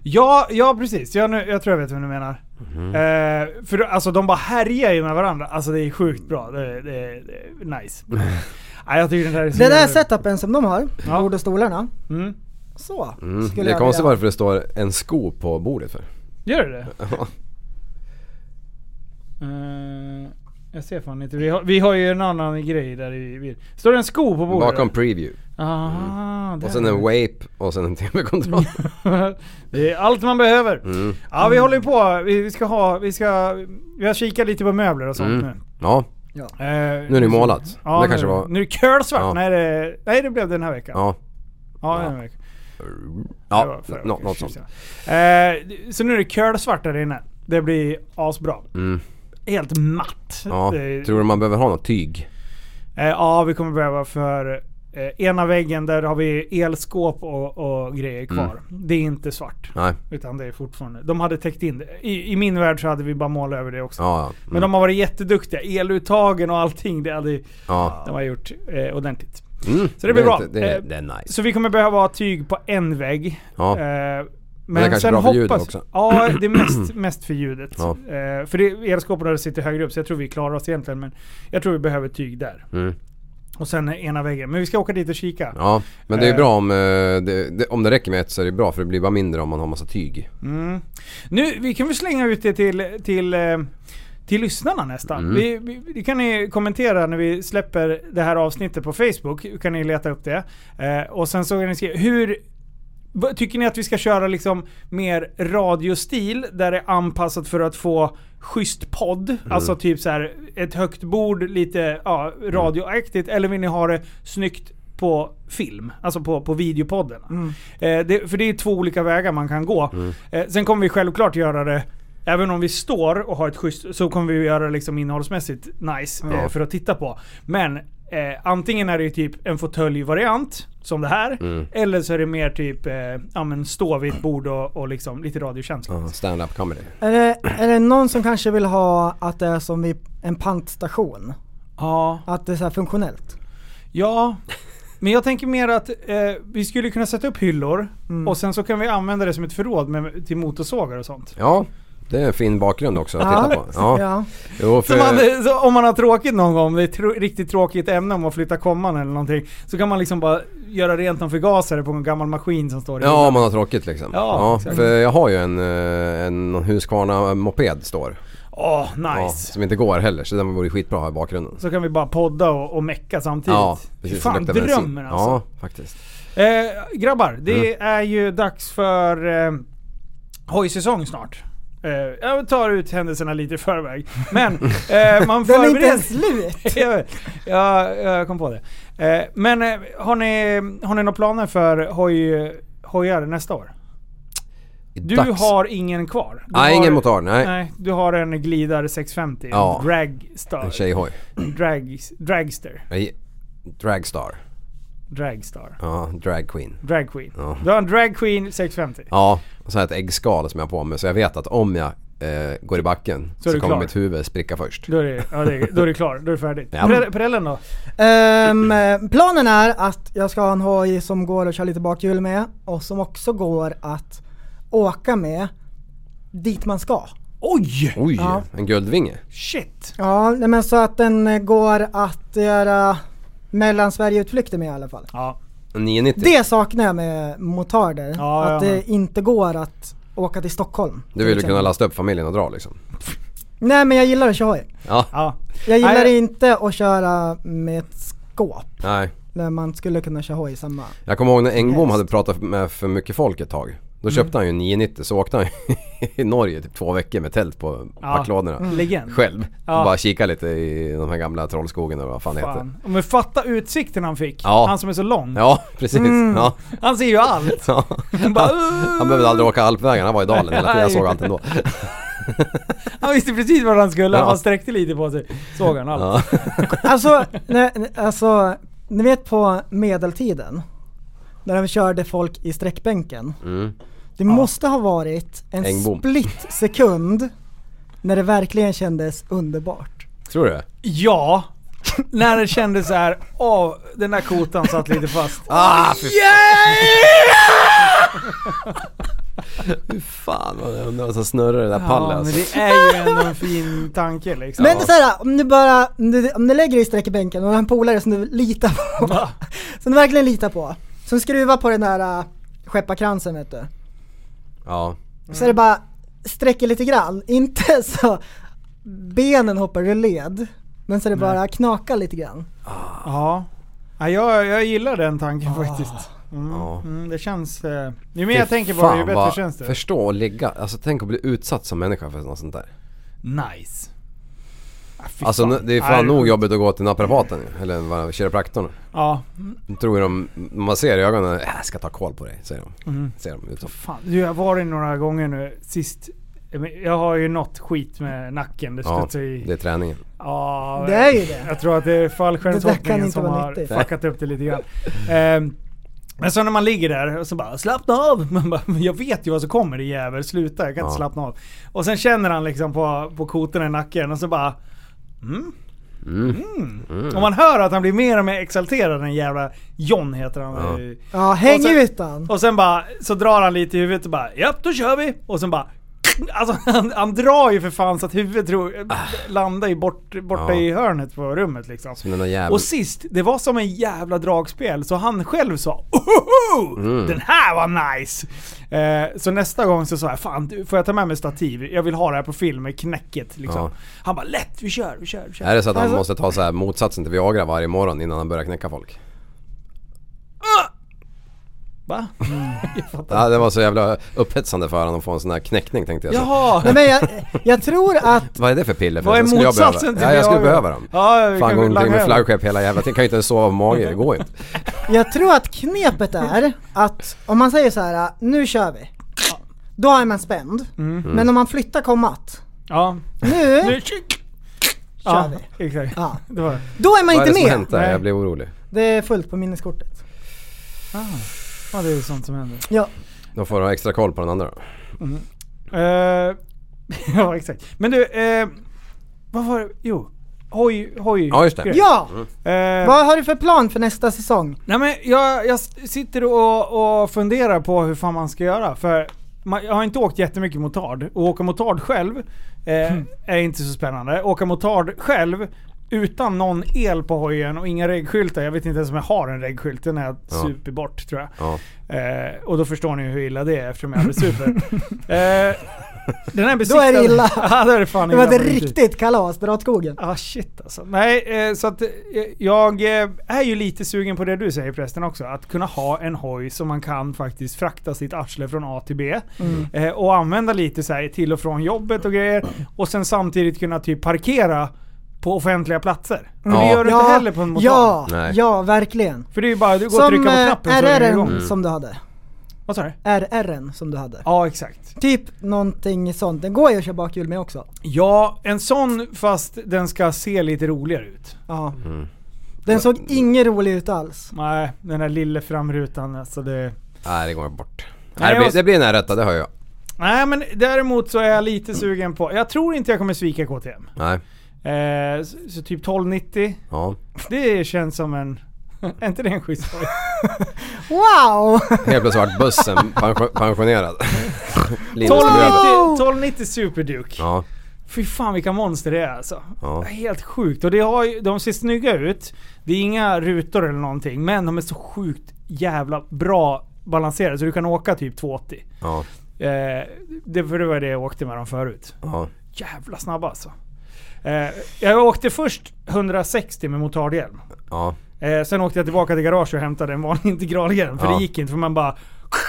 Speaker 5: Ja, ja precis. Jag, nu, jag tror jag vet vem du menar.
Speaker 7: Mhm.
Speaker 5: Eh, för då- alltså de bara härjar ju med varandra. Alltså det är sjukt bra. Det, det, det är nice. Nej, jag tycker den där är så
Speaker 8: Den där
Speaker 15: Mm.
Speaker 5: jävla-
Speaker 8: setupen som de har, bord och stolarna. Så.
Speaker 7: Mm.
Speaker 8: skulle
Speaker 7: Det är
Speaker 8: jag
Speaker 7: konstigt
Speaker 8: vilja-
Speaker 7: varför det står en sko på bordet för.
Speaker 5: Gör det det? Eh, jag ser fan inte. Vi har, vi har ju en annan grej där i vid- Står det en sko på bordet?
Speaker 7: Bakom preview.
Speaker 5: Aha, där.
Speaker 7: Och sen en vape och sen en TV-kontroll.
Speaker 5: det är allt man behöver.
Speaker 7: Mm.
Speaker 5: Ja vi håller ju på. Vi, vi ska ha, vi ska, vi har kikat lite på möbler och sånt nu.
Speaker 7: Mm. Ja,
Speaker 5: Ja.
Speaker 7: nu är det målat. det kanske
Speaker 5: nu,
Speaker 7: var...
Speaker 5: Nu är det kölsvart.
Speaker 7: Ja.
Speaker 5: Nej, det, nej det blev det den här veckan.
Speaker 7: Ja.
Speaker 5: Ja, den här veckan. Det var
Speaker 7: Ja,
Speaker 5: förra
Speaker 7: nå-
Speaker 5: veckan,
Speaker 7: något sånt.
Speaker 5: Eh, så nu är det kölsvart där inne. Det blir asbra.
Speaker 7: Mm.
Speaker 5: Helt matt.
Speaker 7: Ja.
Speaker 5: Det-
Speaker 7: Tror du man behöver ha något tyg?
Speaker 5: Eh, ja, vi kommer behöva för eh, ena väggen där har vi elskåp och, och grejer
Speaker 7: Mm.
Speaker 5: kvar. Det är inte svart.
Speaker 7: Nej.
Speaker 5: Utan det är fortfarande... De hade täckt in det. I, I min värld så hade vi bara målat över det också.
Speaker 7: Ja, ja. Mm.
Speaker 5: Men de har varit jätteduktiga. Eluttagen och allting. Det hade
Speaker 7: Ja.
Speaker 5: de har gjort eh, ordentligt.
Speaker 7: Mm,
Speaker 5: Så det blir bra.
Speaker 7: inte- Det,
Speaker 5: Eh,
Speaker 7: det är nice.
Speaker 5: Så vi kommer behöva ha tyg på en vägg.
Speaker 7: Ja.
Speaker 5: Eh, men
Speaker 7: det är kanske
Speaker 5: sen
Speaker 7: bra för
Speaker 5: hoppas,
Speaker 7: ljudet också.
Speaker 5: Ja, det är mest, mest för ljudet.
Speaker 7: Ja.
Speaker 5: Eh, för det, elskåpen där sitter högre upp så jag tror vi klarar oss egentligen. Men jag tror vi behöver tyg där.
Speaker 7: Mm.
Speaker 5: Och sen ena väggen. Men vi ska åka dit och kika.
Speaker 7: Ja, men det är
Speaker 5: Eh.
Speaker 7: bra om eh, det, det, om det räcker med ett så är det bra för det blir bara mindre om man har massa tyg.
Speaker 5: Mm. Nu, vi kan väl slänga ut det till, till, eh, till lyssnarna nästan.
Speaker 7: Mm.
Speaker 5: Vi, vi, det kan ni kommentera när vi släpper det här avsnittet på Facebook. kan ni leta upp det. Eh, och sen så kan ni skriva, hur vad- Tycker ni att vi ska köra liksom mer radiostil där det är anpassat för att få schysst podd? Alltså typ så här ett högt bord, lite ja, radioaktigt. Eller vill ni ha det snyggt på film? Alltså på, på videopodden. Eh, det, för det är två olika vägar man kan gå. Eh, sen kommer vi självklart göra det Även om vi står och har ett schysst, så kommer vi göra det liksom innehållsmässigt nice
Speaker 7: Ja.
Speaker 5: eh, för att titta på. Men eh, antingen är det ju typ en fåtöljvariant, som det här.
Speaker 7: Mm.
Speaker 5: Eller så är det mer typ, eh, ja men stå vid ett bord och, och liksom lite radiokänsla.
Speaker 7: Ja, Stand-up comedy.
Speaker 8: Är det, är det någon som kanske vill ha att det är som vid en pantstation?
Speaker 5: Ja.
Speaker 8: Att det är så här funktionellt?
Speaker 5: Ja, men jag tänker mer att eh, vi skulle kunna sätta upp hyllor och sen så kan vi använda det som ett förråd med, till motorsågar och sånt.
Speaker 7: Ja, det är en fin bakgrund också att titta på. Ja. Jo,
Speaker 5: Så man, eh, så om man har tråkigt någon gång, det är ett tr- riktigt tråkigt ämne om att flytta komman eller någonting. Så kan man liksom bara göra rent någon förgasare på en gammal maskin som står i
Speaker 7: Ja, om man har tråkigt liksom.
Speaker 5: Ja,
Speaker 7: Ja,
Speaker 5: exakt.
Speaker 7: för jag har ju en, eh, en Husqvarna-moped står.
Speaker 5: Åh,
Speaker 7: Ja,
Speaker 5: nice.
Speaker 7: som inte går heller, så den vore skitbra att ha i bakgrunden.
Speaker 5: Så kan vi bara podda och, och mecka samtidigt.
Speaker 7: Ja,
Speaker 5: Fy
Speaker 7: precis.
Speaker 5: Fan,
Speaker 7: Luktar bensin.
Speaker 5: drömmen alltså.
Speaker 7: Ja, Mm. faktiskt.
Speaker 5: Eh, grabbar, det är ju dags för eh, hojsäsong snart. Eh, jag tar ut händelserna lite i förväg. Men eh, man
Speaker 8: Den är inte
Speaker 5: förbereder...
Speaker 8: ens slut!
Speaker 5: jag, vet. jag, jag kom på det. Eh, men eh, har ni, har ni några planer för hoj, hojar nästa år? Du
Speaker 7: dags.
Speaker 5: har ingen kvar? Du
Speaker 7: Nej,
Speaker 5: har,
Speaker 7: ingen motor, nej.
Speaker 5: Du har en glidare 650.
Speaker 7: Ja.
Speaker 5: En dragstar.
Speaker 7: En tjejhoj.
Speaker 5: Drag, dragster.
Speaker 7: Nej, Dragstar.
Speaker 5: Dragstar.
Speaker 7: Ja, drag queen.
Speaker 5: Drag queen.
Speaker 7: Ja.
Speaker 5: Du har en drag queen 650.
Speaker 7: Ja, och så har jag ett äggskal som jag har på mig så jag vet att om jag eh, går i backen
Speaker 5: Så
Speaker 7: så,
Speaker 5: är du
Speaker 7: kommer
Speaker 5: klar.
Speaker 7: mitt huvud spricka först.
Speaker 5: Då är det, ja, det är, då är det klar, då är det färdigt.
Speaker 7: Ja.
Speaker 5: Pre- Prellen då?
Speaker 8: Ehm, eh, planen är att jag ska ha en hoj som går att köra lite bakhjul med och som också går att åka med dit man ska.
Speaker 5: Oj!
Speaker 7: Oj,
Speaker 8: Ja.
Speaker 7: en guldvinge.
Speaker 5: Shit!
Speaker 8: Ja, nej, men så att den eh, går att göra mellan Sverige-utflykter med i alla fall.
Speaker 5: Ja.
Speaker 7: En 990.
Speaker 8: Det saknar jag med motarder.
Speaker 5: Ja,
Speaker 8: att
Speaker 5: ja, ja.
Speaker 8: det inte går att åka till Stockholm.
Speaker 7: Du vill ju
Speaker 8: till
Speaker 7: kunna
Speaker 8: exempel.
Speaker 7: lasta upp familjen och dra liksom.
Speaker 8: Nej men jag gillar att köra hoj.
Speaker 7: Ja.
Speaker 8: Jag gillar
Speaker 5: Nej.
Speaker 8: inte att köra med ett skåp.
Speaker 7: Nej.
Speaker 8: När man skulle kunna köra hoj i samma.
Speaker 7: Jag kommer ihåg när Engbom hade pratat med för mycket folk ett tag. Då
Speaker 5: Mm.
Speaker 7: köpte han ju en 990 så åkte han i Norge typ två veckor med tält på
Speaker 5: Ja,
Speaker 7: packlådorna.
Speaker 5: mm. legend.
Speaker 7: Själv.
Speaker 5: Ja.
Speaker 7: Bara kika lite i de här gamla trollskogen eller vad fan, det heter.
Speaker 5: Fan. Men fatta utsikten han fick.
Speaker 7: Ja.
Speaker 5: Han som är så lång.
Speaker 7: Ja, precis.
Speaker 5: Mm.
Speaker 7: Ja.
Speaker 5: Han ser ju allt.
Speaker 7: Ja.
Speaker 5: Han bara, "Uh."
Speaker 7: Han behövde aldrig åka alpvägen, han var i dalen hela tiden. Jag såg allt ändå.
Speaker 5: Han visste precis vad han skulle. Han
Speaker 7: Ja.
Speaker 5: bara sträckte lite på sig. Såg han allt.
Speaker 7: Ja.
Speaker 8: Alltså, nej, nej, alltså, ni vet på medeltiden. När de körde folk i sträckbänken.
Speaker 7: Mm.
Speaker 8: Det måste ha varit en
Speaker 7: Engbom.
Speaker 8: split sekund när det verkligen kändes underbart.
Speaker 7: Tror du det?
Speaker 5: Ja. När det kändes så här, åh, den där kotan satt lite fast.
Speaker 7: Ah, fy
Speaker 5: Fy
Speaker 7: fan vad jag undrar vad som snurrar i det där pallet
Speaker 5: men
Speaker 7: alltså.
Speaker 5: det är ju ändå en fin tanke liksom.
Speaker 8: Men så här, om du bara, om du, om du lägger dig i sträckbänken och har en polare som du litar på. Som du verkligen litar på. Som skruvar på den där äh, skepparkransen vet du.
Speaker 7: Ja.
Speaker 8: Så är det bara sträcker lite grann. Inte så benen hoppar ur led. Men så är det bara knakar lite grann.
Speaker 5: Ja. ja jag, jag gillar den tanken
Speaker 7: Ah.
Speaker 5: faktiskt. Mm.
Speaker 7: Ja.
Speaker 5: Mm, det känns... Eh, ju mer
Speaker 7: Fy
Speaker 5: jag tänker på det, ju
Speaker 7: fan,
Speaker 5: bättre
Speaker 7: vad-
Speaker 5: känns det.
Speaker 7: Förstå att ligga, alltså tänk att bli utsatt som människa för något sånt där.
Speaker 5: Nice. Ah, fy
Speaker 7: alltså
Speaker 5: fan.
Speaker 7: det
Speaker 5: Nej,
Speaker 7: är fan nog jobbigt att gå till naprapaten ju, eller vad- kiropraktorn.
Speaker 5: Ja.
Speaker 7: De tror ju de, man ser i ögonen, "Äh, jag ska ta koll på dig, säger de.
Speaker 5: Mm.
Speaker 7: Ser de ut som.
Speaker 5: Fan, du, jag har varit några gånger nu sist. Jag har ju något skit med nacken. Det
Speaker 7: Ja,
Speaker 5: studsar i...
Speaker 7: det är träningen.
Speaker 5: Ja,
Speaker 8: Det är ju det.
Speaker 5: Jag tror att det är
Speaker 8: Det där kan
Speaker 5: fallskärmshoppningen
Speaker 8: inte
Speaker 5: som
Speaker 8: vara
Speaker 5: har
Speaker 8: nyttigt.
Speaker 5: fuckat upp det lite grann. Ehm, men så när man ligger där och så bara slappna av. Man bara, "Men jag vet ju vad som kommer i jävel. Sluta, jag kan inte
Speaker 7: Ja.
Speaker 5: slappna av. Och sen känner han liksom på, på kotorna i nacken och så bara mm.
Speaker 7: Mm.
Speaker 5: Och man hör att han blir mer och mer exalterad den jävla John heter han.
Speaker 8: Ja. Ja, häng ut han.
Speaker 5: Och sen bara så drar han lite i huvudet och bara japp då kör vi. Och sen bara Alltså han, han drar ju för fan så att huvudet tror, landar ju bort, borta
Speaker 7: Ah. Ja.
Speaker 5: i hörnet på rummet liksom.
Speaker 7: Som den där jäveln.
Speaker 5: Och sist, det var som en jävla dragspel så han själv sa Ohoho!
Speaker 7: Mm.
Speaker 5: Den här var nice! Eh, så nästa gång så sa jag Fan du, får jag ta med mig stativ? Jag vill ha det här på film med knäcket liksom.
Speaker 7: Ja. Äh.
Speaker 5: Han bara lätt, vi kör, vi kör, vi kör.
Speaker 7: Är det så att han
Speaker 5: Alltså,
Speaker 7: måste ta så här motsatsen till Viagra varje morgon innan han börjar knäcka folk?
Speaker 5: Va? jag fattar
Speaker 7: Ja, det var så jävla upphetsande för honom att få en sån här knäckning tänkte jag.
Speaker 8: Nej,
Speaker 7: säga.
Speaker 8: men jag, jag tror att...
Speaker 7: Vad är det för piller?
Speaker 8: Vad är
Speaker 7: förresten? Skulle jag behöva-
Speaker 8: motsatsen till
Speaker 7: Ja, jag skulle
Speaker 8: Viagra?
Speaker 7: behöva dem.
Speaker 8: Ja, vi
Speaker 7: Fan
Speaker 8: kan
Speaker 7: gå
Speaker 8: väl
Speaker 7: omkring
Speaker 8: langa
Speaker 7: med
Speaker 8: över.
Speaker 7: flaggskepp hela jävla tiden. Kan ju inte ens sova av mage, det går ju inte.
Speaker 8: Jag tror att knepet är att om man säger så här, nu kör vi. Då är man spänd.
Speaker 5: Mm.
Speaker 8: Men om man flyttar kommat,
Speaker 5: Ja.
Speaker 8: nu
Speaker 5: Nu-
Speaker 8: kör
Speaker 5: Ja,
Speaker 8: vi.
Speaker 5: exakt.
Speaker 8: Ja.
Speaker 5: Det var det.
Speaker 8: Då är man
Speaker 7: Vad är
Speaker 8: inte
Speaker 7: det som
Speaker 8: med.
Speaker 7: har hänt där?
Speaker 8: Nej.
Speaker 7: Jag blir orolig.
Speaker 8: Det är fullt på minneskortet.
Speaker 5: Ah. Ja, det är sånt som händer.
Speaker 8: Ja.
Speaker 7: Då får du ha extra koll på den andra då.
Speaker 5: Mm. Eh, ja, exakt. Men du, eh, vad var det? Jo. Hoj, hoj.
Speaker 7: Ja, just det.
Speaker 8: Ja!
Speaker 5: Eh,
Speaker 8: Vad har du för plan för nästa säsong?
Speaker 5: Nej men jag, jag sitter och, och funderar på hur fan man ska göra. För man, jag har inte åkt jättemycket motard. Och åka motard själv eh,
Speaker 8: Hmm.
Speaker 5: är inte så spännande. Åka motard själv utan någon el på hojen och inga regskyltar. Jag vet inte ens om jag har en reggskylt. Den har jag
Speaker 7: Ja.
Speaker 5: supit bort tror jag.
Speaker 7: Ja.
Speaker 5: Eh, och då förstår ni ju hur illa det är eftersom jag aldrig super. eh,
Speaker 8: Då
Speaker 5: den här
Speaker 8: är det
Speaker 5: besiktade-
Speaker 8: illa.
Speaker 5: ja, då är det fan
Speaker 8: Det var
Speaker 5: illa
Speaker 8: ett
Speaker 5: på riktigt.
Speaker 8: riktigt kalas, dra åt skogen.
Speaker 5: Ah shit alltså. Nej, eh, så att eh, jag eh, är ju lite sugen på det du säger förresten också. Att kunna ha en hoj som man kan faktiskt frakta sitt arsle från A till B.
Speaker 17: Mm.
Speaker 5: Eh, och använda lite så här till och från jobbet och grejer. Och sen samtidigt kunna typ parkera på offentliga platser. Men
Speaker 8: Mm.
Speaker 5: det gör du
Speaker 8: Ja,
Speaker 5: inte heller på en motor.
Speaker 8: Ja,
Speaker 7: Nej.
Speaker 8: ja verkligen.
Speaker 5: För det är ju bara, du går och
Speaker 8: Som
Speaker 5: trycker på
Speaker 8: eh,
Speaker 5: knappen så är det igång. Mm.
Speaker 8: RR'n som eh, du hade.
Speaker 5: Vad sa du?
Speaker 8: RR'n som du hade.
Speaker 5: Ja, exakt.
Speaker 8: Typ någonting sånt. Den går ju att köra bakhjul med också.
Speaker 5: Ja, en sån fast den ska se lite roligare ut.
Speaker 8: Ja.
Speaker 7: Mm.
Speaker 8: Den såg ingen rolig ut alls.
Speaker 5: Nej, den där lilla framrutan alltså det...
Speaker 7: Nej, det går bort.
Speaker 5: Nej,
Speaker 7: Nej, det,
Speaker 5: jag
Speaker 7: blir,
Speaker 5: måste-
Speaker 7: det blir en här rätta, det hör jag.
Speaker 5: Nej men däremot så är jag lite sugen på, jag tror inte jag kommer svika KTM.
Speaker 7: Nej.
Speaker 5: Eh, så, så typ 1290,
Speaker 7: Ja.
Speaker 5: det känns som en... Är inte det en schysst hoj?
Speaker 8: Wow!
Speaker 7: Helt plötsligt vart bussen pensio- pensionerad. Linus
Speaker 5: 1290, 1290 Superduke.
Speaker 7: Ja.
Speaker 5: Fy fan vilka monster det är alltså.
Speaker 7: Ja.
Speaker 5: Helt sjukt. Och det har, ju- de ser snygga ut. Det är inga rutor eller någonting, men de är så sjukt jävla bra balanserade så du kan åka typ 280.
Speaker 7: Ja.
Speaker 5: Eh, det, för det var det jag åkte med dem förut.
Speaker 7: Ja.
Speaker 5: Jävla snabba alltså. Eh, jag åkte först 160 med motardhjälm.
Speaker 7: Ja.
Speaker 5: Eh, sen åkte jag tillbaka till garaget och hämtade en vanlig integralhjälm. För
Speaker 7: Ja.
Speaker 5: det gick inte för man bara...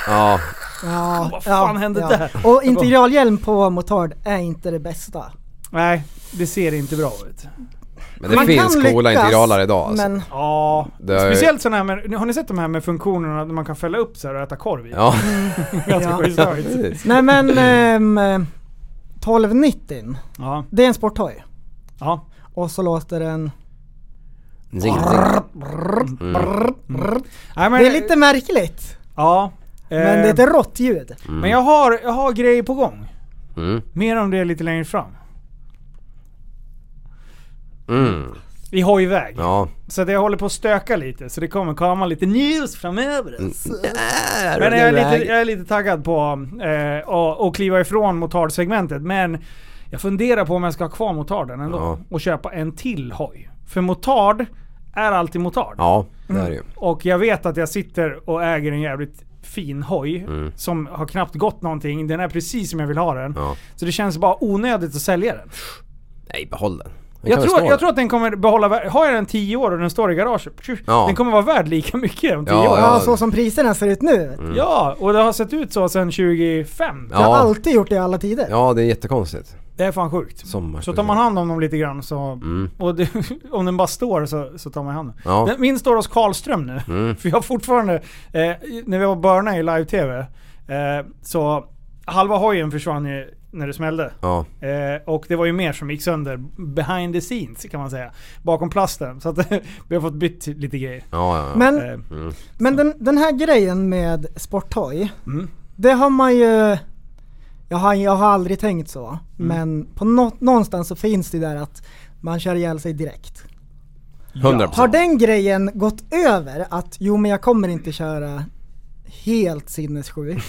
Speaker 7: Ja.
Speaker 8: Ja,
Speaker 5: Vad fan hände där?
Speaker 8: Och integralhjälm på motard är inte det bästa.
Speaker 5: Nej, det ser inte bra ut.
Speaker 7: Men det Man finns kan coola lyckas, integraler idag, alltså. men-
Speaker 5: Ja,
Speaker 7: Det har ju-
Speaker 5: speciellt sådana här med, Har ni sett de här med funktionerna där man kan fälla upp så här och äta korv i?
Speaker 7: Ja.
Speaker 5: Ganska
Speaker 8: Ja.
Speaker 5: schysst hoj.
Speaker 8: Nej men, ehm, eh, 1290
Speaker 5: Ja.
Speaker 8: det är en sporthoj.
Speaker 5: Ja.
Speaker 8: Och så låter den...
Speaker 7: Zing, zing. Mm.
Speaker 5: Nej, men-
Speaker 8: det är lite märkligt.
Speaker 5: Ja. Eh,
Speaker 8: Men det är ett rått ljud.
Speaker 7: Mm.
Speaker 5: Men jag har, jag har grejer på gång.
Speaker 7: Mm.
Speaker 5: Mer om det lite längre fram.
Speaker 7: Mm.
Speaker 5: I hojväg.
Speaker 7: Ja.
Speaker 5: Så att jag håller på att stöka lite, så det kommer komma lite news framöver.
Speaker 7: Mm.
Speaker 5: Men jag är lite, jag är lite taggad på eh, att att kliva ifrån motardsegmentet. Men jag funderar på om jag ska ha kvar motarden ändå.
Speaker 7: Ja.
Speaker 5: Och köpa en till hoj. För motard är alltid motard.
Speaker 7: Ja, det är det ju.
Speaker 5: Och jag vet att jag sitter och äger en jävligt fin hoj.
Speaker 7: Mm.
Speaker 5: Som har knappt gått någonting. Den är precis som jag vill ha den.
Speaker 7: Ja.
Speaker 5: Så det känns bara onödigt att sälja den.
Speaker 7: Nej, behåll den.
Speaker 5: Jag
Speaker 7: den kan väl
Speaker 5: tror,
Speaker 7: stå
Speaker 5: jag
Speaker 7: där.
Speaker 5: tror att den kommer behålla vär- Har jag den 10 år och den står i garaget. tju,
Speaker 7: Ja.
Speaker 5: Den kommer vara värd lika mycket om 10
Speaker 7: Ja,
Speaker 5: år.
Speaker 7: ja.
Speaker 8: Ja, så som priserna ser ut nu.
Speaker 7: Mm.
Speaker 5: Ja, och det har sett ut så sedan 2005.
Speaker 8: Jag har
Speaker 7: Ja.
Speaker 8: alltid gjort det i alla tider.
Speaker 7: Ja, det är jättekonstigt.
Speaker 5: Det är fan sjukt.
Speaker 7: Sommar.
Speaker 5: Så tar man hand om dem lite grann så...
Speaker 7: Mm.
Speaker 5: Och det, om den bara står så, så tar man hand om
Speaker 7: Ja.
Speaker 5: den. Min står hos Karlström nu.
Speaker 7: Mm.
Speaker 5: För jag har fortfarande... Eh, när vi var Börna i live-tv. Eh, så halva hojen försvann ju när det smällde.
Speaker 7: Ja.
Speaker 5: Eh, och det var ju mer som gick sönder behind the scenes kan man säga. Bakom plasten. Så att vi har fått bytt lite grejer. Eh,
Speaker 7: Ja, ja, ja.
Speaker 8: Men-
Speaker 7: Mm.
Speaker 8: Men den, den här grejen med sporthoj,
Speaker 5: Mm.
Speaker 8: det har man ju... Jag har, jag har aldrig tänkt så,
Speaker 5: Mm.
Speaker 8: men på nå, någonstans så finns det där att man kör ihjäl sig direkt.
Speaker 7: 100%.
Speaker 8: Har den grejen gått över att jo men jag kommer inte köra helt sinnessjukt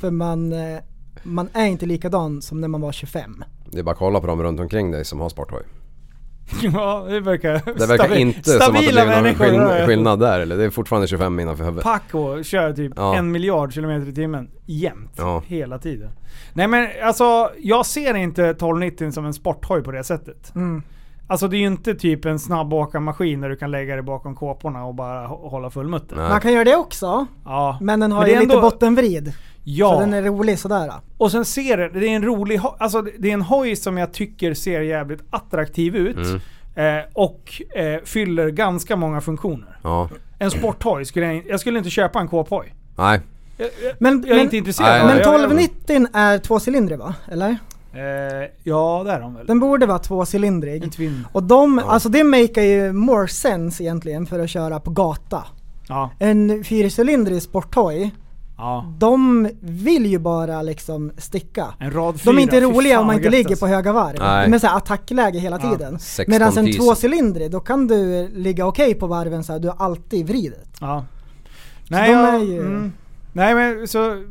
Speaker 8: för man eh, man är inte likadan som när man var 25.
Speaker 7: Det är bara att kolla på dem runt omkring dig som har sporthoj.
Speaker 5: Ja, det verkar...
Speaker 7: Det verkar
Speaker 5: stabi-
Speaker 7: inte som att det
Speaker 5: stabila
Speaker 7: blev någon
Speaker 5: människor, det
Speaker 7: skill-
Speaker 5: där.
Speaker 7: skillnad där eller? Det är fortfarande 25 innanför huvudet.
Speaker 5: Paco kör typ
Speaker 7: Ja.
Speaker 5: en miljard kilometer i timmen jämt.
Speaker 7: Ja.
Speaker 5: Hela tiden. Nej men alltså, jag ser inte 1290 som en sporthoj på det sättet.
Speaker 8: Mm.
Speaker 5: Alltså det är ju inte typ en snabbåkarmaskin där du kan lägga dig bakom kåporna och bara hå- hålla full mutter.
Speaker 8: Man kan göra det också.
Speaker 5: Ja.
Speaker 8: Men den har
Speaker 5: Men det
Speaker 8: ju
Speaker 5: är
Speaker 8: lite
Speaker 5: ändå-
Speaker 8: bottenvrid.
Speaker 5: Ja.
Speaker 8: Så den är rolig sådär.
Speaker 5: Och sen ser det, det är en rolig ho- alltså det- det är en hoj som jag tycker ser jävligt attraktiv ut.
Speaker 7: Mm.
Speaker 5: Eh, och eh, fyller ganska många funktioner.
Speaker 7: Ja.
Speaker 5: En sporthoj skulle jag, jag skulle inte köpa en kåphoj.
Speaker 7: Nej.
Speaker 5: Jag, jag,
Speaker 8: Men,
Speaker 5: jag är
Speaker 8: men,
Speaker 5: inte intresserad av
Speaker 8: Men
Speaker 5: det. Jag- jag-
Speaker 8: 1290 är tvåcylindrig va? Eller?
Speaker 5: Eh, ja, det är de väl.
Speaker 8: Den borde vara tvåcylindrig.
Speaker 5: En twin.
Speaker 8: Och de, alltså det maker ju more sense egentligen för att köra på gata.
Speaker 5: Ja.
Speaker 8: En fyrcylindrig sporthoj,
Speaker 5: ja.
Speaker 8: de vill ju bara liksom sticka.
Speaker 5: En rad fyra.
Speaker 8: De är inte
Speaker 5: Fy
Speaker 8: roliga
Speaker 5: fan,
Speaker 8: om man inte
Speaker 5: vad gött
Speaker 8: ligger
Speaker 5: alltså.
Speaker 8: på höga varv.
Speaker 7: Nej.
Speaker 8: Med så här attackläge hela
Speaker 7: Ja.
Speaker 8: tiden.
Speaker 7: 16
Speaker 8: Medan en
Speaker 7: 000.
Speaker 8: tvåcylindrig, då kan du ligga okej på varven så här, du har alltid vridet.
Speaker 5: alltså. Ja.
Speaker 8: Så
Speaker 5: Nej,
Speaker 8: de är
Speaker 5: jag,
Speaker 8: ju-
Speaker 5: mm, nej men så,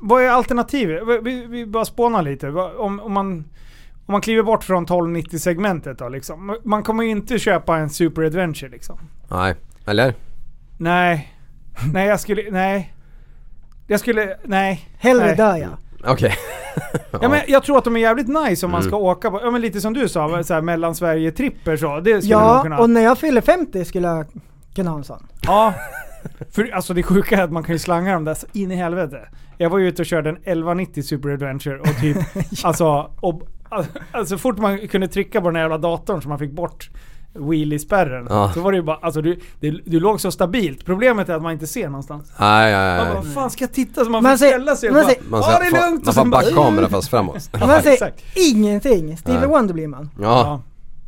Speaker 5: vad är alternativet? Vi- Vi, vi bara spånar lite. Va- Om, om, man, om man kliver bort från 1290 segmentet då liksom. Man kommer ju inte köpa en Super Adventure liksom.
Speaker 7: Nej. Eller?
Speaker 5: Nej. Nej jag skulle, nej. Jag skulle, nej.
Speaker 8: Hellre
Speaker 5: nej.
Speaker 8: dör jag.
Speaker 7: Okej.
Speaker 5: Ja, men jag tror att de är jävligt nice om man
Speaker 7: Mm.
Speaker 5: ska åka på, ja, men lite som du sa, så här, mellan Sverige tripper så. Det skulle man kunna
Speaker 8: Ja, och när jag fyller 50 skulle jag kunna ha en sån.
Speaker 5: Ja. För, alltså det sjuka är att man kan ju slanga dem där så in i helvete. Jag var ju ute och körde en 1190 Super Adventure och typ, alltså, och, alltså så fort man kunde trycka på den här jävla datorn så man fick bort wheelie-spärren.
Speaker 7: Ja.
Speaker 5: Så var det ju bara, alltså du, det, du låg så stabilt. Problemet är att man inte ser någonstans.
Speaker 7: Nej,
Speaker 5: Man
Speaker 7: nej,
Speaker 5: bara,
Speaker 7: nej.
Speaker 5: vad fan ska jag titta? Så man,
Speaker 8: Man
Speaker 5: får
Speaker 8: ser-
Speaker 5: ställa sig och
Speaker 8: man
Speaker 5: bara,
Speaker 8: ser-
Speaker 7: Man
Speaker 5: ja det
Speaker 7: får,
Speaker 5: är lugnt.
Speaker 7: man
Speaker 5: och sen
Speaker 7: får
Speaker 5: bara,
Speaker 7: backkamera fast framåt.
Speaker 8: Man säger
Speaker 5: exakt.
Speaker 8: ingenting. Stevie
Speaker 7: Nej.
Speaker 8: Wonder blir man.
Speaker 7: Ja.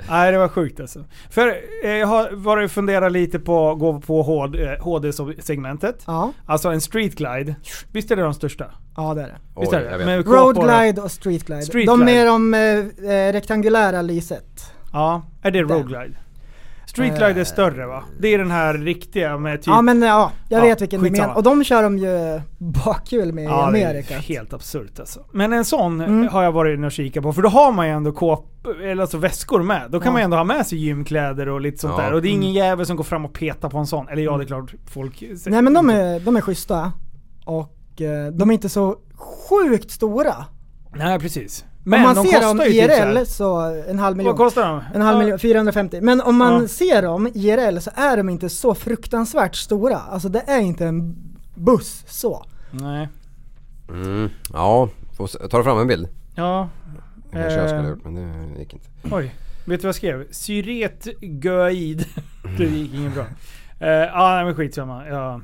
Speaker 5: Nej det var sjukt alltså. För eh, jag har varit och funderat lite på att gå på HD, eh, HD-segmentet. Alltså en street glide. Visst är det de största?
Speaker 8: Ja det är det.
Speaker 5: Visst är det? Med
Speaker 8: Road
Speaker 5: kåpor och-
Speaker 8: glide och street glide.
Speaker 5: Street
Speaker 8: de
Speaker 5: glide. Typ.
Speaker 8: är de eh, eh, rektangulära lyset.
Speaker 5: Ja, är det road glide? Street glide är
Speaker 8: Eh.
Speaker 5: större va? Det är den här riktiga med typ...
Speaker 8: Ja men ja, jag
Speaker 5: Ja,
Speaker 8: vet vilken du
Speaker 5: skitsamma.
Speaker 8: menar. Och de kör de ju bakhjul med i
Speaker 5: Ja, det är
Speaker 8: Amerika. Mm.
Speaker 5: helt absurt alltså. Men en sån har jag varit inne och kikat på, för då har man ju ändå kåp, eller alltså väskor med. Då kan
Speaker 8: Ja.
Speaker 5: man ju ändå ha med sig gymkläder och lite sånt
Speaker 8: Ja.
Speaker 5: där. Och det är ingen
Speaker 8: Mm.
Speaker 5: jävel som går fram och petar på en sån. Eller ja, det är klart folk...
Speaker 8: Nej men de är, de är schyssta. Och eh, de är inte så sjukt stora.
Speaker 5: Nej, precis.
Speaker 8: om man ser
Speaker 5: kostar
Speaker 8: dem
Speaker 5: ju typ så här-
Speaker 8: IRL så en halv miljon.
Speaker 5: Vad kostar de?
Speaker 8: En halv
Speaker 5: Ja.
Speaker 8: miljon, 450. Men om man
Speaker 5: Ja.
Speaker 8: ser dem IRL så är de inte så fruktansvärt stora. Alltså det är inte en buss så.
Speaker 5: Nej.
Speaker 7: Mm. Ja. Får se- Tar du fram en bild?
Speaker 5: Ja.
Speaker 7: Kanske jag skulle ha
Speaker 5: Eh.
Speaker 7: gjort men det gick inte.
Speaker 5: Oj, vet du vad jag skrev? Syretgöid. Det gick inget bra. Eh, ah, nej men skitsamma. Ja.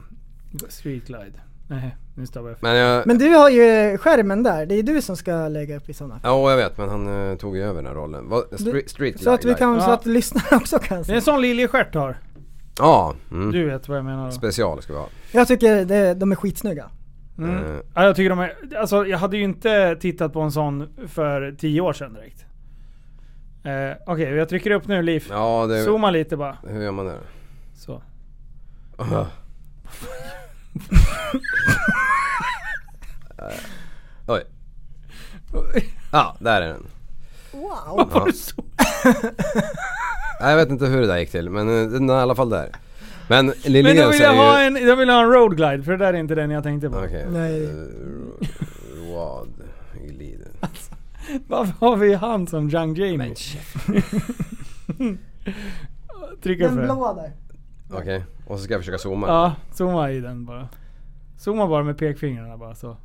Speaker 5: Streetglide. Nej, nu stavar jag fel.
Speaker 7: Men jag...
Speaker 8: Men du har ju skärmen där, det är du som ska lägga upp i sådana.
Speaker 7: Ja, jag vet men han eh, tog ju över den här rollen. Vad- Stre- street
Speaker 8: Så att vi
Speaker 7: Glide.
Speaker 8: kan, så
Speaker 5: Ja.
Speaker 8: att lyssnarna också kan
Speaker 5: Det är
Speaker 8: se.
Speaker 5: en sån liljestjärt du har.
Speaker 7: Ja. Mm.
Speaker 5: Du vet vad jag menar. Då.
Speaker 7: Special ska vi ha.
Speaker 8: Jag tycker det, de är skitsnygga.
Speaker 7: eh.
Speaker 5: Mm. Ja, jag tycker de är, alltså, jag hade ju inte tittat på en sån för tio år sedan direkt. Eh, Okej, jag trycker upp nu Liv.
Speaker 7: Ja, det-
Speaker 5: Zooma lite bara.
Speaker 7: Hur gör man det?
Speaker 5: Så.
Speaker 7: Aha. Eh, Oj. Ja, där är den.
Speaker 8: Wow.
Speaker 5: Varför
Speaker 7: Ja.
Speaker 5: du så?
Speaker 7: Nej, jag vet inte hur det där gick till men eh, den är i alla fall där. Men Lill
Speaker 5: Men då
Speaker 7: Jens
Speaker 5: vill
Speaker 7: är
Speaker 5: jag,
Speaker 7: ju...
Speaker 5: ha en, jag vill ha en roadglide för det där är inte den jag tänkte på.
Speaker 7: Okej.
Speaker 8: Nej.
Speaker 7: Road glider.
Speaker 5: Varför har vi han som Young Jamie? Men Tryck upp
Speaker 8: Den
Speaker 5: den.
Speaker 8: blå där.
Speaker 7: Okej, och så ska jag försöka zooma.
Speaker 5: Ja, zooma i den bara. Zooma bara med pekfingrarna bara så.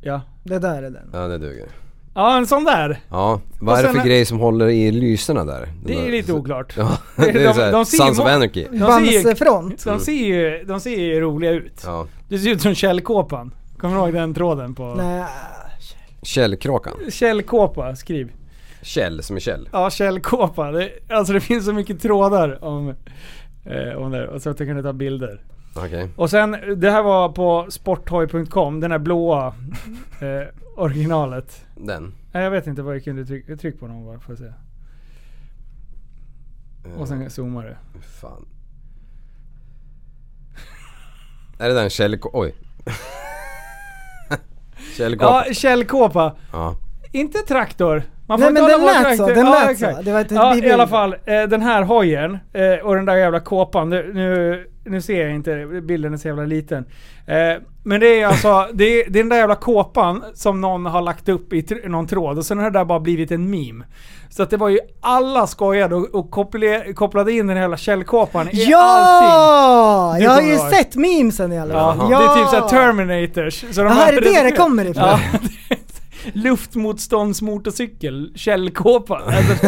Speaker 5: Ja.
Speaker 8: Det där är den.
Speaker 7: Ja, det duger.
Speaker 5: Ja, en sån där.
Speaker 7: Ja,
Speaker 5: Och
Speaker 7: vad är det
Speaker 5: sen-
Speaker 7: för grej som håller i lyserna där?
Speaker 5: Det är lite oklart.
Speaker 7: Ja, det är
Speaker 5: De-
Speaker 7: så här,
Speaker 5: de ser ju
Speaker 7: Sons of
Speaker 5: mo-
Speaker 7: Anarchy.
Speaker 5: de ser ju-
Speaker 8: Bamsefront.
Speaker 5: De ser ju, de ser ju roliga ut.
Speaker 7: Ja.
Speaker 5: Det ser ut som Kjellkåpan. Kommer du ihåg den tråden på...
Speaker 8: Nej. ah,
Speaker 7: Källkråkan.
Speaker 5: Kjellkåpa, skriv.
Speaker 7: Käll som är Kjell.
Speaker 5: Ja, Kjellkåpa. Det, alltså det finns så mycket trådar om, eh, om det här. Och så att jag kunde ta bilder.
Speaker 7: Okej.
Speaker 5: Och sen, det här var på sporthoj.com, den här blåa eh, originalet.
Speaker 7: Den.
Speaker 5: Nej jag vet inte vad jag kunde trycka. Tryck på någon bara får jag se. Och sen zoomar du.
Speaker 7: Eh, Fan. Är det där en Kjell... Oj.
Speaker 5: Ja,
Speaker 7: Källkåpa.
Speaker 5: källkåpa.
Speaker 7: Ja.
Speaker 5: Inte traktor.
Speaker 8: Nej,
Speaker 5: inte
Speaker 8: men
Speaker 5: hålla
Speaker 8: den
Speaker 5: på
Speaker 8: lät
Speaker 5: traktor.
Speaker 8: så, den lät så.
Speaker 5: exakt.
Speaker 8: Det var ett-
Speaker 5: ja,
Speaker 8: det-
Speaker 5: i alla fall. Eh, den här hojen eh, och den där jävla kåpan. Nu, nu, nu ser jag inte det. bilden är så jävla liten. Eh, men det är alltså, det är, det är den där jävla kåpan som någon har lagt upp i tr- någon tråd och sen har det där bara blivit en meme. Så att det var ju alla skojade och, och kopple- kopplade in den här jävla källkåpan i allting.
Speaker 8: Ja!
Speaker 5: Du
Speaker 8: Jag har
Speaker 5: kommer
Speaker 8: ju
Speaker 5: ihåg.
Speaker 8: sett memesen i alla
Speaker 5: Ja,
Speaker 8: fall.
Speaker 5: det är typ såhär Terminators. Så de
Speaker 8: Jaha, är det det det kommer ifrån?
Speaker 5: Ja. Luftmotståndsmotorcykel, källkåpa. Alltså,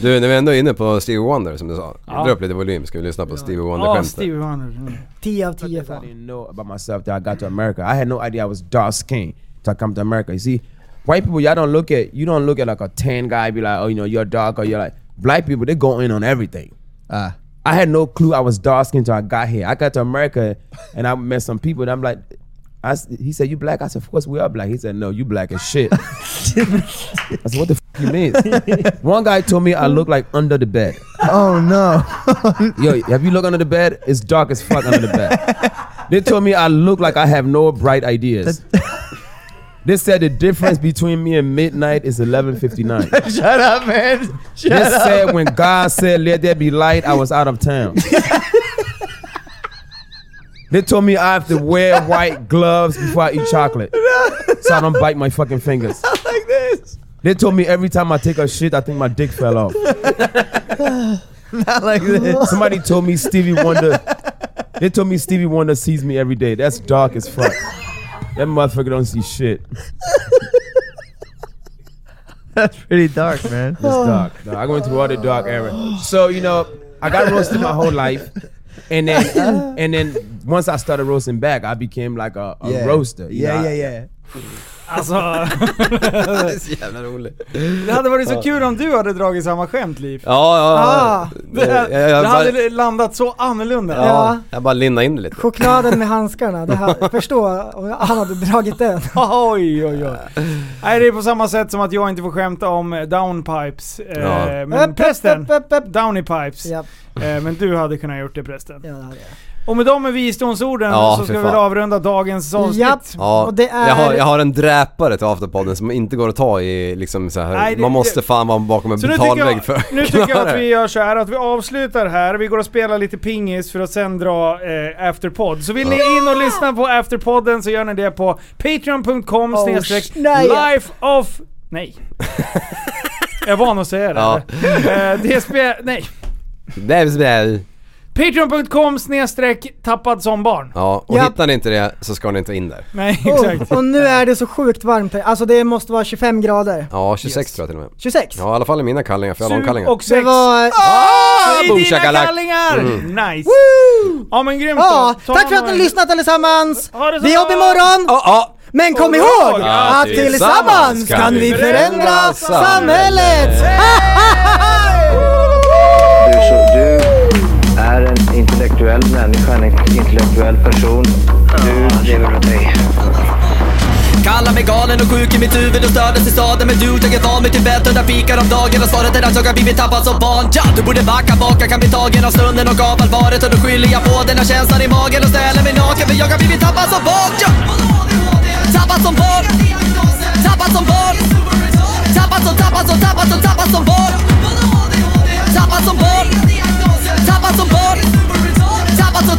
Speaker 7: Du, när vi ändå är inne på Stevie Wonder som du sa.
Speaker 5: Ja.
Speaker 7: Dra upp lite volym, ska vi lyssna på Stevie
Speaker 5: ja, Mm.
Speaker 7: Wonder-skämtet.
Speaker 5: Stevie Wonder.
Speaker 8: 10 av 10 fan.
Speaker 17: know about myself that I got to America. I had no idea I was dark skinned till I come to America. You see, white people, y'all don't look at you don't look at like a tan guy be like, oh, you know, you're dark or you're like black people. They go in on everything. Uh, I had no clue I was dark skinned till I got here. I got to America and I met some people and I'm like, I s he said you black. I said, of course we are black. He said, no, you black as shit. I said, what the f- you mean? One guy told me I look like under the bed. Oh no. Yo, have you looked under the bed? It's dark as fuck under the bed. They told me I look like I have no bright ideas. They said the difference between me and midnight is 11:59.
Speaker 16: Shut up, man. Shut
Speaker 17: they
Speaker 16: up.
Speaker 17: said when God said let there be light, I was out of town. they told me I have to wear white gloves before I eat chocolate, so I don't bite my fucking fingers.
Speaker 16: like this.
Speaker 17: They told me every time I take a shit, I think my dick fell off.
Speaker 16: Not like this.
Speaker 17: Somebody told me Stevie Wonder. They told me Stevie Wonder sees me every day. That's dark as fuck. That motherfucker don't see shit.
Speaker 16: That's pretty dark, man.
Speaker 17: It's dark. dog. I went through all the dark era. So you know, I got roasted my whole life, and then and then once I started roasting back, I became like a, a
Speaker 16: Yeah.
Speaker 17: roaster. you
Speaker 16: Yeah,
Speaker 17: know, I-
Speaker 16: yeah, yeah.
Speaker 5: Alltså...
Speaker 7: Så jävla roligt.
Speaker 5: Det hade varit så kul om du hade dragit samma skämt Liv.
Speaker 7: Ja, ja, ja.
Speaker 5: Ah,
Speaker 8: Ah!
Speaker 5: det,
Speaker 7: Det-
Speaker 5: det,
Speaker 7: Eh, jag- jag
Speaker 5: hade
Speaker 7: bara-
Speaker 5: landat så annorlunda.
Speaker 7: Ja, Jag bara linda in det lite.
Speaker 8: Chokladen med handskarna, det här, förstå om han hade dragit den.
Speaker 5: Oj, oj, oj. Nej, det är på samma sätt som att jag inte får skämta om eh, downpipes. Eh,
Speaker 7: Ja.
Speaker 5: Men
Speaker 8: Upp,
Speaker 5: prästen,
Speaker 8: upp, upp, upp.
Speaker 5: downy pipes. Eh, men du hade kunnat gjort det prästen. Och med de visdomsorden
Speaker 7: Ja,
Speaker 5: så
Speaker 7: fy
Speaker 5: ska vi
Speaker 7: fan.
Speaker 5: väl avrunda dagens avsnitt.
Speaker 7: Ja, jag, har, jag har en dräpare till afterpodden som inte går att ta i liksom så här.
Speaker 5: Nej, det-
Speaker 7: man måste
Speaker 5: det-
Speaker 7: fan vara bakom en
Speaker 5: Så nu tycker,
Speaker 7: betalvägg
Speaker 5: jag,
Speaker 7: för
Speaker 5: nu tycker jag att vi
Speaker 7: det.
Speaker 5: gör så här att vi avslutar här, vi går och spelar lite pingis för att sen dra eh, afterpod. Så vill ni in och lyssna på afterpodden så gör ni det på patreon.com
Speaker 16: Oh,
Speaker 5: snedstreck
Speaker 16: nej.
Speaker 5: life of... Nej. jag var van att säga det.
Speaker 7: Ja.
Speaker 5: Eh, det spe... Nej.
Speaker 7: Det är väl-
Speaker 5: Patreon.com snedstreck tappad som barn.
Speaker 7: Ja, och
Speaker 8: Ja.
Speaker 7: hittar ni inte det så ska ni inte in där.
Speaker 5: Nej,
Speaker 8: Oh, Och, och nu är det så sjukt varmt här. Alltså det måste vara 25 grader.
Speaker 7: Ja, 26 tror jag till och med.
Speaker 8: 26?
Speaker 7: Ja, i alla fall i mina kallingar, för jag har långkallingar.
Speaker 8: Det var...
Speaker 7: Ah,
Speaker 5: I
Speaker 7: boom,
Speaker 5: dina
Speaker 7: shakalak.
Speaker 5: kallingar!
Speaker 7: Mm.
Speaker 5: Nice! Ja men grymt
Speaker 8: Ja,
Speaker 5: då. Ta
Speaker 8: tack för att ni
Speaker 5: några-
Speaker 8: har lyssnat allesammans!
Speaker 5: Ha det så
Speaker 8: Vi jobbar
Speaker 5: bra.
Speaker 8: imorgon!
Speaker 7: Ah,
Speaker 8: Men kom ihåg
Speaker 5: Ja,
Speaker 8: att tillsammans kan vi förändra
Speaker 7: samhället.
Speaker 8: samhället!
Speaker 1: Du, så, du är en intellektuell människa, en intellektuell person. Du lever av dig.
Speaker 2: Kallar mig galen och sjuk i mitt huvud och stördes i staden Men du, jag är van vid Tibet och där fikar om dagen Och svaret är att jag har blivit tappad som barn ja, Du borde backa bak, jag kan bli tagen av stunden och av allvaret Och då skyller jag på den här känslan i magen och ställer mig naken För jag har blivit tappad som barn ja. Tappad som barn Tappad som barn Tappad som, tappad som, tappad som, tappad som barn Tappad som barn Tappad som barn Tappad som,